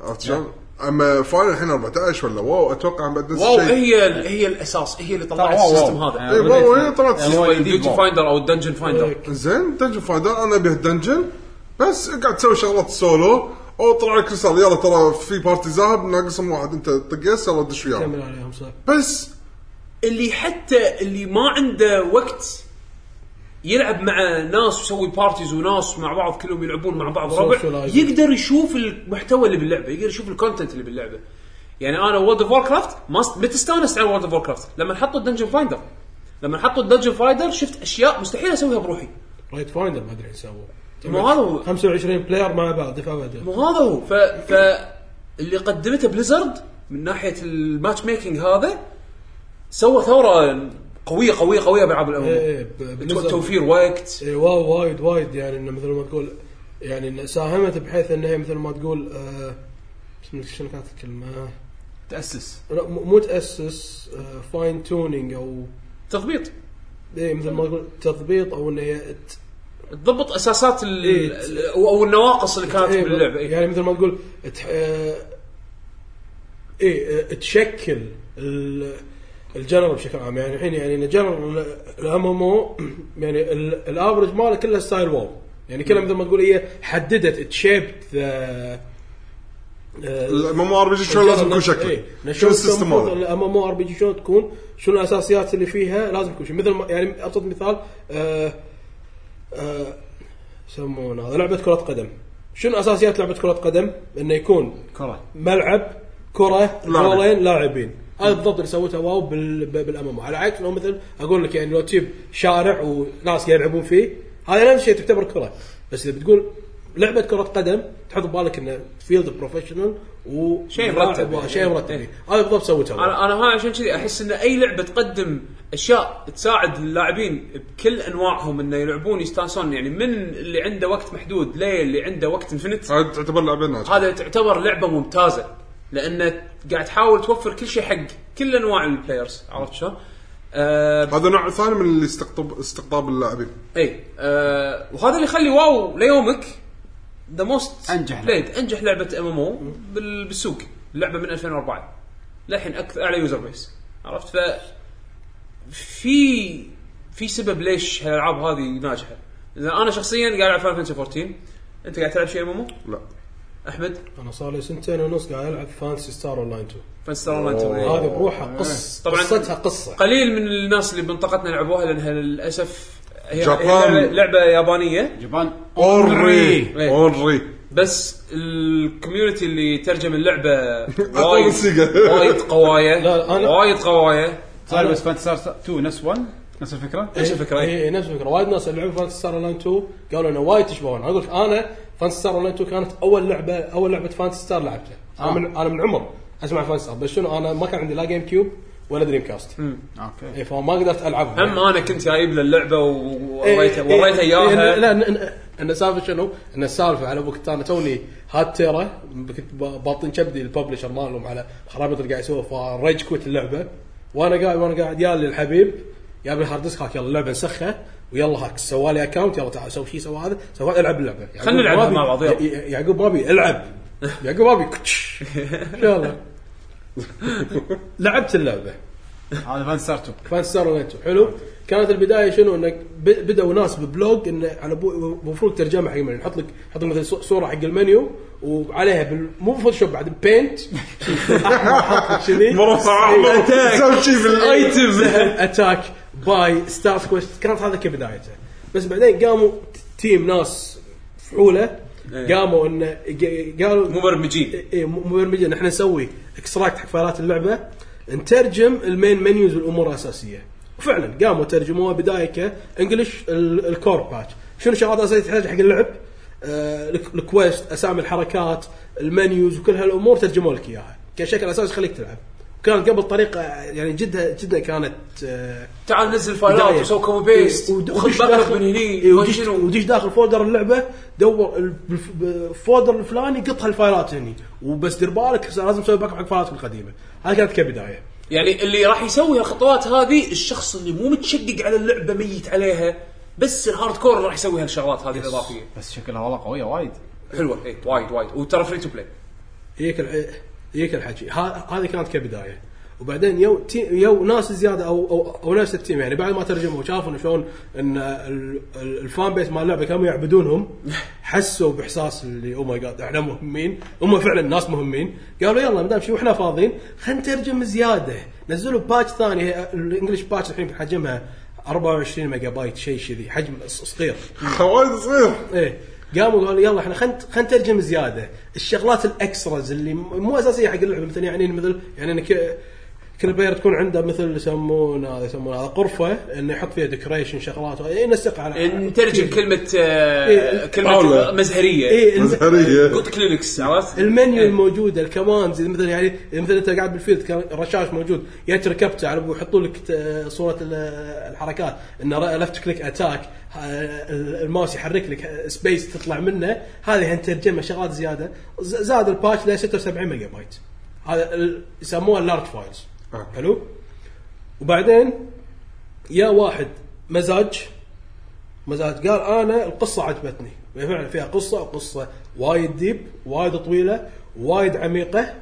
عرفت شلون؟ اما فاينل الحين 14 ولا واو اتوقع بعد نفس
واو إيه.
الشيء
هي ال- هي الاساس هي اللي طلعت
واو،
السيستم
واو.
هذا
إيه، واو هي طلعت
يعني هو جديد
البيوتي
واو.
فايندر او الدنجن فايندر
زين دنجن فايندر انا به دنجن بس قاعد تسوي شغلات سولو او طلع لك رساله يلا ترى في بارتي ذهب ناقصهم واحد انت طق يس يلا دش وياه
كمل عليهم صح
بس
اللي حتى اللي ما عنده وقت يلعب مع ناس ويسوي بارتيز وناس مع بعض كلهم يلعبون مع بعض ربع
Socializing.
يقدر يشوف المحتوى اللي باللعبه يقدر يشوف الكونتنت اللي باللعبه يعني انا وورد اوف كرافت ما است- بتستانس على وورد اوف كرافت لما حطوا الدنجن فايندر لما حطوا الدنجن فايندر شفت اشياء مستحيل اسويها بروحي
رايت فايندر ما ادري ايش سووا
مو هذا هو
25 بلاير مع بعض دفاع بعد
مو هذا هو ف... ف اللي قدمته بليزرد من ناحيه الماتش ميكنج هذا سوى ثوره قويه قويه قويه بالعاب الامم توفير وقت
إيه، واو وايد وايد يعني انه مثل ما تقول يعني إن ساهمت بحيث انها هي مثل ما تقول آه، بسم الله شنو كانت الكلمه؟
تاسس
لا، مو مو آه، تاسس فاين تونينج او
تضبيط
اي إيه، مثل ما تقول تضبيط او ان هي ت-
تضبط اساسات ال...
إيه.
ال- او أو النواقص اللي كانت
إيه،
باللعبه إيه.
يعني مثل ما تقول تح... اي إيه، آه، تشكل ال- الجنرال بشكل عام يعني الحين يعني إن الجنرال الام ام او [clears throat] يعني ال- الافرج ماله كله ستايل واو يعني كلها مثل ما تقول هي حددت تشيبت آه،
الام ام ار بي جي شلون لازم يكون شكله
إيه،
شو السيستم هذا
الام ام ار بي جي شلون تكون شنو الاساسيات اللي فيها لازم تكون شيء مثل ما يعني اعطيك مثال آه، آه، يسمونه هذا لعبه كره قدم شنو اساسيات لعبه كره قدم؟ انه يكون
كره
ملعب كره جولين لاعبين هذا بالضبط اللي سويته واو بال... ب- بالامام على عكس لو مثل اقول لك يعني لو تجيب شارع وناس يلعبون فيه هذا نفس الشيء تعتبر كره بس اذا بتقول لعبه كره قدم تحط ببالك انه فيلد بروفيشنال و
شيء مرتب يعني.
شيء مرتب هذا بالضبط سويته واو.
انا انا ها عشان كذي احس ان اي لعبه تقدم اشياء تساعد اللاعبين بكل انواعهم انه يلعبون يستانسون يعني من اللي عنده وقت محدود للي عنده وقت انفنت
هذا تعتبر لعبه ناجحه
هذا تعتبر لعبه ممتازه لان قاعد تحاول توفر كل شيء حق كل انواع البلايرز عرفت شلون؟ آه
هذا نوع ثاني من اللي استقطب استقطاب اللاعبين
اي آه وهذا اللي يخلي واو ليومك ذا موست
أنجح لعبة.
لعبة. انجح لعبه ام ام او بالسوق لعبه من 2004 للحين اكثر اعلى يوزر بيس عرفت ف في في سبب ليش هالالعاب هذه ناجحه إذا انا شخصيا قاعد العب فاينل 14 انت قاعد تلعب شيء ام ام او
لا
احمد
انا صار لي سنتين ونص قاعد العب فانسي ستار اون لاين 2
فانستر اونلاين
هذه بروحها قص
إيه. طبعاً.
قصتها قصه
قليل من الناس اللي بمنطقتنا لعبوها لانها للاسف هي هي
جابان.
لعبة- لعبه يابانيه
جبان
اوري
إيه.
اوري
بس الكوميونتي اللي ترجم اللعبه وايد
موسيقى.
[laughs] وايد قوايه
لا، لا، أنا-
وايد قوايه
صار طيب، بس فانتسار 2 نفس 1 نفس الفكره
ايش الفكره؟
اي اي إيه، نفس الفكره وايد ناس اللي لعبوا فانتسي ستار لاين 2 قالوا انه وايد تشبهون انا اقول لك انا فانتسي ستار لاين 2 كانت اول لعبه اول لعبه فانتسي ستار لعبتها انا
آه.
من انا من عمر اسمع فانتسي ستار بس شنو انا ما كان عندي لا جيم كيوب ولا دريم كاست
اوكي
اي فما قدرت العبها
هم انا كنت جايب له اللعبه و-
إيه،
ووريته
إيه،
وريته
إيه، إن-
اياها
لا إن- إن- ان السالفه شنو؟ ان السالفه على وقت انا توني هاد تيرا كنت ب- باطن كبدي الببلشر مالهم على خرابيط اللي قاعد يسووها فريج كويت اللعبه وانا قاعد وانا قاعد يالي الحبيب جاب لي هارد ديسك هاك يلا اللعبه نسخها ويلا هاك سوى لي اكونت يلا تعال سوي شي سوى هذا سوى هذا، العب اللعبه يعقوب
خلنا نلعبها
ما أبي-
مع بعض، يلا.
ي- ي- يعقوب ما ابي العب
[laughs]
يعقوب ما ابي كتش. يلا لعبت اللعبه
هذا فانتسار 2
فانستار وينتو حلو كانت البدايه شنو انك ب- بدأوا ناس ببلوج انه على بو- المفروض ترجمه حق المنيو نحط يعني لك نحط لك مثلا صوره حق المنيو وعليها بال... مو فوتوشوب بعد بينت
مربع احمر سوي شي بال
اتاك باي ستار سكويش كانت هذا كبدايته بس بعدين قاموا ت- تيم ناس فعوله قاموا انه ق- قالوا
مبرمجين
اي مبرمجين احنا نسوي اكستراكت حق فايلات اللعبه نترجم المين منيوز والامور الاساسيه وفعلا قاموا ترجموها بدايه كانجلش ال- الكور باتش شنو الشغلات الاساسيه تحتاج حق اللعب؟ آه، الك- الكويست اسامي الحركات المنيوز وكل هالامور ترجموا لك اياها كشكل اساسي خليك تلعب كان قبل طريقه يعني جدا جدا كانت آه،
تعال نزل فايلات
بداية.
وسوي كوبي بيست
إيه، ود-
وخذ
ودش
باك
داخل-
من هني
إيه،
ما
ودش-
شنو
ودش داخل فولدر اللعبه دور ال- بالف- بالفولدر الفلاني قط هالفايلات هني وبس دير بالك لازم تسوي باك حق الفايلات القديمه هذه كانت كبدايه
يعني اللي راح يسوي هالخطوات هذه الشخص اللي مو متشقق على اللعبه ميت عليها بس الهارد كور راح يسوي هالشغلات هذه الاضافيه
بس شكلها والله قويه وايد
حلوه اي إيه، وايد وايد وترى فري تو بلاي
يجيك الع- يجيك الحكي ها- هذه كانت كبدايه وبعدين يو تي يو ناس زياده او او, أو ناس التيم يعني بعد ما ترجموا وشافوا إن شلون ان ال- ال- الفان بيس مال اللعبه كانوا يعبدونهم حسوا باحساس اللي oh او ماي جاد احنا مهمين هم فعلا ناس مهمين قالوا يلا ما دام شي واحنا فاضيين خلينا نترجم زياده نزلوا باتش ثاني هي- الانجليش باتش الحين حجمها 24 ميجا بايت شيء كذي حجم ص- صغير
[laughs] وايد صغير
ايه قاموا قالوا يلا احنا خلينا خلينا نترجم زياده الشغلات الاكستراز اللي م- مو اساسيه حق اللعبه مثلا يعني مثل يعني إن ك- كل بلاير تكون عنده مثل يسمونه هذا يسمونه هذا غرفه انه يحط فيها ديكوريشن شغلات إيه، ينسق على
نترجم كلمه آه
إيه.
كلمه
طاولة.
مزهريه
ايه الم-
مزهريه
قلت كلينكس عرفت؟
المنيو
إيه.
الموجوده الكماندز مثلا يعني مثلا انت قاعد بالفيلد كان رشاش موجود يا تركبته على يحطوا لك ت- صوره ال- الحركات ان لفت كليك اتاك ها- ال- آه، الماوس يحرك لك سبيس تطلع منه هذه هنترجمها شغلات زياده ز- زاد الباتش ل 76 ميجا بايت هذا ال- يسموها اللارج فايلز
آه.
حلو وبعدين يا واحد مزاج مزاج قال انا القصه عجبتني وهي فعلا فيها قصه وقصه وايد ديب وايد طويله وايد عميقه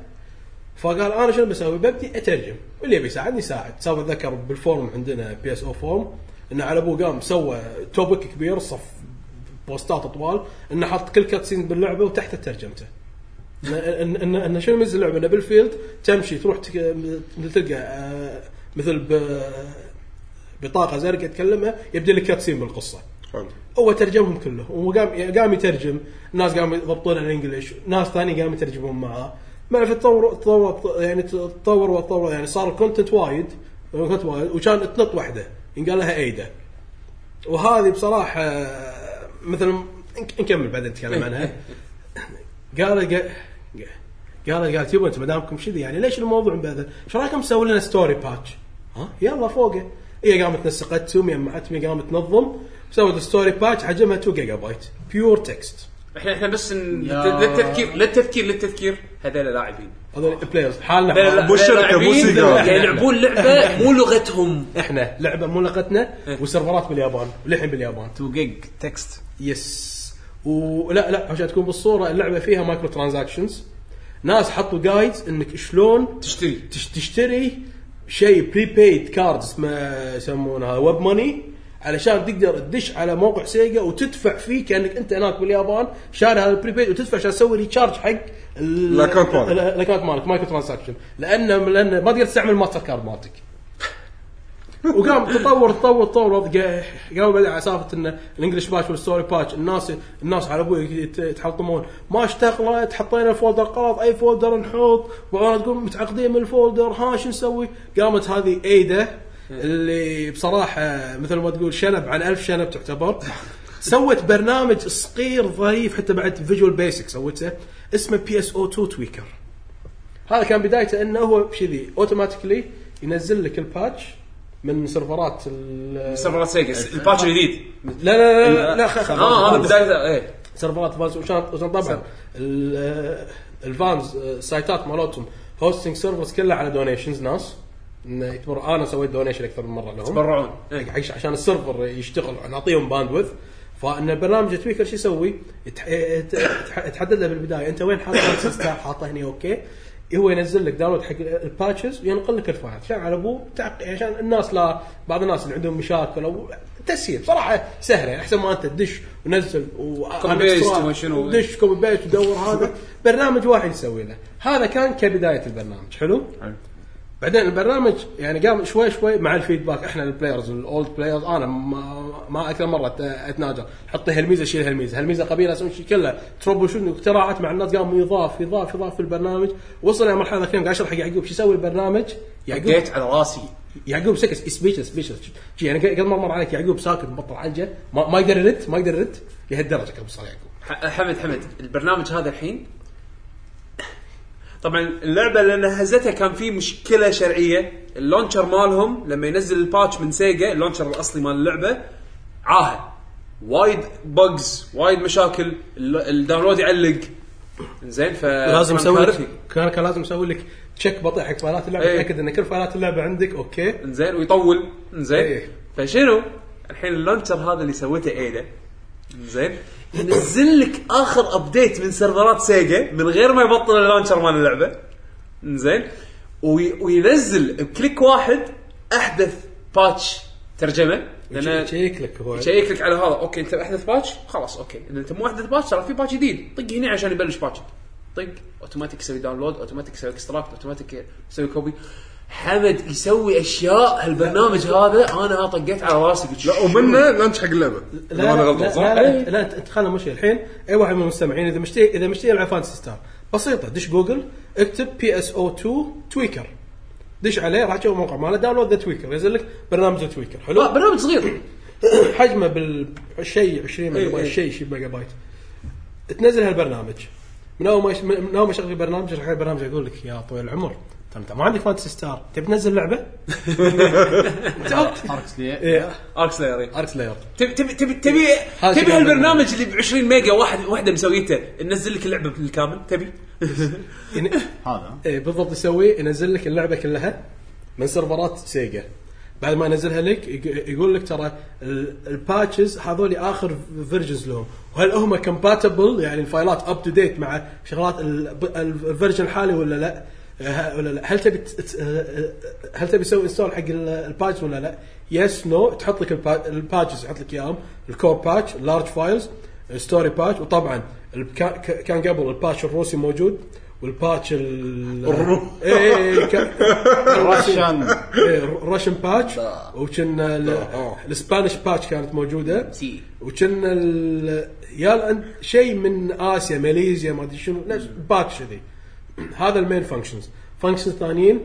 فقال انا شنو بسوي؟ ببدي اترجم واللي يبي يساعدني يساعد سوى اتذكر بالفورم عندنا بي اس او فورم انه على ابوه قام سوى توبك كبير صف بوستات طوال انه حط كل كاتسين باللعبه وتحته ترجمته ان ان ان, إن شنو ميزه اللعبه انه بالفيلد تمشي تروح تك- مثل تلقى آه، مثل ب- بطاقه زرقاء تكلمها يبدي لك كاتسين بالقصه
حلو.
هو ترجمهم كله هو قام قام يترجم ناس قاموا يضبطون الانجليش ناس ثاني قاموا يترجمون معاه ما في تطور تطور يعني تطور وتطور يعني صار الكونتنت وايد الكونتنت وايد وكان تنط واحده ينقال لها ايدا وهذه بصراحه مثلا نك- نكمل بعدين نتكلم عنها قال قال قال قال تبون انتم ما دامكم كذي يعني ليش الموضوع مبهذل؟ ايش رايكم تسوي لنا ستوري باتش؟ ها يلا فوقه هي قامت نسقت تومي معتمي قامت تنظم سوت ستوري باتش حجمها 2 جيجا بايت بيور تكست
احنا احنا بس ن-
يا-
للتذكير للتذكير للتذكير هذول لاعبين
هذول بلايرز حالنا
هذول
حالنا.
مو الشركة، مو
لاعبين
سيجار.
قاعد يلعبون لعبه مو لغتهم
احنا لعبه مو لقتنا وسيرفرات باليابان وللحين باليابان
2 جيج تكست
يس ولا لا عشان تكون بالصوره اللعبه فيها مايكرو ترانزاكشنز ناس حطوا جايدز انك شلون
تشتري
تش- تشتري شيء بريبيد كاردز اسمه يسمونها ويب ماني علشان تقدر تدش على موقع سيجا وتدفع فيه كانك انت هناك باليابان شاري هذا البريبيد وتدفع عشان تسوي ريتشارج حق ال-
الأكاونت مالك.
ال- الاكونت مالك مايكرو ترانزاكشن لان لان ما تقدر تستعمل ماستر كارد مالتك وقام تطور تطور تطور قا- قاموا بعدين على سالفه ان الانجلش باتش والستوري باتش الناس الناس على ابوي يت- يتحطمون ما اشتغلت حطينا فولدر غلط اي فولدر نحط وانا تقول متعقدين من الفولدر ها شو نسوي؟ قامت هذه ايدا اللي بصراحه مثل ما تقول شنب عن ألف شنب تعتبر سوت برنامج صغير ظريف حتى بعد فيجوال بيسك سوته اسمه بي اس او 2 تويكر هذا كان بدايته انه هو كذي اوتوماتيكلي ينزل لك الباتش من سيرفرات ال-
سيرفرات سيجا الباتش الجديد
لا لا لا لا, لا خ- خ-
اه هذا بدايه ايه
سيرفرات فانز وشان وشان طبعا ال- الفانز آه، سايتات مالتهم هوستنج سيرفرز كلها على دونيشنز ناس إنه يعتبر انا سويت دونيشن اكثر من مره لهم
تبرعون إيه.
حق- حق- عشان السيرفر يشتغل يعني نعطيهم باندوث فان البرنامج تويكر شو يسوي؟ يتح- إيه، يت- يتح- يتحدد له بالبدايه انت وين حاط اكسس تاب حاطه هنا اوكي هو ينزل لك داونلود حق الباتشز وينقل لك الفايل عشان على ابوه تعق- عشان الناس لا بعض الناس اللي عندهم مشاكل او تسهيل صراحه سهله احسن ما انت تدش ونزل و
كوبي بيست وما شنو.
دش كوبي بيست ودور
[laughs]
هذا برنامج واحد يسوي له هذا كان كبدايه البرنامج حلو؟
حلو.
بعدين البرنامج يعني قام شوي شوي مع الفيدباك احنا البلايرز الاولد بلايرز انا ما, ما اكثر مره أت- اتناجر حط هالميزه شيل هالميزه هالميزه قبيله اسوي شيء كله تروبل شوتنج اختراعات مع الناس قاموا يضاف يضاف يضاف في البرنامج وصل لمرحله ذاك اليوم قاعد اشرح حق يعقوب شو يسوي البرنامج يعقوب
جيت على راسي
يعقوب سكت سبيشل سبيشل يعني قبل ما مر عليك يعقوب ساكت مبطل عنجه ما, ما يقدر يرد ما يقدر يرد لهالدرجه كان صار يعقوب
ح- حمد حمد البرنامج هذا الحين طبعا اللعبه لان هزتها كان في مشكله شرعيه اللونشر مالهم لما ينزل الباتش من سيجا اللونشر الاصلي مال اللعبه عاهد وايد بجز وايد مشاكل ال- الداونلود يعلق زين ف
أه، لازم
كان
اسوي
كارثي.
لك كان كان لازم اسوي لك تشيك بطيء حق فايلات اللعبه
إيه.
اتاكد ان كل فايلات اللعبه عندك اوكي
انزين ويطول انزين
إيه.
فشنو؟ الحين اللونشر هذا اللي سوته ايدا انزين [laughs] ينزل لك اخر ابديت من سيرفرات سيجا من غير ما يبطل اللونشر مال اللعبه انزين وي... وينزل بكليك واحد احدث باتش ترجمه لان
تشيك لك هو
يشيك لك على هذا اوكي انت احدث باتش خلاص اوكي اذا انت مو احدث باتش ترى في باتش جديد طق هنا عشان يبلش باتش طق اوتوماتيك يسوي داونلود اوتوماتيك يسوي اكستراكت اوتوماتيك يسوي كوبي حمد يسوي اشياء هالبرنامج هذا انا طقيت على راسي
لا ومنه لانش حق اللعبه
لا
إذا ما انا
لا
غلطان
لا,
صح؟
لا, لا, لا انت خلنا مشي الحين اي واحد من المستمعين اذا مشتي اذا مشتي يلعب فانتسي ستار بسيطه دش جوجل اكتب بي اس او 2 تويكر دش عليه راح تشوف الموقع ماله داونلود ذا تويكر ينزل لك برنامج تويكر حلو
لا آه، برنامج صغير
حجمه بالشيء 20 ميجا بايت
إيه.
شيء شيء ميجا بايت تنزل هالبرنامج من اول ما يش- من اول ما شغل البرنامج راح البرنامج يقول لك يا طويل العمر ترى انت ما عندك فانتسي ستار تبي تنزل [laughs] لعبه؟
اركس لي
ايه
ارك سلاير
ارك سلاير
تبي تبي تبي تبي تبي هالبرنامج اللي ب 20 ميجا واحد واحده مسويته ننزل لك اللعبه بالكامل تبي
يعني-
هذا
ايه بالضبط يسوي ينزل لك اللعبه كلها من سيرفرات سيجا بعد ما ينزلها لك يق- يقول لك ترى ال- الباتشز هذول اخر فيرجنز لهم وهل هم كومباتبل يعني الفايلات اب تو ديت مع شغلات ال- ب- الفيرجن الحالي ولا لا ه- ولا لا هل تبي ت- ت- هل تبي تسوي انستول حق ال- الباتش ولا لا يس نو تحط لك البا- الباتشز يحط لك اياهم الكور باتش لارج فايلز ستوري باتش وطبعا ال- كا- كا- كان قبل الباتش الروسي موجود والباتش ال
الرو-
[laughs] إيه، إيه، كان-
رشان
إيه، الراشن باتش وكان ال- الاسبانيش باتش كانت موجوده
سي.
وكان ال- يا الأن- شيء من اسيا ماليزيا ما ادري شنو نفس باتش ذي هذا المين فانكشنز فانكشنز ثانيين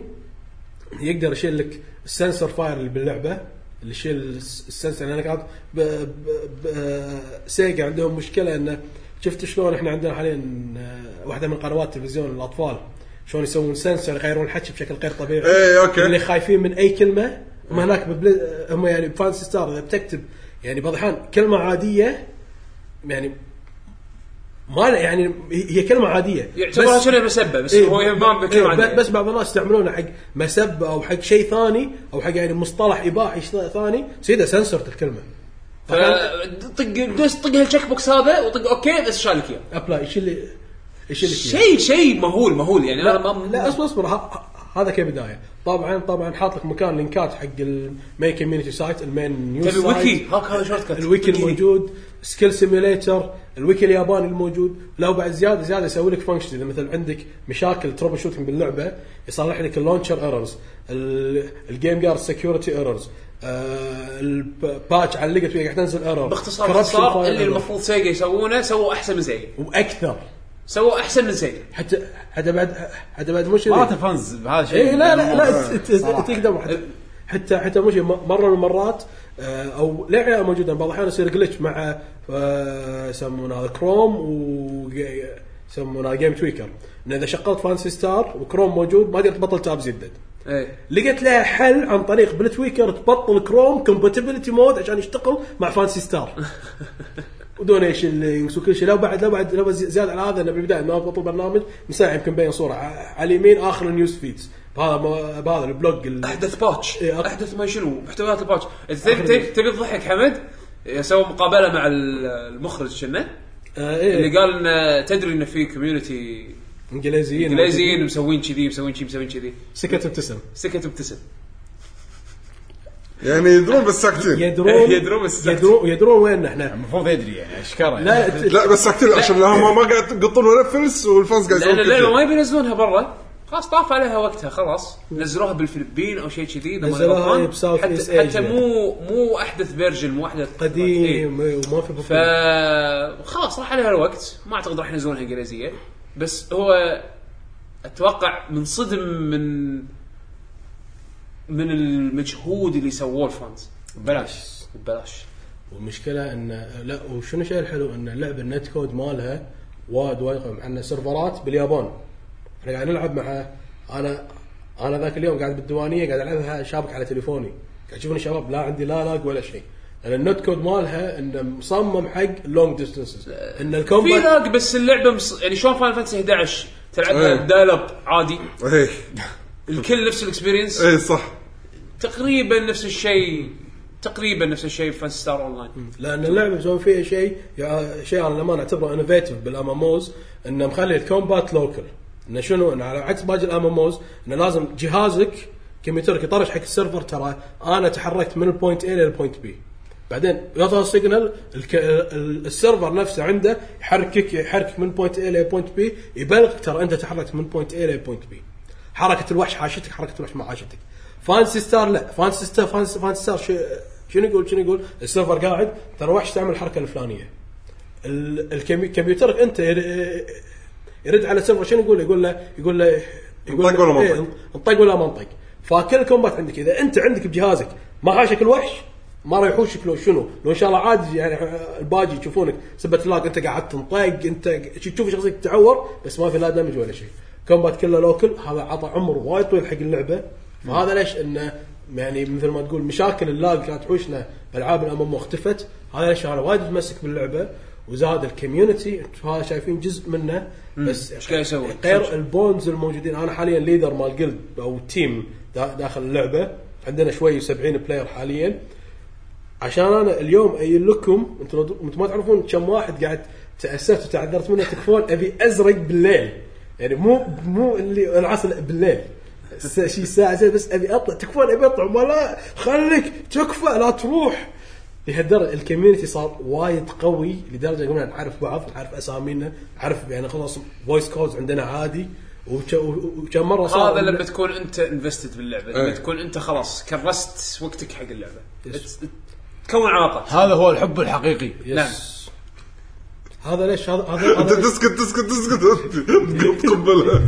يقدر يشيل لك السنسر فاير اللي باللعبه اللي يشيل الس- السنسر لان كانت ب- ب- ب- سيجا عندهم مشكله انه شفت شلون احنا عندنا حاليا آه، واحده من قنوات تلفزيون الاطفال شلون يسوون سنسر يغيرون الحكي بشكل غير طبيعي
إيه، أوكي.
اللي خايفين من اي كلمه هم هناك ببل... هم يعني بفانسي ستار اذا بتكتب يعني بعض الاحيان كلمه عاديه يعني ما له- يعني هي كلمه عاديه
يعتبرها
بس-
شنو مسبه بس
إيه،
هو يبان
ب-
بكلمه
إيه،
عادية.
ب- بس بعض الناس يستعملونه حق مسبه او حق شيء ثاني او حق يعني مصطلح اباحي شيء ثاني سيده سنسرت الكلمه
طق دوس طق هالتشيك بوكس هذا وطق اوكي بس شالك اياه
ابلاي ايش اللي ايش اللي فيه؟
شيء شيء مهول مهول يعني انا
يعني. لا,
ما
لا اصبر اصبر ه- ه- هذا كبدايه طبعا طبعا حاط لك مكان لينكات حق المين كوميونتي سايت المين نيوز
تبي
سايت
ويكي هاك هذا شورت كت
الويكي الموجود سكيل سيميليتر الويكي الياباني الموجود لو بعد زياده زياده يسوي لك فانكشن اذا مثلا عندك مشاكل تروبل شوتنج باللعبه يصلح لك اللونشر ايرورز الجيم جارد سكيورتي ايرورز الباتش آه، علقت وياك تنزل ايرور
باختصار باختصار اللي المفروض سيجا يسوونه سووا احسن من سيجا
واكثر
سووا احسن من سيجا
حتى حتى بعد حتى بعد مش
مرات الفانز بهذا الشيء
اي إيه، لا لا
صراحة.
لا ت- ت- تقدر حتى- حتى حتى مش م- مره من المرات آه، او لا عيال موجوده بعض الاحيان يصير جلتش مع آه، يسمونه هذا كروم و يسمونه جيم تويكر ان اذا شغلت فانسي ستار وكروم موجود ما تقدر تبطل تابز يدد
ايه
لقيت لها حل عن طريق بالتويكر تبطل كروم كومباتيبلتي مود عشان يشتغل مع فانسي ستار ودونيشن لينكس وكل شيء لو بعد لو بعد لو بعد زياده على هذا انه بالبدايه ما بطل برنامج مساعي يمكن بين صوره ع- على اليمين اخر النيوز فيدز بهذا ما- بهذا البلوج ال-
احدث باتش
إيه، أك-
احدث ما شنو محتويات الباتش إذا تبي تبي- تبي تضحك حمد إيه، سووا مقابله مع ال- المخرج كنا
آه، إيه،
اللي قال ان تدري ان في كوميونتي
انجليزيين
انجليزيين مسوين كذي مسوين كذي مسوين كذي
سكت ابتسم
سكت وابتسم
يعني يدرون بس ساكتين
[laughs]
يدرون
يدرون بس سكت.
يدرون يدرون وين احنا
المفروض يدري يعني اشكره يعني.
لا لا ت-
لا بس ساكتين عشان لا هم ما قاعد يقطون ولا فلس والفانز قاعد
لان
يسوون
اللعبه ما
كذي.
يبي ينزلونها برا خلاص طاف عليها وقتها خلاص نزلوها بالفلبين او شيء كذي إذا ما
نزلوها
غلطان.
هي بساوث
حتى-
إيست
حتى
آسيا.
مو مو احدث فيرجن مو احدث إيه.
قديم وما
ف
في بطولة.
خلاص راح عليها الوقت ما اعتقد راح ينزلونها انجليزيه بس هو اتوقع منصدم من من المجهود اللي سووه الفانز
بلاش
ببلاش
والمشكله ان لا وشنو الشيء الحلو ان اللعبه النت كود مالها وايد وايد قوي مع ان سيرفرات باليابان احنا قاعد نلعب مع انا انا ذاك اليوم قاعد بالديوانيه قاعد العبها شابك على تليفوني قاعد اشوف الشباب لا عندي لا لاج ولا شيء لان النوت كود مالها انه مصمم حق لونج ديستنسز ان
في
الكومبات
لاج بس اللعبه مص... يعني شلون فاين فانتسي 11 تلعبها
إيه.
دايل اب عادي
ايه
الكل نفس الاكسبيرينس
ايه [laughs] صح
تقريبا نفس الشيء تقريبا نفس الشيء في فانسي ستار اونلاين
لان اللعبه مسوي فيها شيء يع- شيء انا لما اعتبره انوفيتف بالاماموز انه مخلي الكومبات لوكل انه شنو انه على عكس باقي الاماموز انه لازم جهازك كمبيوترك يطرش حق السيرفر ترى انا تحركت من البوينت A للبوينت B بعدين يظهر سيجنال الك... ال- السيرفر نفسه عنده يحركك يحركك من بوينت A لبوينت B يبلغك ترى انت تحركت من بوينت A لبوينت B حركه الوحش حاشتك حركه الوحش ما حاشتك فانسي ستار لا فانسي ستار فانسي, فانسي ستار شو- شنو يقول شنو يقول السيرفر قاعد ترى وحش تعمل الحركه الفلانيه ال- الكمي- كمبيوترك انت ير- يرد على السيرفر شنو يقول يقول له يقول له يقول
انطق ولا ما
إيه،
انطق؟
انطق ولا ما انطق فكل الكومبات عندك اذا انت عندك بجهازك ما حاشك الوحش ما راح يحوشك لو شنو لو ان شاء الله عادي يعني الباجي يشوفونك سبت لاج انت قاعد تنطق انت تشوف شخصيتك تعور بس ما في لا دمج ولا شيء كومبات كله لوكل هذا عطى عمر وايد طويل حق اللعبه فهذا ليش انه يعني مثل ما تقول مشاكل اللاج كانت تحوشنا بالعاب الامم اختفت هذا ليش انا وايد متمسك باللعبه وزاد الكوميونتي هذا شايفين جزء منه بس
إيش قاعد يسوي؟
غير البونز الموجودين انا حاليا ليدر مال جلد او تيم دا- داخل اللعبه عندنا شوي 70 بلاير حاليا عشان انا اليوم اقول لكم انتم لو- انتم ما تعرفون كم واحد قاعد تاسفت وتعذرت منه تكفون ابي ازرق بالليل يعني مو مو اللي العصر بالليل س- شي ساعه زين بس ابي اطلع تكفون ابي اطلع ما لا خليك تكفى لا تروح لهالدرجه الكوميونتي صار وايد قوي لدرجه قمنا نعرف بعض نعرف اسامينا نعرف يعني خلاص فويس كولز عندنا عادي وش- و- وكم مره صار
هذا
إن-
لما تكون انت انفستد باللعبه لما
إيه.
تكون انت خلاص كرست وقتك حق اللعبه
يس.
ت- تكون علاقات
هذا هو الحب الحقيقي
نعم.
يس هذا ليش هذا هذا
انت
هذا-
تسكت تسكت [laughs] تسكت انت تقبلها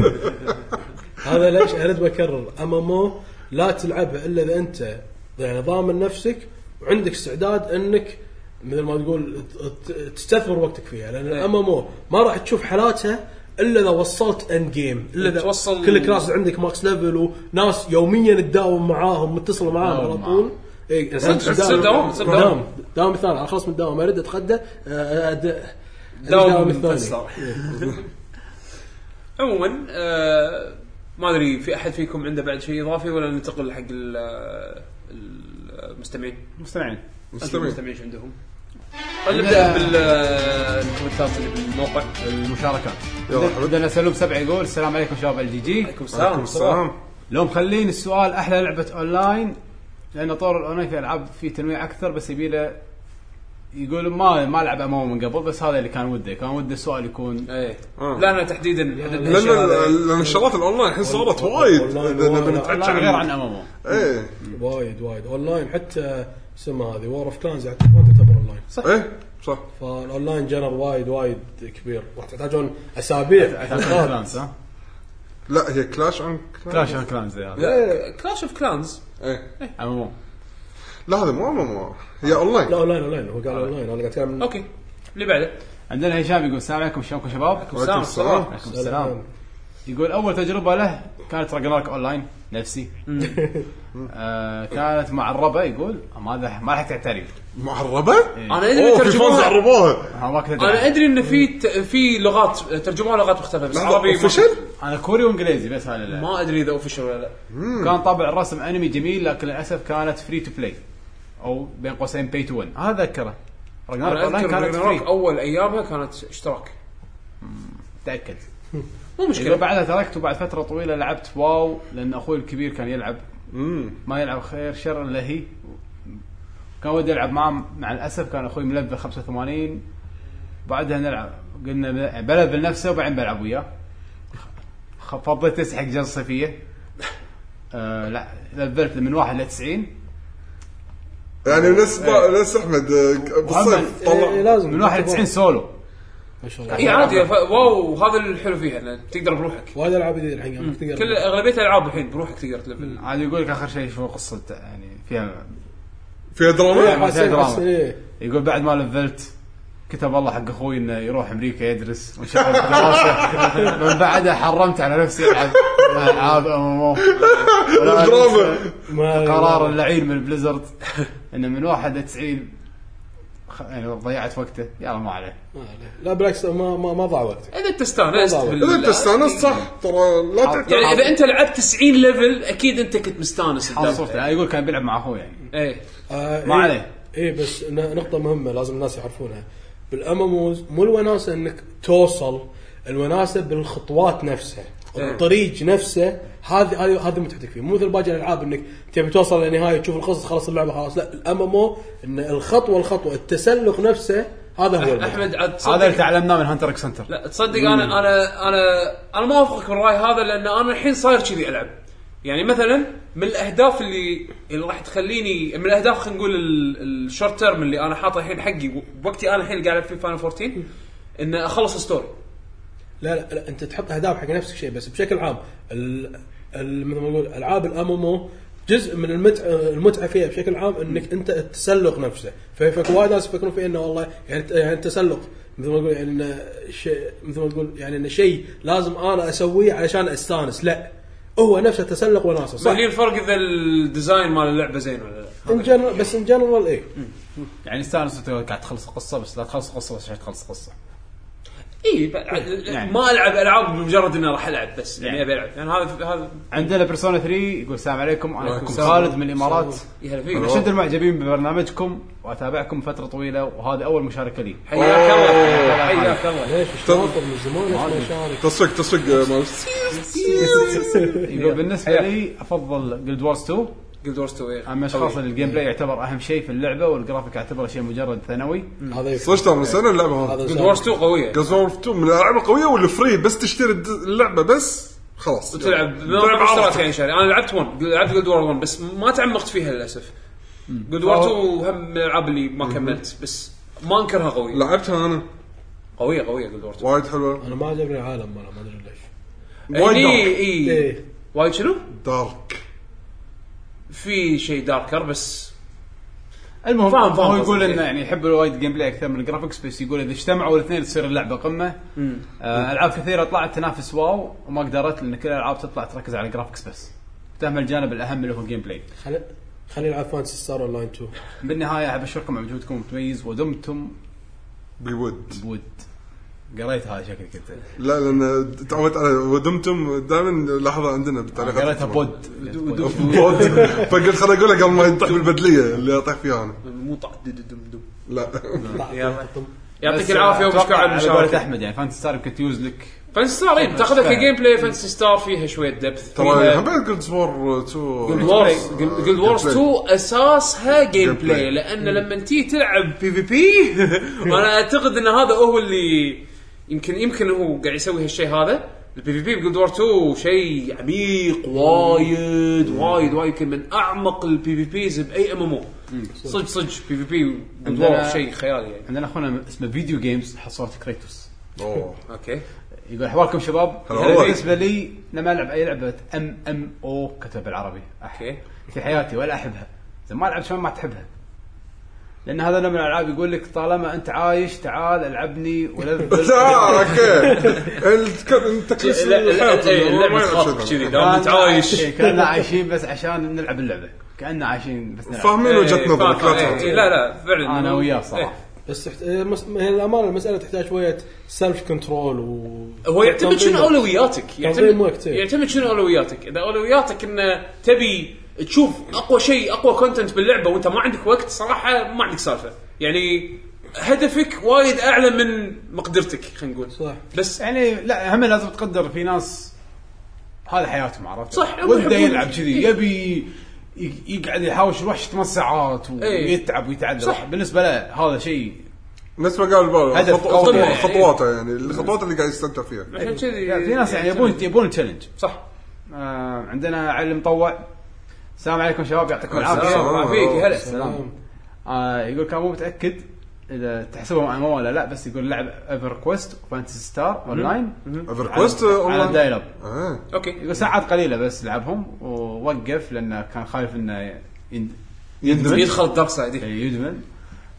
هذا ليش ارد بكرر امامو لا تلعبها الا اذا انت يعني ضامن نفسك وعندك استعداد انك مثل ما تقول ت- ت- تستثمر وقتك فيها لان الامامو ما راح تشوف حالاتها الا اذا وصلت اند جيم الا اذا
توصل-
كل كلاس عندك ماكس ليفل وناس يوميا تداوم معاهم متصل معاهم على طول إيه،
تصير
تداوم- نعم.
دوام، تصير دوام.
دوام دوام الثاني انا خلاص من الدوام ارد اتغدى آه، آه، أد-
دوام
أداوم
مفصل. [laughs] عموما آه، ما ادري في احد فيكم عنده بعد شيء اضافي ولا ننتقل حق ال- آه، المستمعين
مستمعين
مستمعين
المستمعين شو عندهم خلينا نبدا بالكومنتات اللي بالموقع
المشاركات
يلا حبيبي.
عندنا سلوم سبع يقول السلام عليكم شباب الجي جي
عليكم السلام
سلام
لو مخلين السؤال احلى لعبه اونلاين لان طور الاونلاين في العاب في تنويع اكثر بس يبي له يقول ما ما لعب امامه من قبل بس هذا اللي كان وده كان وده السؤال يكون
ايه
آه.
لا انا تحديدا حددنا
لان
الشيء هذا.
ال- لان الشغلات الاونلاين الحين صارت وايد
والله-
إذا
والله-
بنتعشى
لا، غير عن امامه
ايه
وايد وايد اونلاين حتى اسمها هذه وور اوف كلانز يعني ما تعتبر اونلاين صح
ايه صح
فالاونلاين جنر وايد وايد كبير راح تحتاجون آه. اسابيع
كلانز ها
لا هي كلاش عن
كلاش اوف كلانز هذا
لا، كلاش اوف كلانز
ايه
امامه
لا هذا مو مو هي اونلاين
لا اونلاين اونلاين هو قال اونلاين انا قاعد اتكلم
اوكي اللي بعده
إيه.
عندنا هشام يقول السلام عليكم شلونكم شباب؟
وعليكم السلام
عليكم السلام يقول اول تجربه له كانت راجناروك اونلاين نفسي [laughs] آه كانت مع الربع يقول ما هذا ما لحقت تعريف
معربه؟
انا ادري
اوه في فانز
إيه. ترجموها
عربوها
انا ما كنت
انا
ادري
ادري ان في ت- في لغات ترجموها لغات مختلفه بس
لحظه
عربي ما-
اوفيشل
انا كوري وانجليزي بس هذا اللي-
ما ادري اذا اوفشل ولا لا
كان طابع الرسم انمي جميل لكن للاسف كانت فري تو بلاي او بين قوسين باي تو ون هذا اذكره راجناروك
انا
اونلاين
اذكر
كانت
راجناروك
فري
اول ايامها كانت اشتراك
تاكد
مو
يقول
مشكله
بعدها تركت وبعد فتره طويله لعبت واو لان اخوي الكبير كان يلعب ما يلعب خير شر الا هي كان ودي العب معه مع الاسف كان اخوي ملفل 85 بعدها نلعب قلنا بل- بلفل نفسه وبعدين بلعب وياه خ- فضيت تسعي حق جلسه صيفيه آه لا لفلت من واحد ل 90
يعني نفس نفس احمد آه، بالصيف
وهم-
إيه،
طلع
لازم
من 91 سولو
ما شاء
اي
الله
عادي ف- واو هذا الحلو فيها إنه تقدر بروحك
وايد العاب جديده الحين قاعد تقدر
كل اغلبيه الالعاب الحين بروحك تقدر تلفل
عاد يقول لك اخر شيء شو قصته يعني فيها
فيها دراما
بس-
فيها
بس-
دراما.
إيه.
يقول بعد ما لفلت كتب الله حق اخوي انه يروح امريكا يدرس وانشغل بدراسه من بعدها حرمت على نفسي العب العاب ام ام او
دراما
ما-
قرار اللعين من بليزرد انه من 91 خ- يعني ضيعت وقته يلا ما عليه
ما عليه. لا بالعكس ما ما, ما ضاع وقتك
اذا انت استانست
والله.
بال-
اذا انت استانست صح ترى لا
يعني
تعترض
اذا انت لعبت 90 ليفل اكيد انت كنت مستانس
انا
انت
صرت أنا يقول كان بيلعب مع اخوه يعني
ايه
آه
ما عليه.
اي بس ن- نقطة مهمة لازم الناس يعرفونها بالاماموز مو الوناسة انك توصل الوناسة بالخطوات نفسها
إيه.
الطريق نفسه هذه هذه هذه متعتك فيه مو مثل باقي الالعاب انك تبي توصل للنهاية تشوف القصص خلاص اللعبة خلاص لا الامامو ان الخطوة الخطوة التسلق نفسه هذا هو المتعة.
احمد عاد تصدق-
هذا اللي تعلمناه من هانتر اكس هانتر
لا تصدق انا انا انا انا ما اوافقك بالراي هذا لان انا الحين صاير كذي العب يعني مثلا من الاهداف اللي اللي راح تخليني من الاهداف خلينا نقول الشورت تيرم اللي انا حاطه الحين حقي و- وقتي انا الحين قاعد العب فيه فاينل 14 ان اخلص ستوري
لا لا, لا انت تحط اهداف حق نفسك شيء بس بشكل عام ال ال- مثل ما نقول العاب الامامو جزء من المتعه المتعه فيها بشكل عام انك انت التسلق نفسه ف- فك وايد ناس يفكرون في انه والله يعني الت- يعني التسلق مثل ما نقول يعني انه شيء مثل ما نقول يعني انه شيء لازم انا اسويه علشان استانس لا هو نفسه تسلق وناسه صح
هني الفرق اذا الديزاين مال اللعبه زين ولا لا
ان جنرال بس ان جنرال ايه
يعني استانس وأنت قاعد تخلص القصه بس لا تخلص القصه بس عشان تخلص القصه
اي ب-
يعني.
ما العب العاب بمجرد اني راح العب بس يعني
يعني.
ابي العب يعني هذا هذا
عندنا بيرسونا 3 يقول السلام عليكم انا
وعليكم
أخوكم
السلام.
خالد من الامارات
يهلا
اشد
فيك
المعجبين ببرنامجكم واتابعكم فتره طويله وهذا اول مشاركه لي
حياك الله حياك الله
ليش إيش تنطر من زمان ليش ما شارك
تصفق تصفق مال
إيه.
يقول بالنسبه لي افضل جلد وورز 2
جلد وورز 2
اما اشخاص اللي الجيم
إيه.
بلاي يعتبر اهم شيء في اللعبه والجرافيك اعتبره شيء مجرد ثانوي
هذا يفرق.
صدق ترى من سنه اللعبه هذه
هذا
جلد
يساوي.
وورز 2 قويه
جاز اوف 2 من الالعاب القويه واللي فري بس تشتري الد- اللعبه بس خلاص
وتلعب
لعب
لعب عرفت
عرفتك.
يعني شاري انا لعبت 1 لعبت جولد وور 1 بس ما تعمقت فيها للاسف جولد وور 2 هم من الالعاب اللي ما كملت بس ما انكرها قويه
لعبتها انا
قويه قويه جولد وور 2
وايد حلوه
انا ما عجبني العالم ماله ما ادري ليش
وايد
هني
دارك
اي
ايه
يعني إيه، وايد شنو؟
دارك
في شيء داركر بس
المهم
فاهم- فاهم
هو يقول
قصدك.
انه يعني يحب الوايد جيم بلاي اكثر من الجرافكس بس يقول اذا اجتمعوا الاثنين تصير اللعبه قمه آه العاب كثيره طلعت تنافس واو وما قدرت لان كل الالعاب تطلع تركز على الجرافكس بس تهمل الجانب الاهم اللي هو الجيم بلاي
خلي خلي العب فانسي ستار اون لاين
[laughs]
2
بالنهايه احب اشكركم على مجهودكم المتميز ودمتم
بود
بود قريت هذا شكلك انت
لا لان تعودت على ودمتم دائما لحظه عندنا بالتعليقات
قريتها بود
بود [laughs] فقلت خليني اقولها قبل ما يطيح بالبدليه اللي اطيح فيها انا
مو طع دد- دم دم
لا
يلا.
طم-
يعطيك العافيه
وش
وبشكر على
قاعد قولت
المشاركه
احمد يعني فانتسي ستار يمكن تيوز لك
فانسي ستار إيه، بتاخذها كجيم بلاي فانسي ستار فيها شويه دبث
ترى حبيت جولد سوار
جولد
2
وورز جولد وورز 2 اساسها جيم بلاي
بلاي.
لان لما تيجي تلعب بي [laughs] في بي وانا اعتقد ان هذا هو اللي يمكن يمكن هو قاعد يسوي هالشيء هذا البي في بي بجولد وور 2 شيء عميق وايد
Mm.
وايد وايد يمكن من اعمق البي في بيز باي ام ام او
Mm.
صدق صدق بي في بي جولد وور
عندنا-
شيء خيالي يعني
عندنا اخونا اسمه فيديو جيمز حصلت كريتوس
اوه
اوكي
يقول احوالكم شباب
هلا والله.
بالنسبه لي لما العب اي لعبه ام ام او كتب بالعربي أح-
اوكي
في حياتي ولا احبها اذا ما لعبت شلون ما تحبها لان هذا نوع من الالعاب يقول لك طالما انت عايش تعال العبني
[laughs]
ولذذ
لا اوكي الك- التكليس
لا-
[laughs]
لا-
الحياة
إيه،
اللي هو
اللعبة
ما يلعب
خاطبك
شذا.
كذي دام انت عايش [laughs]
إيه، كاننا عايشين بس عشان نلعب اللعبه كاننا عايشين بس نلعب
فاهمين وجهه
إيه،
نظرك
فاهم.
لا
إيه،
تعرف.
لا لا فعلا
انا وياه
إيه.
صراحه
بس تحت... آه، مس... هي الامانه المساله تحتاج شويه سيلف كنترول و
هو يعتمد شنو اولوياتك
تنظيم
يعتمد
وقت، إيه.
يعتمد شنو اولوياتك اذا اولوياتك انه تبي تشوف اقوى شيء اقوى كونتنت باللعبه وانت ما عندك وقت صراحه ما عندك سالفه يعني هدفك وايد اعلى من مقدرتك خلينا نقول
صح
بس
يعني لا هم لازم تقدر في ناس هذا حياتهم عرفت
صح، هم
وده
يحبون-
يلعب كذي
إيه.
يبي ي- يقعد يحاول يروح ثمان ساعات
إيه.
ويتعب ويتعذب
صح.
بالنسبه له هذا شيء
نفس ما قال
هدف
بالو
قوي.
خطو- خطواته يعني الخطوات اللي قاعد يستمتع فيها
عشان كذي
يعني في ناس يعني
إيه،
يبون يبون تشالنج
صح
آه عندنا علي المطوع السلام عليكم شباب يعطيكم
السلام.
العافيه
ما فيك هلا
السلام آه يقول كان مو متاكد اذا تحسبهم ام ولا لا بس يقول لعب ايفر كويست وفانتسي ستار اون لاين
ايفر كويست
على الدايل اب
آه.
اوكي
يقول ساعات قليله بس لعبهم ووقف لانه كان خايف انه يند-
يندمج
يدخل الدارك سايد إيه.
يدمن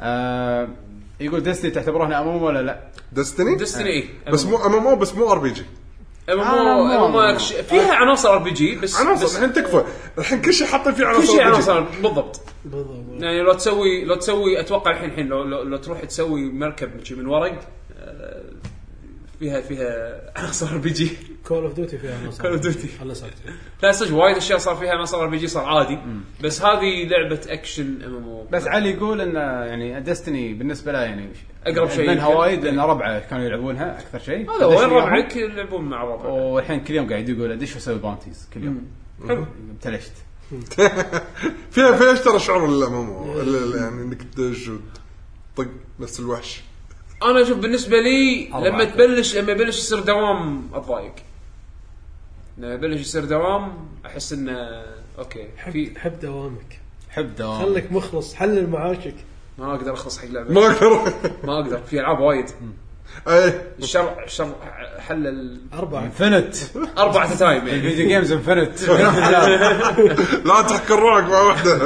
آه يقول ديستني تعتبرون ام ام ولا لا؟
دستني
ديستني اي
بس مو ام ام او بس مو ار بي جي
ام
آه،
ام
مو-
فيها عناصر ار بي جي بس
عناصر
بس
الحين تكفى الحين كل شيء حاطين فيه
كل
عناصر
شيء
RPG.
عناصر بالضبط
بالضبط
يعني لو تسوي لو تسوي اتوقع الحين الحين لو لو, لو تروح تسوي مركب شي من ورق آه، فيها فيها [laughs] عناصر ار بي جي
كول اوف ديوتي فيها عناصر
Call of Duty.
الله
[laughs]
ساكت
لا صدق وايد اشياء صار فيها عناصر ار بي جي صار عادي بس هذه لعبه اكشن ام ام او
بس علي يقول ان يعني ديستني بالنسبه له يعني
أقرب شيء.
منها وايد لان ربعه كانوا يلعبونها اكثر شيء
هذا وين
دشني وياهم.
ربعك يلعبون مع بعض
والحين كل يوم قاعد يقول ادش واسوي بانتيز كل يوم
حلو
ابتلشت
فيها فيها ايش ترى شعور الام ام او يعني انك تدش وتطق نفس الوحش
انا اشوف بالنسبه لي
الله
لما
أكبر.
تبلش لما يبلش يصير دوام اتضايق لما يبلش يصير دوام احس انه اوكي في
حب حب دوامك
حب دوام
خليك مخلص حلل معاشك
ما اقدر اخلص حق لعبه
ما اقدر
ما اقدر في العاب وايد
اي
الشرع الشرع حل ال-
اربعه
انفنت
اربعة تايم يعني
الفيديو جيمز انفنت
لا تحكي الرعب مع واحده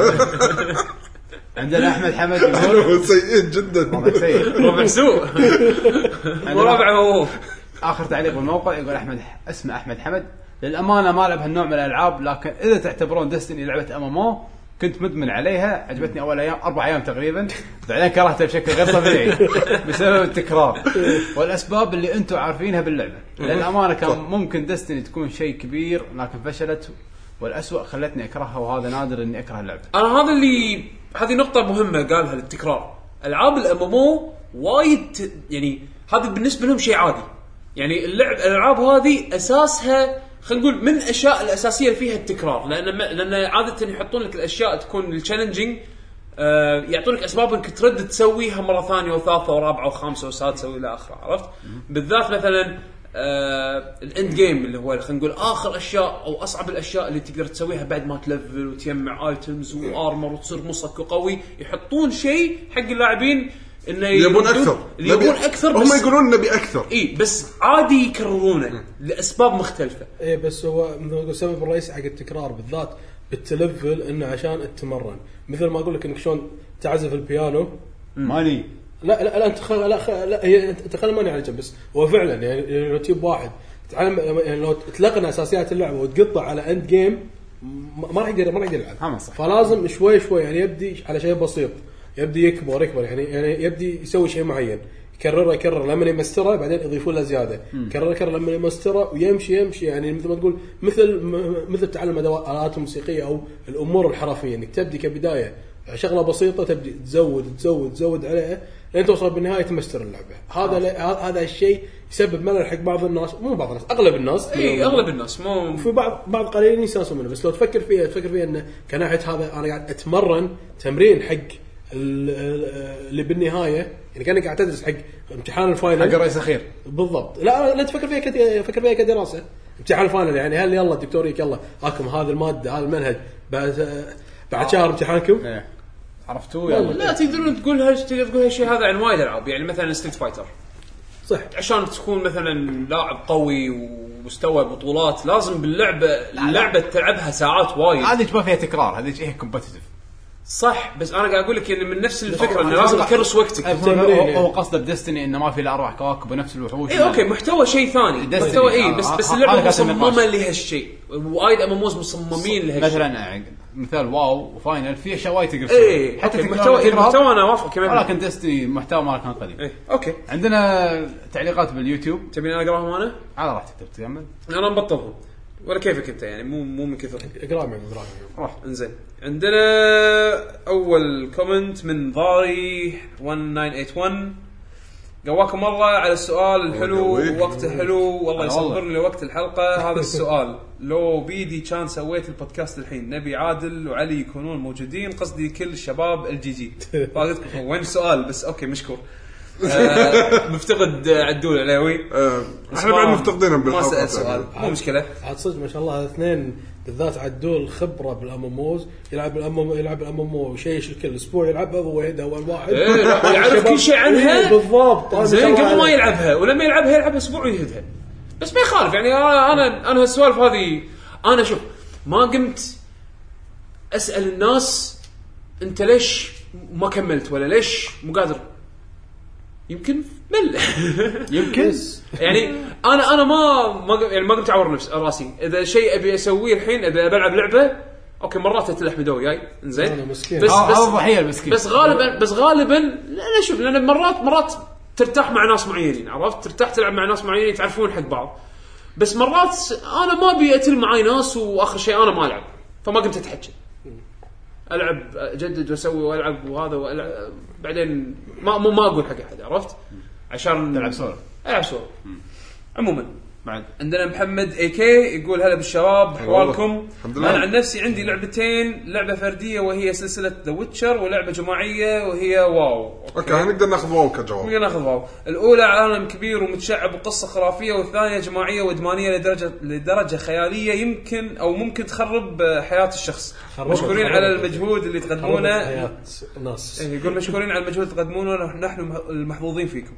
عندنا احمد حمد يقول
[laughs] سيئين
[laughs]
جدا
وضعك سيء
ربع سوء
[laughs]
وربع موهوب
اخر تعليق بالموقع يقول احمد اسمه احمد حمد للامانه ما العب هالنوع من الالعاب لكن اذا تعتبرون ديستني لعبه ام ام او كنت مدمن عليها عجبتني اول ايام اربع ايام تقريبا بعدين كرهتها بشكل غير طبيعي بسبب التكرار والاسباب اللي انتم عارفينها باللعبه للامانه كان ممكن ديستني تكون شيء كبير لكن فشلت والأسوأ خلتني اكرهها وهذا نادر اني اكره اللعبه
انا هذا اللي هذه نقطة مهمة قالها للتكرار العاب الامامو وايد ت- يعني هذا بالنسبة لهم شيء عادي يعني اللعب الالعاب هذه اساسها خلينا نقول من الاشياء الاساسيه اللي فيها التكرار لان ما- لان عاده يحطون لك الاشياء تكون التشالنجينج آه يعطونك اسباب انك ترد تسويها مره ثانيه وثالثه ورابعه وخامسه وسادسه والى اخره عرفت؟ بالذات مثلا آه الاند جيم اللي هو خلينا نقول اخر اشياء او اصعب الاشياء اللي تقدر تسويها بعد ما تلفل وتجمع ايتمز وارمر وتصير مصك وقوي يحطون شيء حق اللاعبين انه
يبون
يردون-
اكثر
يبون اكثر
هم
بس إيه.
يقولون نبي اكثر
اي بس عادي يكررونه لاسباب مختلفه
ايه بس هو مثل ما أقول السبب الرئيسي حق التكرار بالذات بالتلفل انه عشان تتمرن مثل ما اقول لك انك شلون تعزف البيانو
ماني
لا لا لا انت خل... لا, خ... لا هي انت أنت خل ماني على جنب بس هو فعلا يعني لو تجيب واحد تعلم يعني لو تلقن اساسيات اللعبه وتقطع على اند جيم ما ما راح يقدر ما راح يقدر يلعب
هم صح.
فلازم شوي شوي يعني يبدي على شيء بسيط يبدي يكبر يكبر يعني يعني يبدي يسوي شيء معين يكرره يكرر لما يمستره بعدين يضيفون له زياده يكرره يكرر لما يمستره ويمشي يمشي يعني مثل ما تقول مثل م- مثل تعلم ادوات الات الموسيقيه او الامور الحرفيه انك تبدي كبدايه شغله بسيطه تبدي تزود تزود تزود عليها لين توصل بالنهايه تمستر اللعبه هذا ل- هذا الشيء يسبب ملل حق بعض الناس مو بعض الناس اغلب الناس
اي اغلب الناس مو
وفي بعض بعض قليلين يستانسون منه بس لو تفكر فيها تفكر فيها انه كناحيه هذا انا قاعد اتمرن تمرين حق ال- ال- اللي بالنهايه يعني كانك قاعد تدرس حق امتحان
حق
الفاينل
الرئيس الاخير
بالضبط لا لا تفكر فيها كد... فكر فيها كدراسه امتحان الفاينل يعني هل يلا دكتوريك يلا هاكم هذه الماده هذا المنهج بعد بعد شهر امتحانكم
إيه. عرفتوه يلا
لا تقدرون تقول هالش تقدر تقول هالشيء هذا عن وايد العاب يعني مثلا ستريت فايتر
صح
عشان تكون مثلا لاعب قوي ومستوى بطولات لازم باللعبه اللعبه تلعبها ساعات وايد
هذه ما فيها تكرار هذه هي كومبتتف
صح بس انا قاعد اقول لك يعني من نفس الفكره انه
أنا
لازم
قصد-
تكرس وقتك
هو,
تمرين
هو-
يعني.
هو قصده بدستني انه ما في الا اربع كواكب ونفس الوحوش
اي اوكي إيه، محتوى شيء ثاني
Destiny.
محتوى اي
آه،
بس
آه،
بس
آه، هذا
اللعبه
قاعد أسمي
مصممه
القصد.
لهالشيء وايد اماموز مصممين لهالشيء
مثلا آه، مثال واو وفاينل في اشياء وايد تقدر
اي
تسويها.
حتى
تقدر
المحتوى
تقرأها،
المحتوى انا اوافقك 100%.
ولكن دستني محتوى ما كان قليل
إيه، اوكي
عندنا تعليقات باليوتيوب
تبيني أنا اقراهم انا؟
على راحتك تبي تكمل
انا مبطلهم ولا كيفك انت يعني مو مو من كثرهم
اقرا معي اقرا معي.
انزين عندنا اول كومنت من ضاري 1981 قواكم الله على السؤال الحلو
قواك.
وقته حلو
هلا
والله
والله.
يصبرني لوقت الحلقه هذا السؤال [laughs] لو بيدي كان سويت البودكاست الحين نبي عادل وعلي يكونون موجودين قصدي كل الشباب الجي جي
[laughs]
فاقتكم وين السؤال بس اوكي مشكور آه، مفتقد آه، عدول عليوي
آه، احنا بعد مفتقدينهم
ما
بالحلقات
سال سؤال مو مشكله
عاد صدق ما شاء الله الاثنين بالذات عدول خبره بالاموموز يلعب الامم يلعب الامومو وشيش كل اسبوع يلعبها هو يده اول واحد
إيه، لا، يعرف كل شيء عنها.
يعني إيه، بالضبط ما شاء
زين
الله
قبل ما
عليه.
يلعبها ولما يلعبها يلعب اسبوع ويهدها بس ما يخالف يعني انا انا انا هالسوالف هذه انا شوف ما قمت اسال الناس انت ليش ما كملت ولا ليش مو قادر يمكن مل [laughs]
يمكن
يعني انا انا ما ما ق- يعني ما قمت اعور نفس راسي اذا شيء ابي اسويه الحين اذا بلعب لعبه اوكي مرات تلحم دو وياي
أنا
انزين
مسكين.
بس
آه، هذا
بس
الضحيه المسكين
بس غالبا بس غالبا لا لا شوف لان مرات مرات ترتاح مع ناس معينين عرفت ترتاح تلعب مع ناس معينين تعرفون حق بعض بس مرات انا ما ابي اتل معاي ناس واخر شيء انا ما العب فما قمت اتحكى العب اجدد واسوي والعب وهذا والعب بعدين ما ما ما اقول حق احد عرفت عشان
تلعب سولو
العب سولو عموما
بعد
عندنا محمد اي كي يقول هلا بالشباب احوالكم
الحمد لله.
انا عن نفسي عندي لعبتين لعبه فرديه وهي سلسله ذا ويتشر ولعبه جماعيه وهي واو
اوكي يعني نقدر ناخذ واو كجواب
خلينا ناخذ واو الاولى عالم كبير ومتشعب وقصه خرافيه والثانيه جماعيه وادمانيه لدرجه لدرجه خياليه يمكن او ممكن تخرب آه، حياه الشخص
خربت-
مشكورين
خربت.
على المجهود اللي تقدمونه
حياة ناس
إيه، يقول مشكورين على المجهود اللي تقدمونه نحن المحظوظين فيكم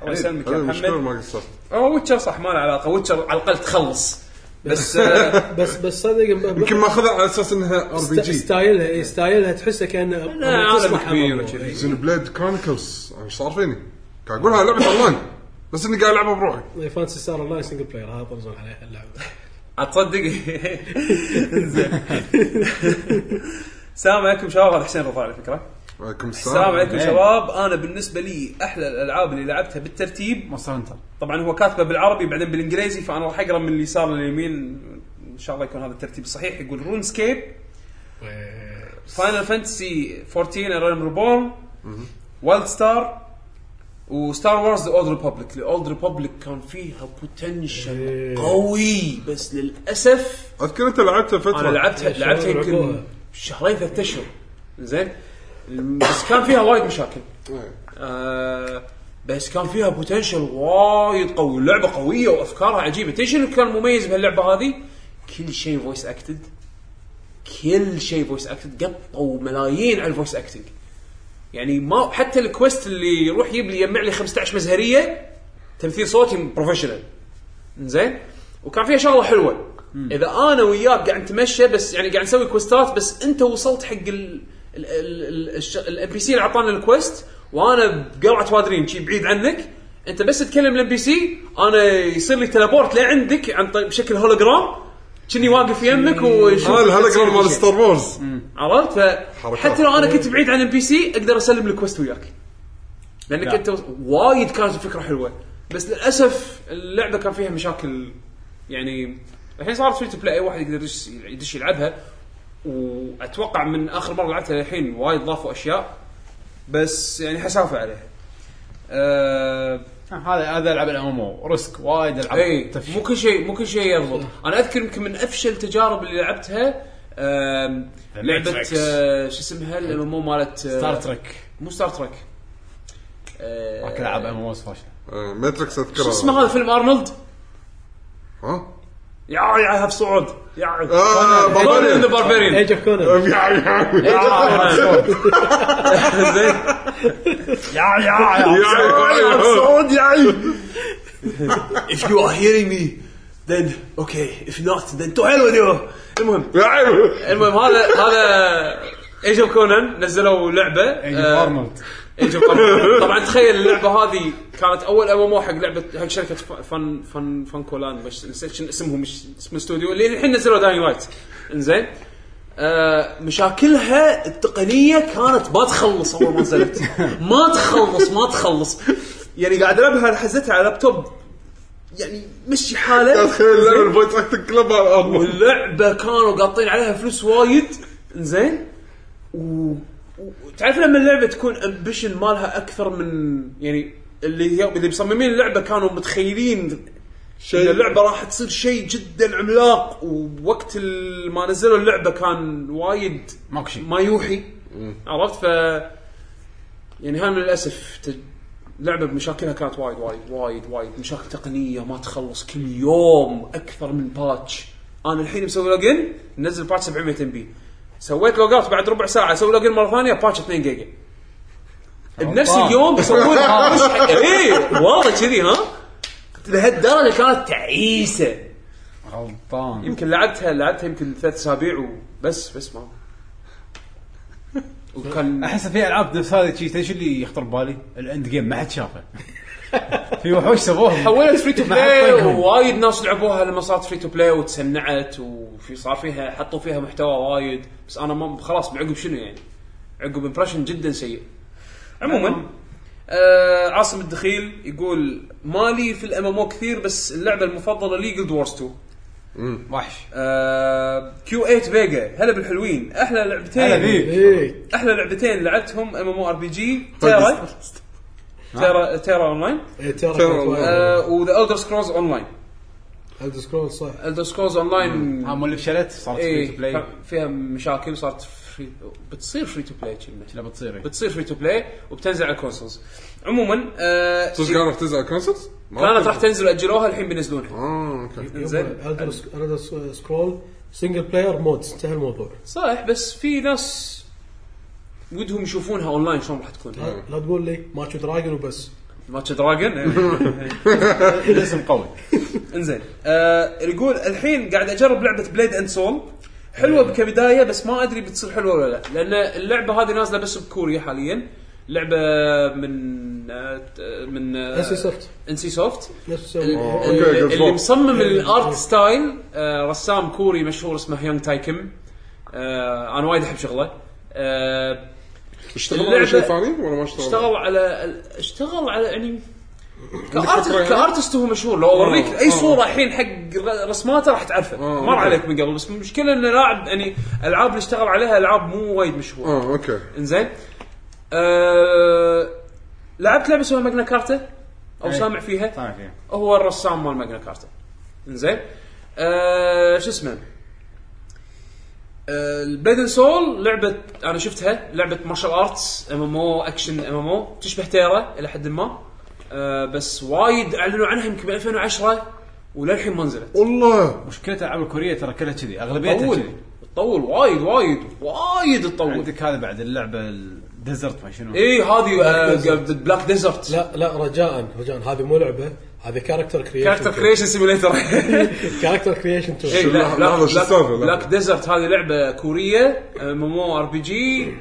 الله يسلمك يا
هذا المشكلة
محمد
إيه، ما قصرت
او ويتشر صح ما له علاقه ويتشر على الاقل تخلص بس آه،
بس بس صدق
يمكن ماخذها على اساس انها ار بي
است-
جي
ستايلها إيه، ستايلها تحسه كانه
لا،
تصلح
عالم
أمامه.
كبير وكذي
زين بليد كرونيكلز انا ايش صار فيني؟ قاعد اقول هاي لعبه اونلاين بس اني قاعد العبها بروحي
إيه، فانسي ستار اون لاين سنجل بلاير هذا طرزون عليها اللعبه
اتصدق زين السلام عليكم شباب هذا حسين رضا على فكره
عليكم
السلام
السلام
عليكم شباب انا بالنسبه لي احلى الالعاب اللي لعبتها بالترتيب
مونستر هانتر
طبعا هو كاتبه بالعربي بعدين بالانجليزي فانا راح اقرا من اليسار لليمين ان شاء الله يكون هذا الترتيب الصحيح يقول رون سكيب
إيه.
فاينل فانتسي 14 ريم ريبورن وايلد ستار وستار وارز ذا اولد ريبوبليك الاولد ريبوبليك كان فيها بوتنشل قوي بس للاسف
اذكر انت لعبتها فتره
انا
آه،
لعبتها
إيش
لعبتها
شلون
يمكن
لعبوها؟
شهرين ثلاث اشهر زين بس كان فيها وايد مشاكل
إيه.
آه بس كان فيها بوتنشل وايد قوي اللعبه قويه وافكارها عجيبه تدري شنو كان مميز بهاللعبه هذه؟ كل شيء فويس اكتد كل شيء فويس اكتد قطوا ملايين على الفويس اكتنج يعني ما حتى الكويست اللي يروح يجيب لي يجمع لي 15 مزهريه تمثيل صوتي بروفيشنال زين وكان فيها شغله حلوه اذا انا وياك قاعد نتمشى بس يعني قاعد نسوي كويستات بس انت وصلت حق ال الام بي سي اللي اعطانا الكويست وانا بقرعه وادرين شي بعيد عنك انت بس تكلم الام بي سي انا يصير لي تلابورت لعندك عن طريق بشكل هولوجرام كني واقف يمك وشوف
اه
بتصير
الهولوجرام مال
بالشيء.
ستار وورز
عرفت
حركات.
فحتى لو انا كنت بعيد عن ام بي سي اقدر اسلم الكوست وياك لانك
لا.
انت وايد كانت الفكره حلوه بس للاسف اللعبه كان فيها مشاكل يعني الحين صارت فري تو بلاي اي واحد يقدر يدش- يدش يلعبها واتوقع من اخر مره لعبتها للحين وايد ضافوا اشياء بس يعني حسافه عليها. أه
آه، هذا هذا العاب الام ام او ريسك وايد العاب
اي
تفشي.
إيه، مو كل شيء مو كل شيء يضبط انا اذكر يمكن من افشل تجارب اللي لعبتها آم، لعبه
Matrix.
آه، شو اسمها الامو مالت آه،
ستار تريك
مو ستار ترك آه،
راك العاب ام ام اوز فاشله
آه، ماتريكس اذكرها
شو اسمه هذا فيلم ارنولد
ها؟
يا يا هب صعود يا
اه
ذا
باربريان
باربرين
ايج اوف كونر
Um,
يا يا
[laughs] آه.
زين
يا يا
يا يا
If you are hearing me, then okay. If not, then to hell with you. المهم
يا
المهم هذا هذا ايج اوف كونان نزلوا لعبه
Age of
آه،
Arnold.
Age of Arnold. طبعا تخيل اللعبه هذه كانت اول ام ام او حق لعبه حق شركه ف- فن فن فانكولان مش نسيت شنو اسمهم مش اسم الاستوديو اللي الحين نزلوا داين لايت انزين آه، مشاكلها التقنيه كانت ما تخلص اول ما نزلت ما تخلص ما تخلص يعني قاعد العبها حزتها على لابتوب يعني مشي حاله
تخيل لعبه الفويس اكتنج كلب على الارض
واللعبه كانوا قاطين عليها فلوس وايد زين و... وتعرف لما اللعبه تكون امبيشن مالها اكثر من يعني اللي اللي مصممين اللعبه كانوا متخيلين شيء اللعبه راح تصير شيء جدا عملاق ووقت ال- ما نزلوا اللعبه كان وايد
ماكو شيء
ما يوحي عرفت ف يعني هاي من للاسف ت... لعبه بمشاكلها كانت وايد وايد وايد وايد مشاكل تقنيه ما تخلص كل يوم اكثر من باتش انا الحين مسوي لوجن نزل باتش 700 ام بي سويت لوج اوت بعد ربع ساعه اسوي لوجن مره ثانيه باتش 2 جيجا بنفس اليوم يسوون اي والله كذي ها لهالدرجه كانت تعيسه
غلطان
يمكن لعبتها لعبتها يمكن ثلاث اسابيع وبس بس ما وكان
احس في العاب نفس هذه شي تدري شو اللي يخطر ببالي؟ الاند جيم ما حد شافه [laughs] في وحوش سووها
حولت فري تو
ما حد
بلاي
طايقهم.
ووايد ناس لعبوها لما صارت فري تو بلاي وتسنعت وفي صار فيها حطوا فيها محتوى وايد بس انا ما خلاص عقب شنو يعني؟ عقب امبرشن جدا سيء. عموما آه عاصم الدخيل يقول مالي في الام ام او كثير بس اللعبه المفضله لي جلد وورز 2
وحش
كيو 8 فيجا هلا بالحلوين احلى
هلا
لعبتين
بيك.
اي
احلى لعبتين لعبتهم ام ام او ار بي جي
طيب.
تيرا تيرا تيرا اونلاين
إيه، ترى
وذا الدر سكرولز اونلاين
هذا سكرول صح
الدر سكرولز اونلاين
هم اللي فشلت صارت
إيه.
فري تو بلاي
فيها مشاكل صارت فري بتصير فري تو بلاي
لا بتصير إيه.
بتصير فري تو بلاي وبتنزل على الكونسولز عموما آه
صدق كانت راح تنزل كونسبت؟
كانت راح تنزل اجلوها الحين بينزلونها
اه اوكي
زين
هذا سكرول سنجل بلاير مودز انتهى الموضوع
صح بس في ناس ودهم يشوفونها اونلاين شلون راح تكون
لا لا تقول لي ماتش دراجون وبس
ماتش دراجون
الاسم قوي
انزين آه يقول الحين قاعد اجرب لعبه بليد اند سول حلوه كبدايه بس ما ادري بتصير حلوه ولا لا لان اللعبه إيه. هذه نازله بس بكوريا حاليا لعبه من آه، من آه،
NC Soft.
ان سي سوفت
نفس
إيه،
إيه،
أوكي، good
اللي
job.
مصمم الارت ستايل آه، رسام كوري مشهور اسمه يونغ تاي كيم آه، انا وايد احب شغله آه،
اشتغل
اللعبة-
على شيء ثاني ولا ما اشتغل؟
اشتغل على ال- اشتغل على يعني
فكرة يعني؟
كارتست كارتست هو مشهور لو اوريك
آه،
اي
آه.
صوره الحين حق ر- رسماته راح تعرفه
آه،
مر
أوكي.
عليك من قبل بس المشكله انه لاعب يعني الالعاب اللي اشتغل عليها العاب مو وايد مشهوره
اه اوكي
انزين أه... لعبت لعبه اسمها ماجنا كارتا او
إيه.
سامع فيها
سامع فيها
هو الرسام مال ماجنا كارتا انزين آه شو اسمه آه، البليد سول لعبه انا شفتها لعبه مارشال ارتس ام ام او اكشن ام ام او تشبه تيرا الى حد ما آه بس وايد اعلنوا عنها يمكن ب 2010 وللحين ما نزلت
والله
مشكله الالعاب الكوريه ترى كلها كذي اغلبيتها
تطول
كذي
تطول وايد وايد وايد تطول
عندك هذا بعد اللعبه الديزرت ما شنو
اي هذه آه،
Desert.
بلاك ديزرت
لا لا رجاء رجاء هذه مو لعبه هذه كاركتر كرييشن
كاركتر كريشن سيميليتر
[laughs] كاركتر كرييشن تو
اي
لحظة- لحظة، شو السالفة؟ لحظة.
بلاك ديزرت هذه آه، لعبه كوريه مو ار بي جي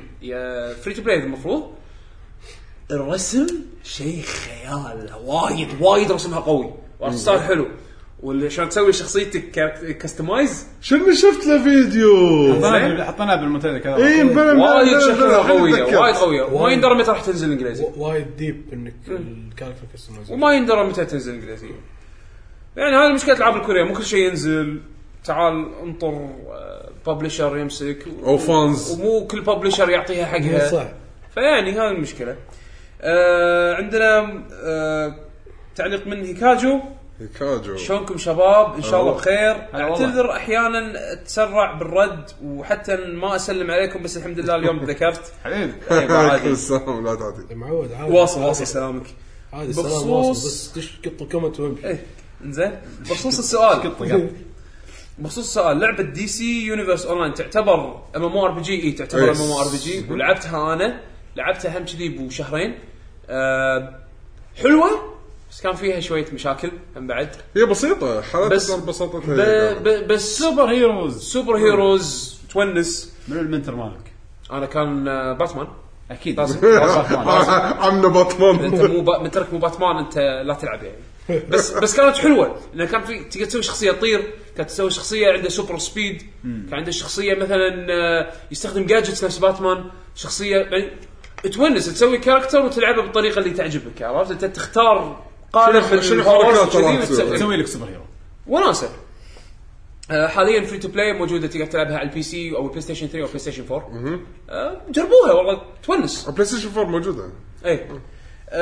فري تو بلاي المفروض الرسم شيء خيال وايد وايد رسمها قوي وارتستايل حلو وعشان تسوي شخصيتك كاستمايز
شنو شفت له فيديو؟
حطيناها
زين.
بال- حطيناها بالمنتدى كذا
اي بلا
وايد شكلها قويه وايد
قوي
قويه وما يندرى متى راح تنزل انجليزي
وايد ديب انك
إيه.
الكاركتر كستمايزيشن
وما يندرى متى تنزل انجليزيه يعني هذه مشكله العاب الكوريه مو كل شيء ينزل تعال انطر ببلشر يمسك
او فانز
ومو كل ببلشر يعطيها حقها
إيه، صح
فيعني هذه المشكله آه عندنا آه تعليق من هيكاجو
كاجو
شلونكم شباب ان شاء الله
أهلا.
بخير
هلا والله.
اعتذر احيانا اتسرع بالرد وحتى ما اسلم عليكم بس الحمد
[laughs]
لله اليوم تذكرت
حبيبي
[laughs]
إيه،
عليكم السلام لا تعطي
طيب، معود عادي
واصل واصل سلامك
عادي السلام
بخصوص-
واصل بس دش قط كومنت وامشي
ايه انزين بخصوص السؤال
قطه قط.
بخصوص السؤال لعبه دي سي يونيفرس اونلاين تعتبر ام ام ار بي جي اي تعتبر ام
Yes.
ام ار بي جي ولعبتها انا لعبتها هم كذي بشهرين آه حلوه بس كان فيها شويه مشاكل هم بعد
هي بسيطة حالات
بس-
بس بساطتها
ب...
هي.
ب... بس
سوبر هيروز
سوبر هيروز تونس
من المنتر مالك
انا كان آه، باتمان
اكيد [laughs]
لازم.
وصلت
[laughs]
مالك. [laughs]
عمنا
انت
باتمان
مو با... من ترك مو باتمان انت لا تلعب يعني بس بس كانت حلوه لان كان في تقدر تسوي شخصيه تطير كانت تسوي شخصيه عنده سوبر سبيد كان عنده شخصيه مثلا آه، يستخدم جادجتس نفس باتمان شخصيه يعني تونس تسوي كاركتر وتلعبه بالطريقه اللي تعجبك عرفت انت تختار قالب
شنو-
من
شنو
الهورس
الحركات اللي
وكذي
راح تسوي؟
وتسوي.
تسوي لك سوبر هيرو
وناسه آه، حاليا فري تو بلاي موجوده تقدر تلعبها على البي سي او البلاي ستيشن 3 او البلاي ستيشن 4 آه، جربوها والله تونس
[laughs] بلاي ستيشن 4 موجودة
اي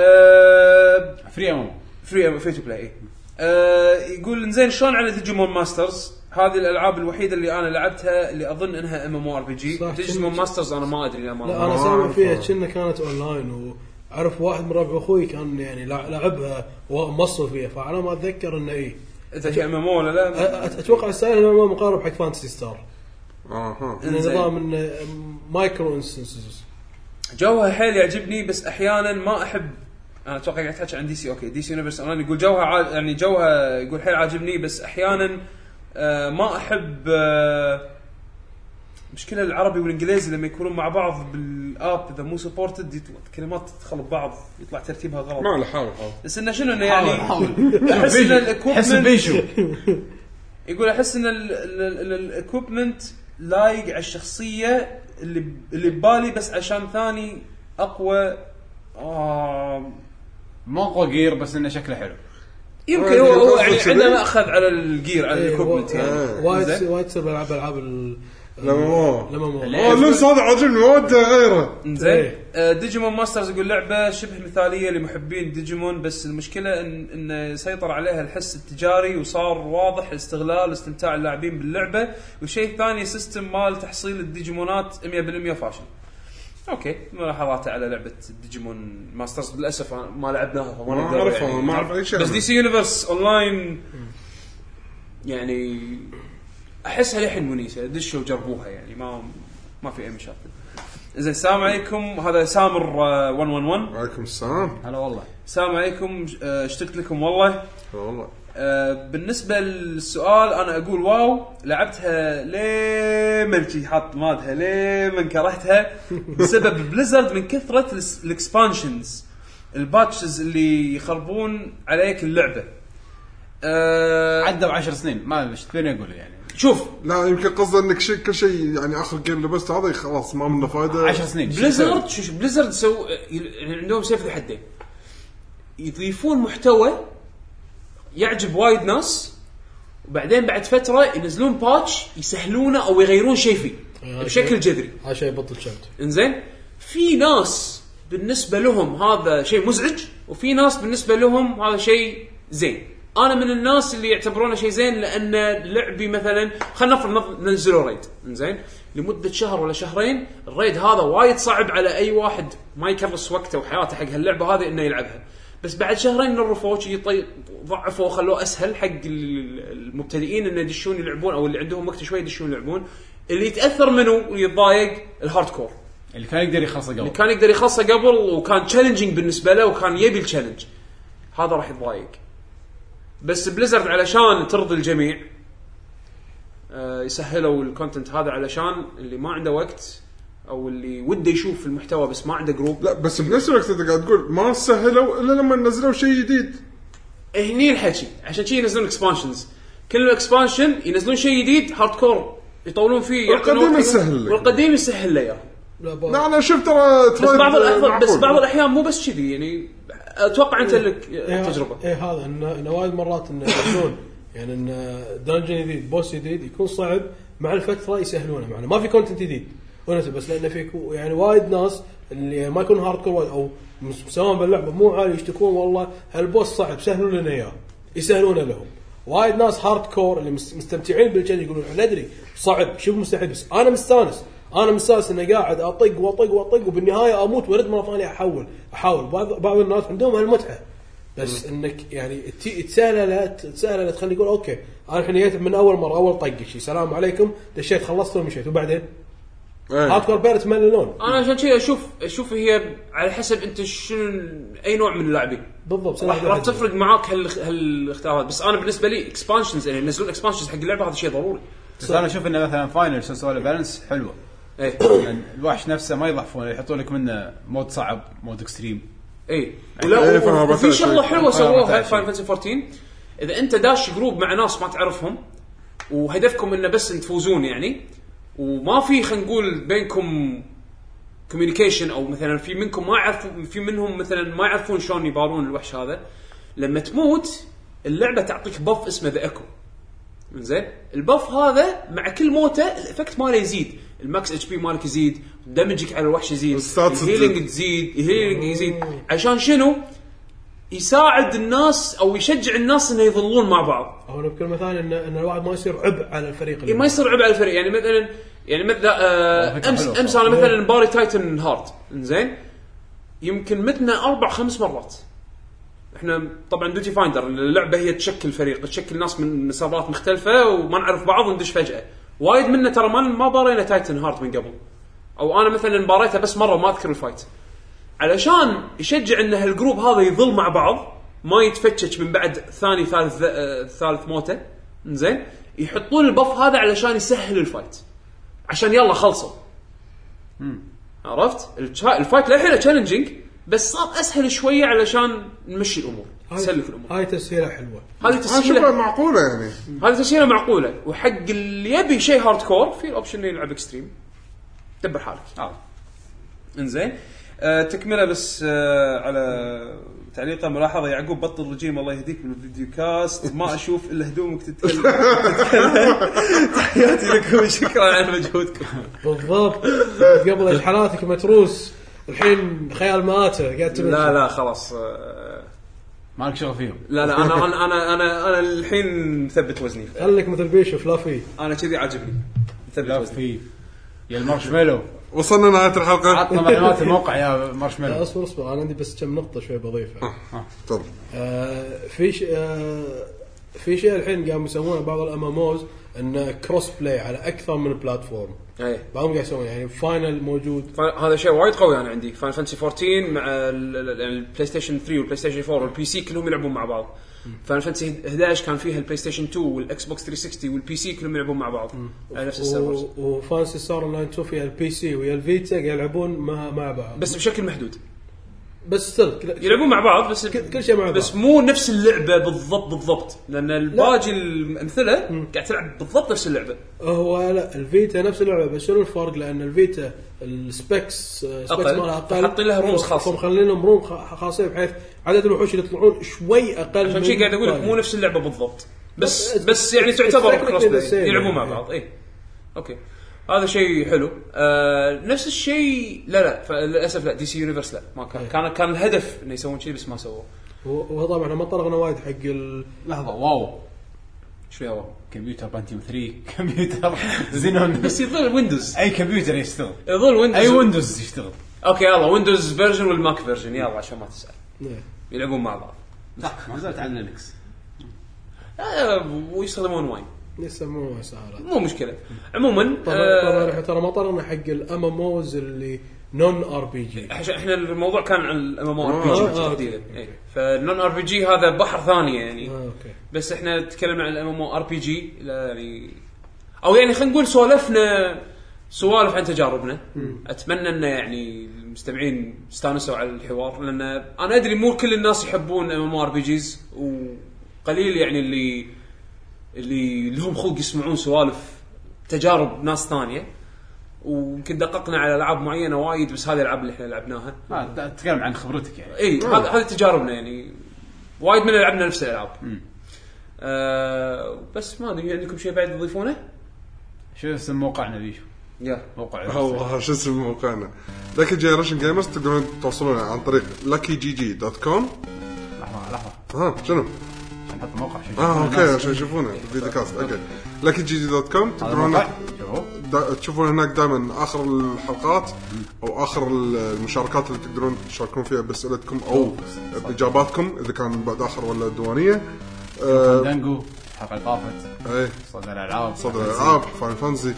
آه،
فري ام
فري فري تو بلاي إي. آه، يقول زين شلون على ديجيمون ماسترز؟ هذه الالعاب الوحيده اللي انا لعبتها اللي اظن انها ام ام ار بي جي
صح،
ديجيمون
كنا-
ماسترز انا ما ادري
لا
للامانه
انا سامع فيها
آه.
كنا كانت اونلاين وعرف واحد من ربع اخوي كان يعني لع- لعبها ومصر فيها فعلى ما إيه. اتذكر انه اي
اذا هي ام ام او ولا لا
اتوقع السائل انه مقارب حق فانتسي ستار
اها
إنه
إنزين.
نظام انه مايكرو انستنسز
جوها حيل يعجبني بس احيانا ما احب انا اتوقع قاعد تحكي عن دي سي اوكي دي سي يونيفرس اونلاين يقول جوها عا... يعني جوها يقول حيل عاجبني بس احيانا آه ما احب آه مشكله العربي والانجليزي لما يكونون مع بعض بالاب اذا مو سبورتد كلمات تدخل ببعض يطلع ترتيبها غلط
ما له حاول حاول
بس انه شنو انه
حاول،
يعني
حاول.
احس ان
حس
الاكوبمنت
بيشو
يقول احس ان ال- ال- ال- الاكوبمنت لايق على الشخصيه اللي ب- اللي ببالي بس عشان ثاني اقوى آه
مو اقوى جير بس انه شكله حلو
يمكن هو هو
قصدك
يعني
شذي؟
عنده ماخذ على الجير على
إيه، هو-
الاكوبمنت يعني
آه.
وايد
زين.
وايد تصير بالعاب العاب ال-
لما مو
لما مو
لا.
اه اللبس هذا عاجبني وايد غيره
زين
إيه.
آه، ديجيمون ماسترز يقول لعبه شبه مثاليه لمحبين ديجيمون بس المشكله ان انه سيطر عليها الحس التجاري وصار واضح استغلال استمتاع اللاعبين باللعبه والشيء الثاني سيستم مال تحصيل الديجيمونات 100% فاشل. اوكي ملاحظاتي على لعبه ديجيمون ماسترز للاسف أنا ما لعبناها فما
ما
نقدر
اعرفها
يعني.
ما اعرف اي شيء
بس دي
عنها.
سي يونيفرس اونلاين يعني احسها للحين منيسه دشوا وجربوها يعني ما ما في اي مشاكل. زين السلام عليكم هذا سامر آه، 111
وعليكم السلام
هلا والله
السلام عليكم آه، اشتقت لكم والله
هلا والله
آه، بالنسبه للسؤال انا اقول واو لعبتها لمن شي حاط مادها لمن كرهتها بسبب بليزرد من كثره الاس- الاكسبانشنز الباتشز اللي يخربون عليك اللعبه آه،
عدوا 10 سنين ما ادري ايش تبيني اقول يعني
شوف
لا يمكن قصده انك شيء كل شيء يعني اخر جيم لبست هذا خلاص ما منه فائده
10 سنين
بليزرد شو شو- بليزرد سو يعني عندهم سيف ذو حدين يضيفون محتوى يعجب وايد ناس وبعدين بعد فتره ينزلون باتش يسهلونه او يغيرون شيء فيه
آه،
بشكل جذري
هذا شيء بطل شمت
انزين في ناس بالنسبه لهم هذا شيء مزعج وفي ناس بالنسبه لهم هذا شيء زين انا من الناس اللي يعتبرونه شيء زين لان لعبي مثلا خلينا نفرض نف- ننزلوا ريد انزين لمده شهر ولا شهرين الريد هذا وايد صعب على اي واحد ما يكرس وقته وحياته حق هاللعبه هذه انه يلعبها بس بعد شهرين نرفوه شي طي- ضعفوا وخلوه اسهل حق ال- المبتدئين انه يدشون يلعبون او اللي عندهم وقت شوي يدشون يلعبون اللي يتاثر منه ويتضايق الهارد كور
اللي كان يقدر يخلصه قبل
كان يقدر يخلصه قبل وكان تشالنجينج بالنسبه له وكان يبي التشالنج هذا راح يتضايق بس بليزرد علشان ترضي الجميع آه، يسهلوا الكونتنت هذا علشان اللي ما عنده وقت او اللي وده يشوف المحتوى بس ما عنده جروب
لا بس بنفس الوقت انت قاعد تقول ما سهلوا الا لما نزلوا شيء جديد
هني الحكي عشان شي ينزلون اكسبانشنز كل اكسبانشن ينزلون شيء جديد هارد كور يطولون فيه يعطون
والقديم
وقت-
يسهل لك.
والقديم يسهل له اياه
لا
لا
بقى.
انا شفت ترى
بس بعض الأحيان-
طيب،
بس
معقول.
بعض الاحيان مو بس كذي يعني اتوقع انت لك
إيه،
تجربه
ايه هذا انه إنه وايد مرات انه يسهلون يعني انه دنجن جديد بوس جديد يكون صعب مع الفتره يسهلونه معنا ما في كونتنت جديد ونسى بس لانه في كو- يعني وايد ناس اللي ما يكون هارد كور وايد او مس- مستواهم باللعبه مو عالي يشتكون والله هالبوس صعب سهلوا لنا اياه يسهلونه لهم وايد ناس هارد كور اللي مس- مستمتعين بالجن يقولون احنا ندري صعب شبه مستحيل بس انا مستانس انا مستانس اني قاعد اطق واطق واطق وبالنهايه اموت وارد مره ثانيه احول احاول بعض بعض الناس عندهم هالمتعه بس انك يعني تي- تسهل لا تسهل لا تخلي يقول اوكي انا الحين جيت من اول مره اول طق شي سلام عليكم دشيت خلصت ومشيت وبعدين
إيه.
هارد كور بيرت مللون
انا عشان كذا اشوف اشوف هي على حسب انت شنو اي نوع من اللاعبين
بالضبط سلام
راح راح
عليكم.
تفرق معاك هال هالاختيارات بس انا بالنسبه لي اكسبانشنز يعني ينزلون اكسبانشنز حق اللعبه هذا شيء ضروري
بس انا اشوف انه مثلا فاينل سوسوال بالانس حلوه
اي
يعني الوحش نفسه ما يضعفونه يحطوا لك منه مود صعب مود اكستريم
اي
إيه، فاهم،
ولا وفي
بتعرف
شغله
شيء.
حلوه سووها
بتعرف شيء.
فاين فانتسي 14 اذا انت داش جروب مع ناس ما تعرفهم وهدفكم انه بس إن تفوزون يعني وما في خلينا نقول بينكم كوميونيكيشن او مثلا في منكم ما يعرف في منهم مثلا ما يعرفون شلون يبارون الوحش هذا لما تموت اللعبه تعطيك بف اسمه ذا اكو زين البف هذا مع كل موته الافكت ماله يزيد الماكس اتش بي مالك يزيد دمجك على الوحش يزيد
الستاتس
الهيلينج تزيد الهيلينج يزيد عشان شنو؟ يساعد الناس او يشجع الناس انه يظلون مع بعض
او بكلمه ثانيه ان, إن الواحد ما يصير عبء على الفريق اللي
ما يصير عبء على الفريق يعني مثلا يعني مثلا آه
فكرة
امس
حلوة
امس انا مثلا باري تايتن هارت زين يمكن متنا اربع خمس مرات احنا طبعا دوتي فايندر اللعبه هي تشكل فريق تشكل ناس من سيرفرات مختلفه وما نعرف بعض وندش فجاه وايد منا ترى ما ما بارينا تايتن هارت من قبل او انا مثلا باريتها بس مره وما اذكر الفايت علشان يشجع ان هالجروب هذا يظل مع بعض ما يتفتش من بعد ثاني ثالث آه، ثالث موته زين يحطون البف هذا علشان يسهل الفايت عشان يلا خلصوا عرفت الشا- الفايت للحين تشالنجينج بس صار اسهل شويه علشان نمشي الامور نسلك الامور
هاي تسهيله حلوه
هذه
انا اشوفها
تسهيله
معقوله يعني
هذه تسهيله معقوله وحق اللي يبي شيء هارد كور في الاوبشن اللي يلعب اكستريم دبر حالك
انزين آه تكمله بس آه على تعليقه ملاحظه يعقوب بطل رجيم الله يهديك من الفيديو كاست ما اشوف الا هدومك تتكلم تتكلم. تحياتي لكم شكرا على مجهودكم
بالضبط [laughs] قبل اشحاناتك متروس الحين خيال مآتة قاعد تمشي.
لا لا خلاص آه،
مالك شغل فيهم
لا لا انا انا انا انا, أنا الحين مثبت وزني
خليك مثل بيشوف لا في
انا كذي عاجبني مثبت
لا
وزني
في يا المارشميلو
وصلنا نهايه الحلقه
عطنا معلومات الموقع يا
لا،
مارشميلو
اصبر اصبر انا عندي بس كم نقطه شوي بضيفها
تفضل
آه، في ش... آه، في شيء الحين قاموا يسوونه بعض الاماموز انه كروس بلاي على اكثر من بلاتفورم
اي
بعضهم قاعد يسوون يعني فاينل موجود
ف- إيه. هذا شيء وايد قوي انا عندي فاين فانتسي 14 مع ال- ال- ال- البلاي ستيشن 3 والبلاي ستيشن 4 والبي سي كلهم يلعبون مع بعض فاين فانتسي 11 كان فيها البلاي ستيشن 2 والاكس بوكس 360 والبي سي كلهم يلعبون مع بعض على نفس السيرفرز
و- وفانسي ستار اون لاين 2 فيها البي سي ويا الفيتا قاعد يلعبون مع مع بعض
بس بشكل محدود
بس still كل-
يلعبون مع بعض بس
كل- كل شيء مع بعض.
بس مو نفس اللعبه بالضبط بالضبط لان الباقي الامثله قاعد تلعب بالضبط نفس اللعبه
هو لا الفيتا نفس اللعبه بس شنو الفرق لان الفيتا السبكس آه، سبكس
أقل.
مالها اقل
حاطين لها رموز خاصة.
مخلين لهم روم خ- خاصه بحيث عدد الوحوش اللي يطلعون شوي اقل
عشان
من
شي قاعد اقول لك
الثانية.
مو نفس اللعبه بالضبط بس
طيب. بس-
بس يعني
بس-
تعتبر
بس
كروس
technically the same
بلاي يلعبون
يعني.
مع بعض اي اوكي هذا شيء حلو آه نفس الشيء لا لا ف- للاسف لا دي سي يونيفرس لا ما
إيه.
كان كان كان الهدف انه يسوون شيء بس ما سووه
و- وطبعا احنا ما طرقنا وايد حق ال...
لحظه واو
ايش فيها والله؟
كمبيوتر بانتيوم 3 [laughs] كمبيوتر زينون
بس يظل ويندوز
اي كمبيوتر يشتغل
يظل ويندوز
اي ويندوز يشتغل
اوكي يلا ويندوز فيرجن والماك فيرجن يلا عشان ما تسال
نعم.
يلعبون مع بعض
لا ما زلت على لينكس
آه ويستخدمون واين
يسموها سهرات
مو مشكله عموما
طبعا
آه،
طبعا احنا ترى ما طرقنا حق الام ام اوز اللي نون ار بي جي
عشان احنا الموضوع كان عن الام ام ار
آه،
بي
آه،
جي
أوكي.
تحديدا إيه. فالنون ار بي جي هذا بحر ثاني يعني
اوكي
بس احنا تكلمنا عن الام ام ار بي جي يعني او يعني خلينا نقول سولفنا سوالف عن تجاربنا اتمنى ان يعني المستمعين استانسوا على الحوار لان انا ادري مو كل الناس يحبون ام ام ار بي جيز وقليل يعني اللي اللي لهم خلق يسمعون سوالف تجارب ناس ثانيه ويمكن دققنا على العاب معينه وايد بس هذه الالعاب اللي احنا لعبناها
تتكلم عن خبرتك يعني
اي
آه.
هذا هذه تجاربنا يعني وايد من لعبنا نفس الالعاب آه بس ما ادري عندكم شيء بعد تضيفونه؟
شو اسم موقعنا بيشو
يلا
موقع
الله شو اسم موقعنا لكي جنريشن جيمرز تقدرون توصلون عن طريق لكي جي جي دوت كوم
لحظه لحظه
ها شنو؟
عشان نحط موقع عشان
اه
يشوفون
اوكي
الناس.
عشان يشوفونه فيديو كاست اوكي لكي جي جي دوت كوم
طيب، هذا
تقدرون
موقع
هناك-
شوف.
دا- تشوفون هناك دائما اخر الحلقات او اخر ال- المشاركات اللي تقدرون تشاركون فيها باسئلتكم او باجاباتكم اذا كان بعد اخر ولا الديوانيه آه،
دانجو الحلقه اللي طافت
ايه
صدى الالعاب
صدر الالعاب فاين فانزي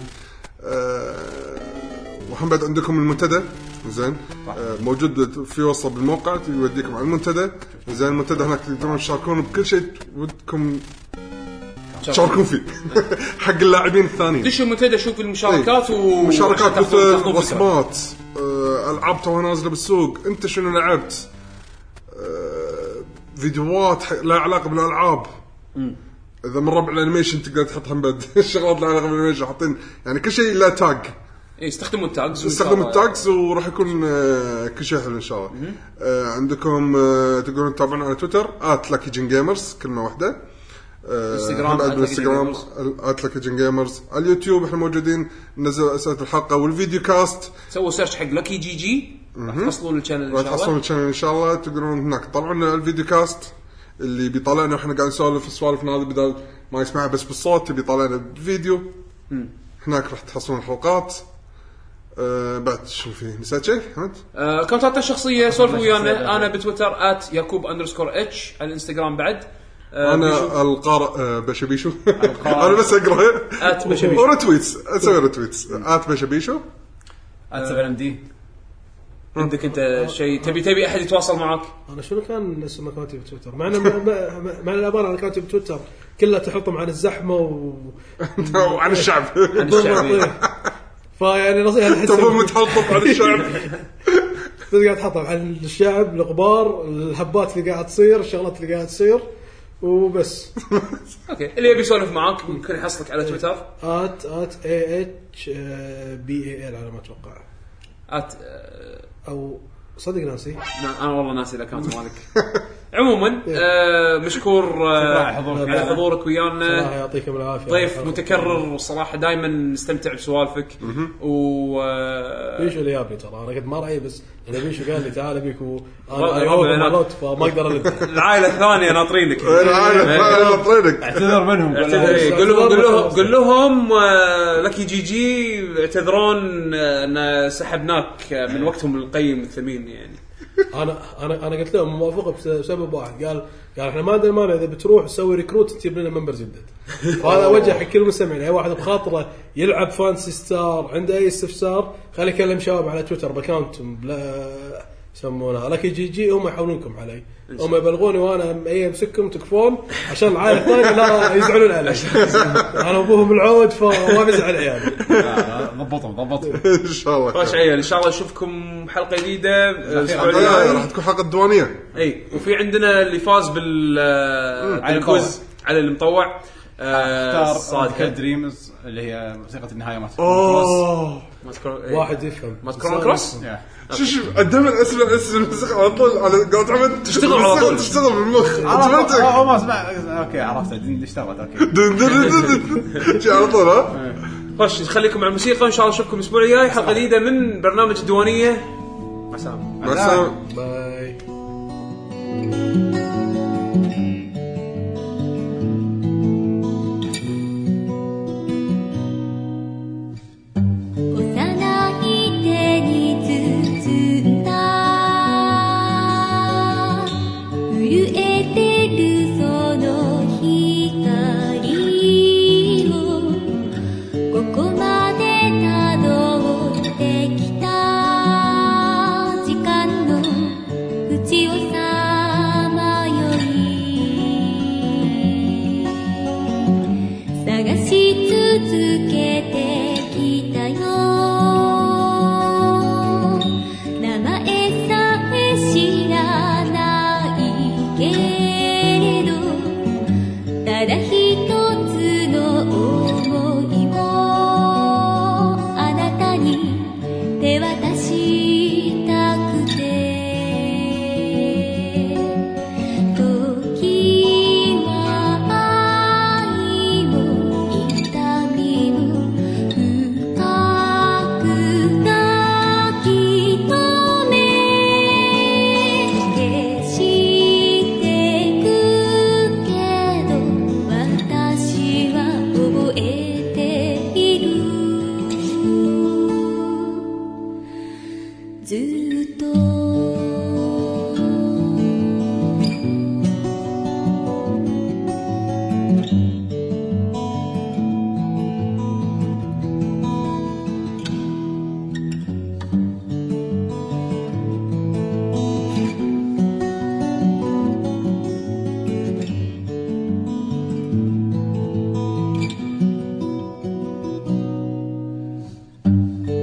وهم بعد عندكم المنتدى زين آه، موجود في وصله بالموقع يوديكم على المنتدى زين المنتدى هناك تقدرون تشاركون بكل شيء ودكم تشاركون فيه [laughs] حق اللاعبين الثانيين
دش المنتدى شوف المشاركات و
مشاركات
تاخذون-
مثل
تاخذون فكرة.
وصمات آه، العاب توها نازله بالسوق انت شنو لعبت آه، فيديوهات ح- لها علاقه بالالعاب اذا من ربع الانيميشن تقدر تحط هم بعد [laughs] شغلات لها علاقه بالانيميشن حاطين يعني كل شيء له تاج
اي استخدموا التاجز
استخدموا التاجز وراح يكون آه، كل شيء حلو ان شاء الله آه، عندكم آه، تقدرون تتابعون على تويتر @lucky جن جيمرز آه، كلمه واحده
انستغرام at lucky
انستغرام
gamers.
@lucky جن جيمرز على اليوتيوب احنا موجودين ننزل اسئله الحلقه والفيديو كاست
سووا سيرش حق لكي جي جي راح تحصلون الشانل
راح
ان شاء
تحصلون
الله
الشانل ان شاء الله تقدرون هناك طلعونا الفيديو كاست اللي بيطلعنا واحنا قاعد نسولف سوالفنا هذه بدل ما يسمعها بس بالصوت يبي يطلعنا بالفيديو هناك راح تحصلون الحلقات آه، بعد شو في نسيت شيء حمد؟
آه، اكونتاتنا الشخصيه سولفوا ويانا
الشخصية.
انا بتويتر ات يعقوب اندرسكور اتش على الانستغرام بعد آه، بيشو-
انا القارئ آه، بشبيشو [laughs] انا بس اقرا
آت بشبيشو.
ورتويتس اسوي رتويتس ات بشبيشو
اتسبل ام دي
عندك
آه.
انت شيء تبي تبي احد يتواصل معك
إيه،
انا شنو كان اسم اكونتي بتويتر؟ مع إنه- مع- مع- مع الامانه انا اكونتي بتويتر كلها تحطم عن الزحمه و
[laughs]
وعن الشعب
عن الشعبيه
فيعني نصيحه الحين
تبون
سوي-
متحطف على الشعب
بس قاعد تحطم عن الشعب الغبار الهبات اللي قاعد تصير الشغلات اللي قاعد تصير وبس
اوكي اللي يبي يسولف معاك ممكن يحصلك
إيه.
على تويتر
ات ات اي اتش بي اي ال على ما اتوقع
ات
او صدق ناسي
انا والله
[laughs]
ناسي الاكونت مالك عموما آه، مشكور آه،
إيه. شكراً على حضورك.
على حضورك
الله
ويانا
يعطيكم العافيه
آه، ضيف متكرر وصراحه دائما نستمتع بسوالفك و آه،
بيشو اللي يابني ترى انا كنت ما راعي بس انا بيشو قال لي تعال ابيك و
والله
انا
والله أنا-
اوت فما اقدر ارد
العائله الثانيه ناطرينك
انا
[laughs]
عارف انا بطرينك
اعتذر منهم قول لهم.
اعتذر قول لهم قول لهم قول لهم آه، لكي جي جي اعتذرون آه، ان سحبناك آه، من وقتهم القيم الثمين يعني
انا انا انا قلت لهم موافقه بس- بسبب واحد قال قال احنا ما عندنا مانع اذا بتروح تسوي ريكروت تجيب لنا
[laughs]
ممبرز جدد فهذا اوجه حق كل المستمعين اي واحد بخاطره يلعب فانسي ستار عنده اي استفسار خليه يكلم شباب على تويتر باكونتهم بلا يسمونه لك يجي يجي هم يحولونكم علي هم يبلغوني وانا اي امسككم تكفون عشان العائله الثانيه لا يزعلون
[laughs]
علي انا ابوهم العود فما يعني. بيزعل عيالي
لا، لا، ضبطهم ضبطهم
ان شاء
طيب.
الله
خلاص عيال ان طيب. شاء الله نشوفكم حلقه جديده آه، الاسبوع
آه،
الجاي
راح تكون حلقه دوانيه
اي وفي عندنا اللي فاز بال آه،
على
بالكوز على المطوع آه،
اختار
صادق
دريمز اللي هي موسيقى النهايه مالت
اوه
ما تكون- إي.
واحد يفهم
ما تكون كروس
يا.
شو شو دائما اسمع اسمع الموسيقى على طول على قولت عمد
تشتغل على طول.
تشتغل بالمخ
عرفت
أوتوماتيك.
أو- أو ما اسمع اوكي عرفت اشتغلت اوكي
دن دن دن دن. شي على طول
آه.
ها
خش خليكم على الموسيقى ان شاء الله نشوفكم الاسبوع الجاي حلقه جديده من برنامج الديوانيه مع السلامه
مع السلامه
باي
幼い手に包んだ震えてるその光をここまで辿ってきた時間の淵をさまよい探し続けてきたよ名前さえ知らないけれどただ一つの想いをあなたに手渡したくて時は愛も痛みも深く抱き留め消してくけど私は覚えているずっと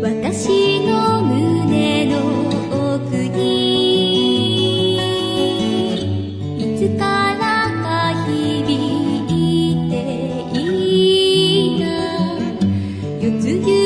私の胸の奥にいつからか響いていた四つ指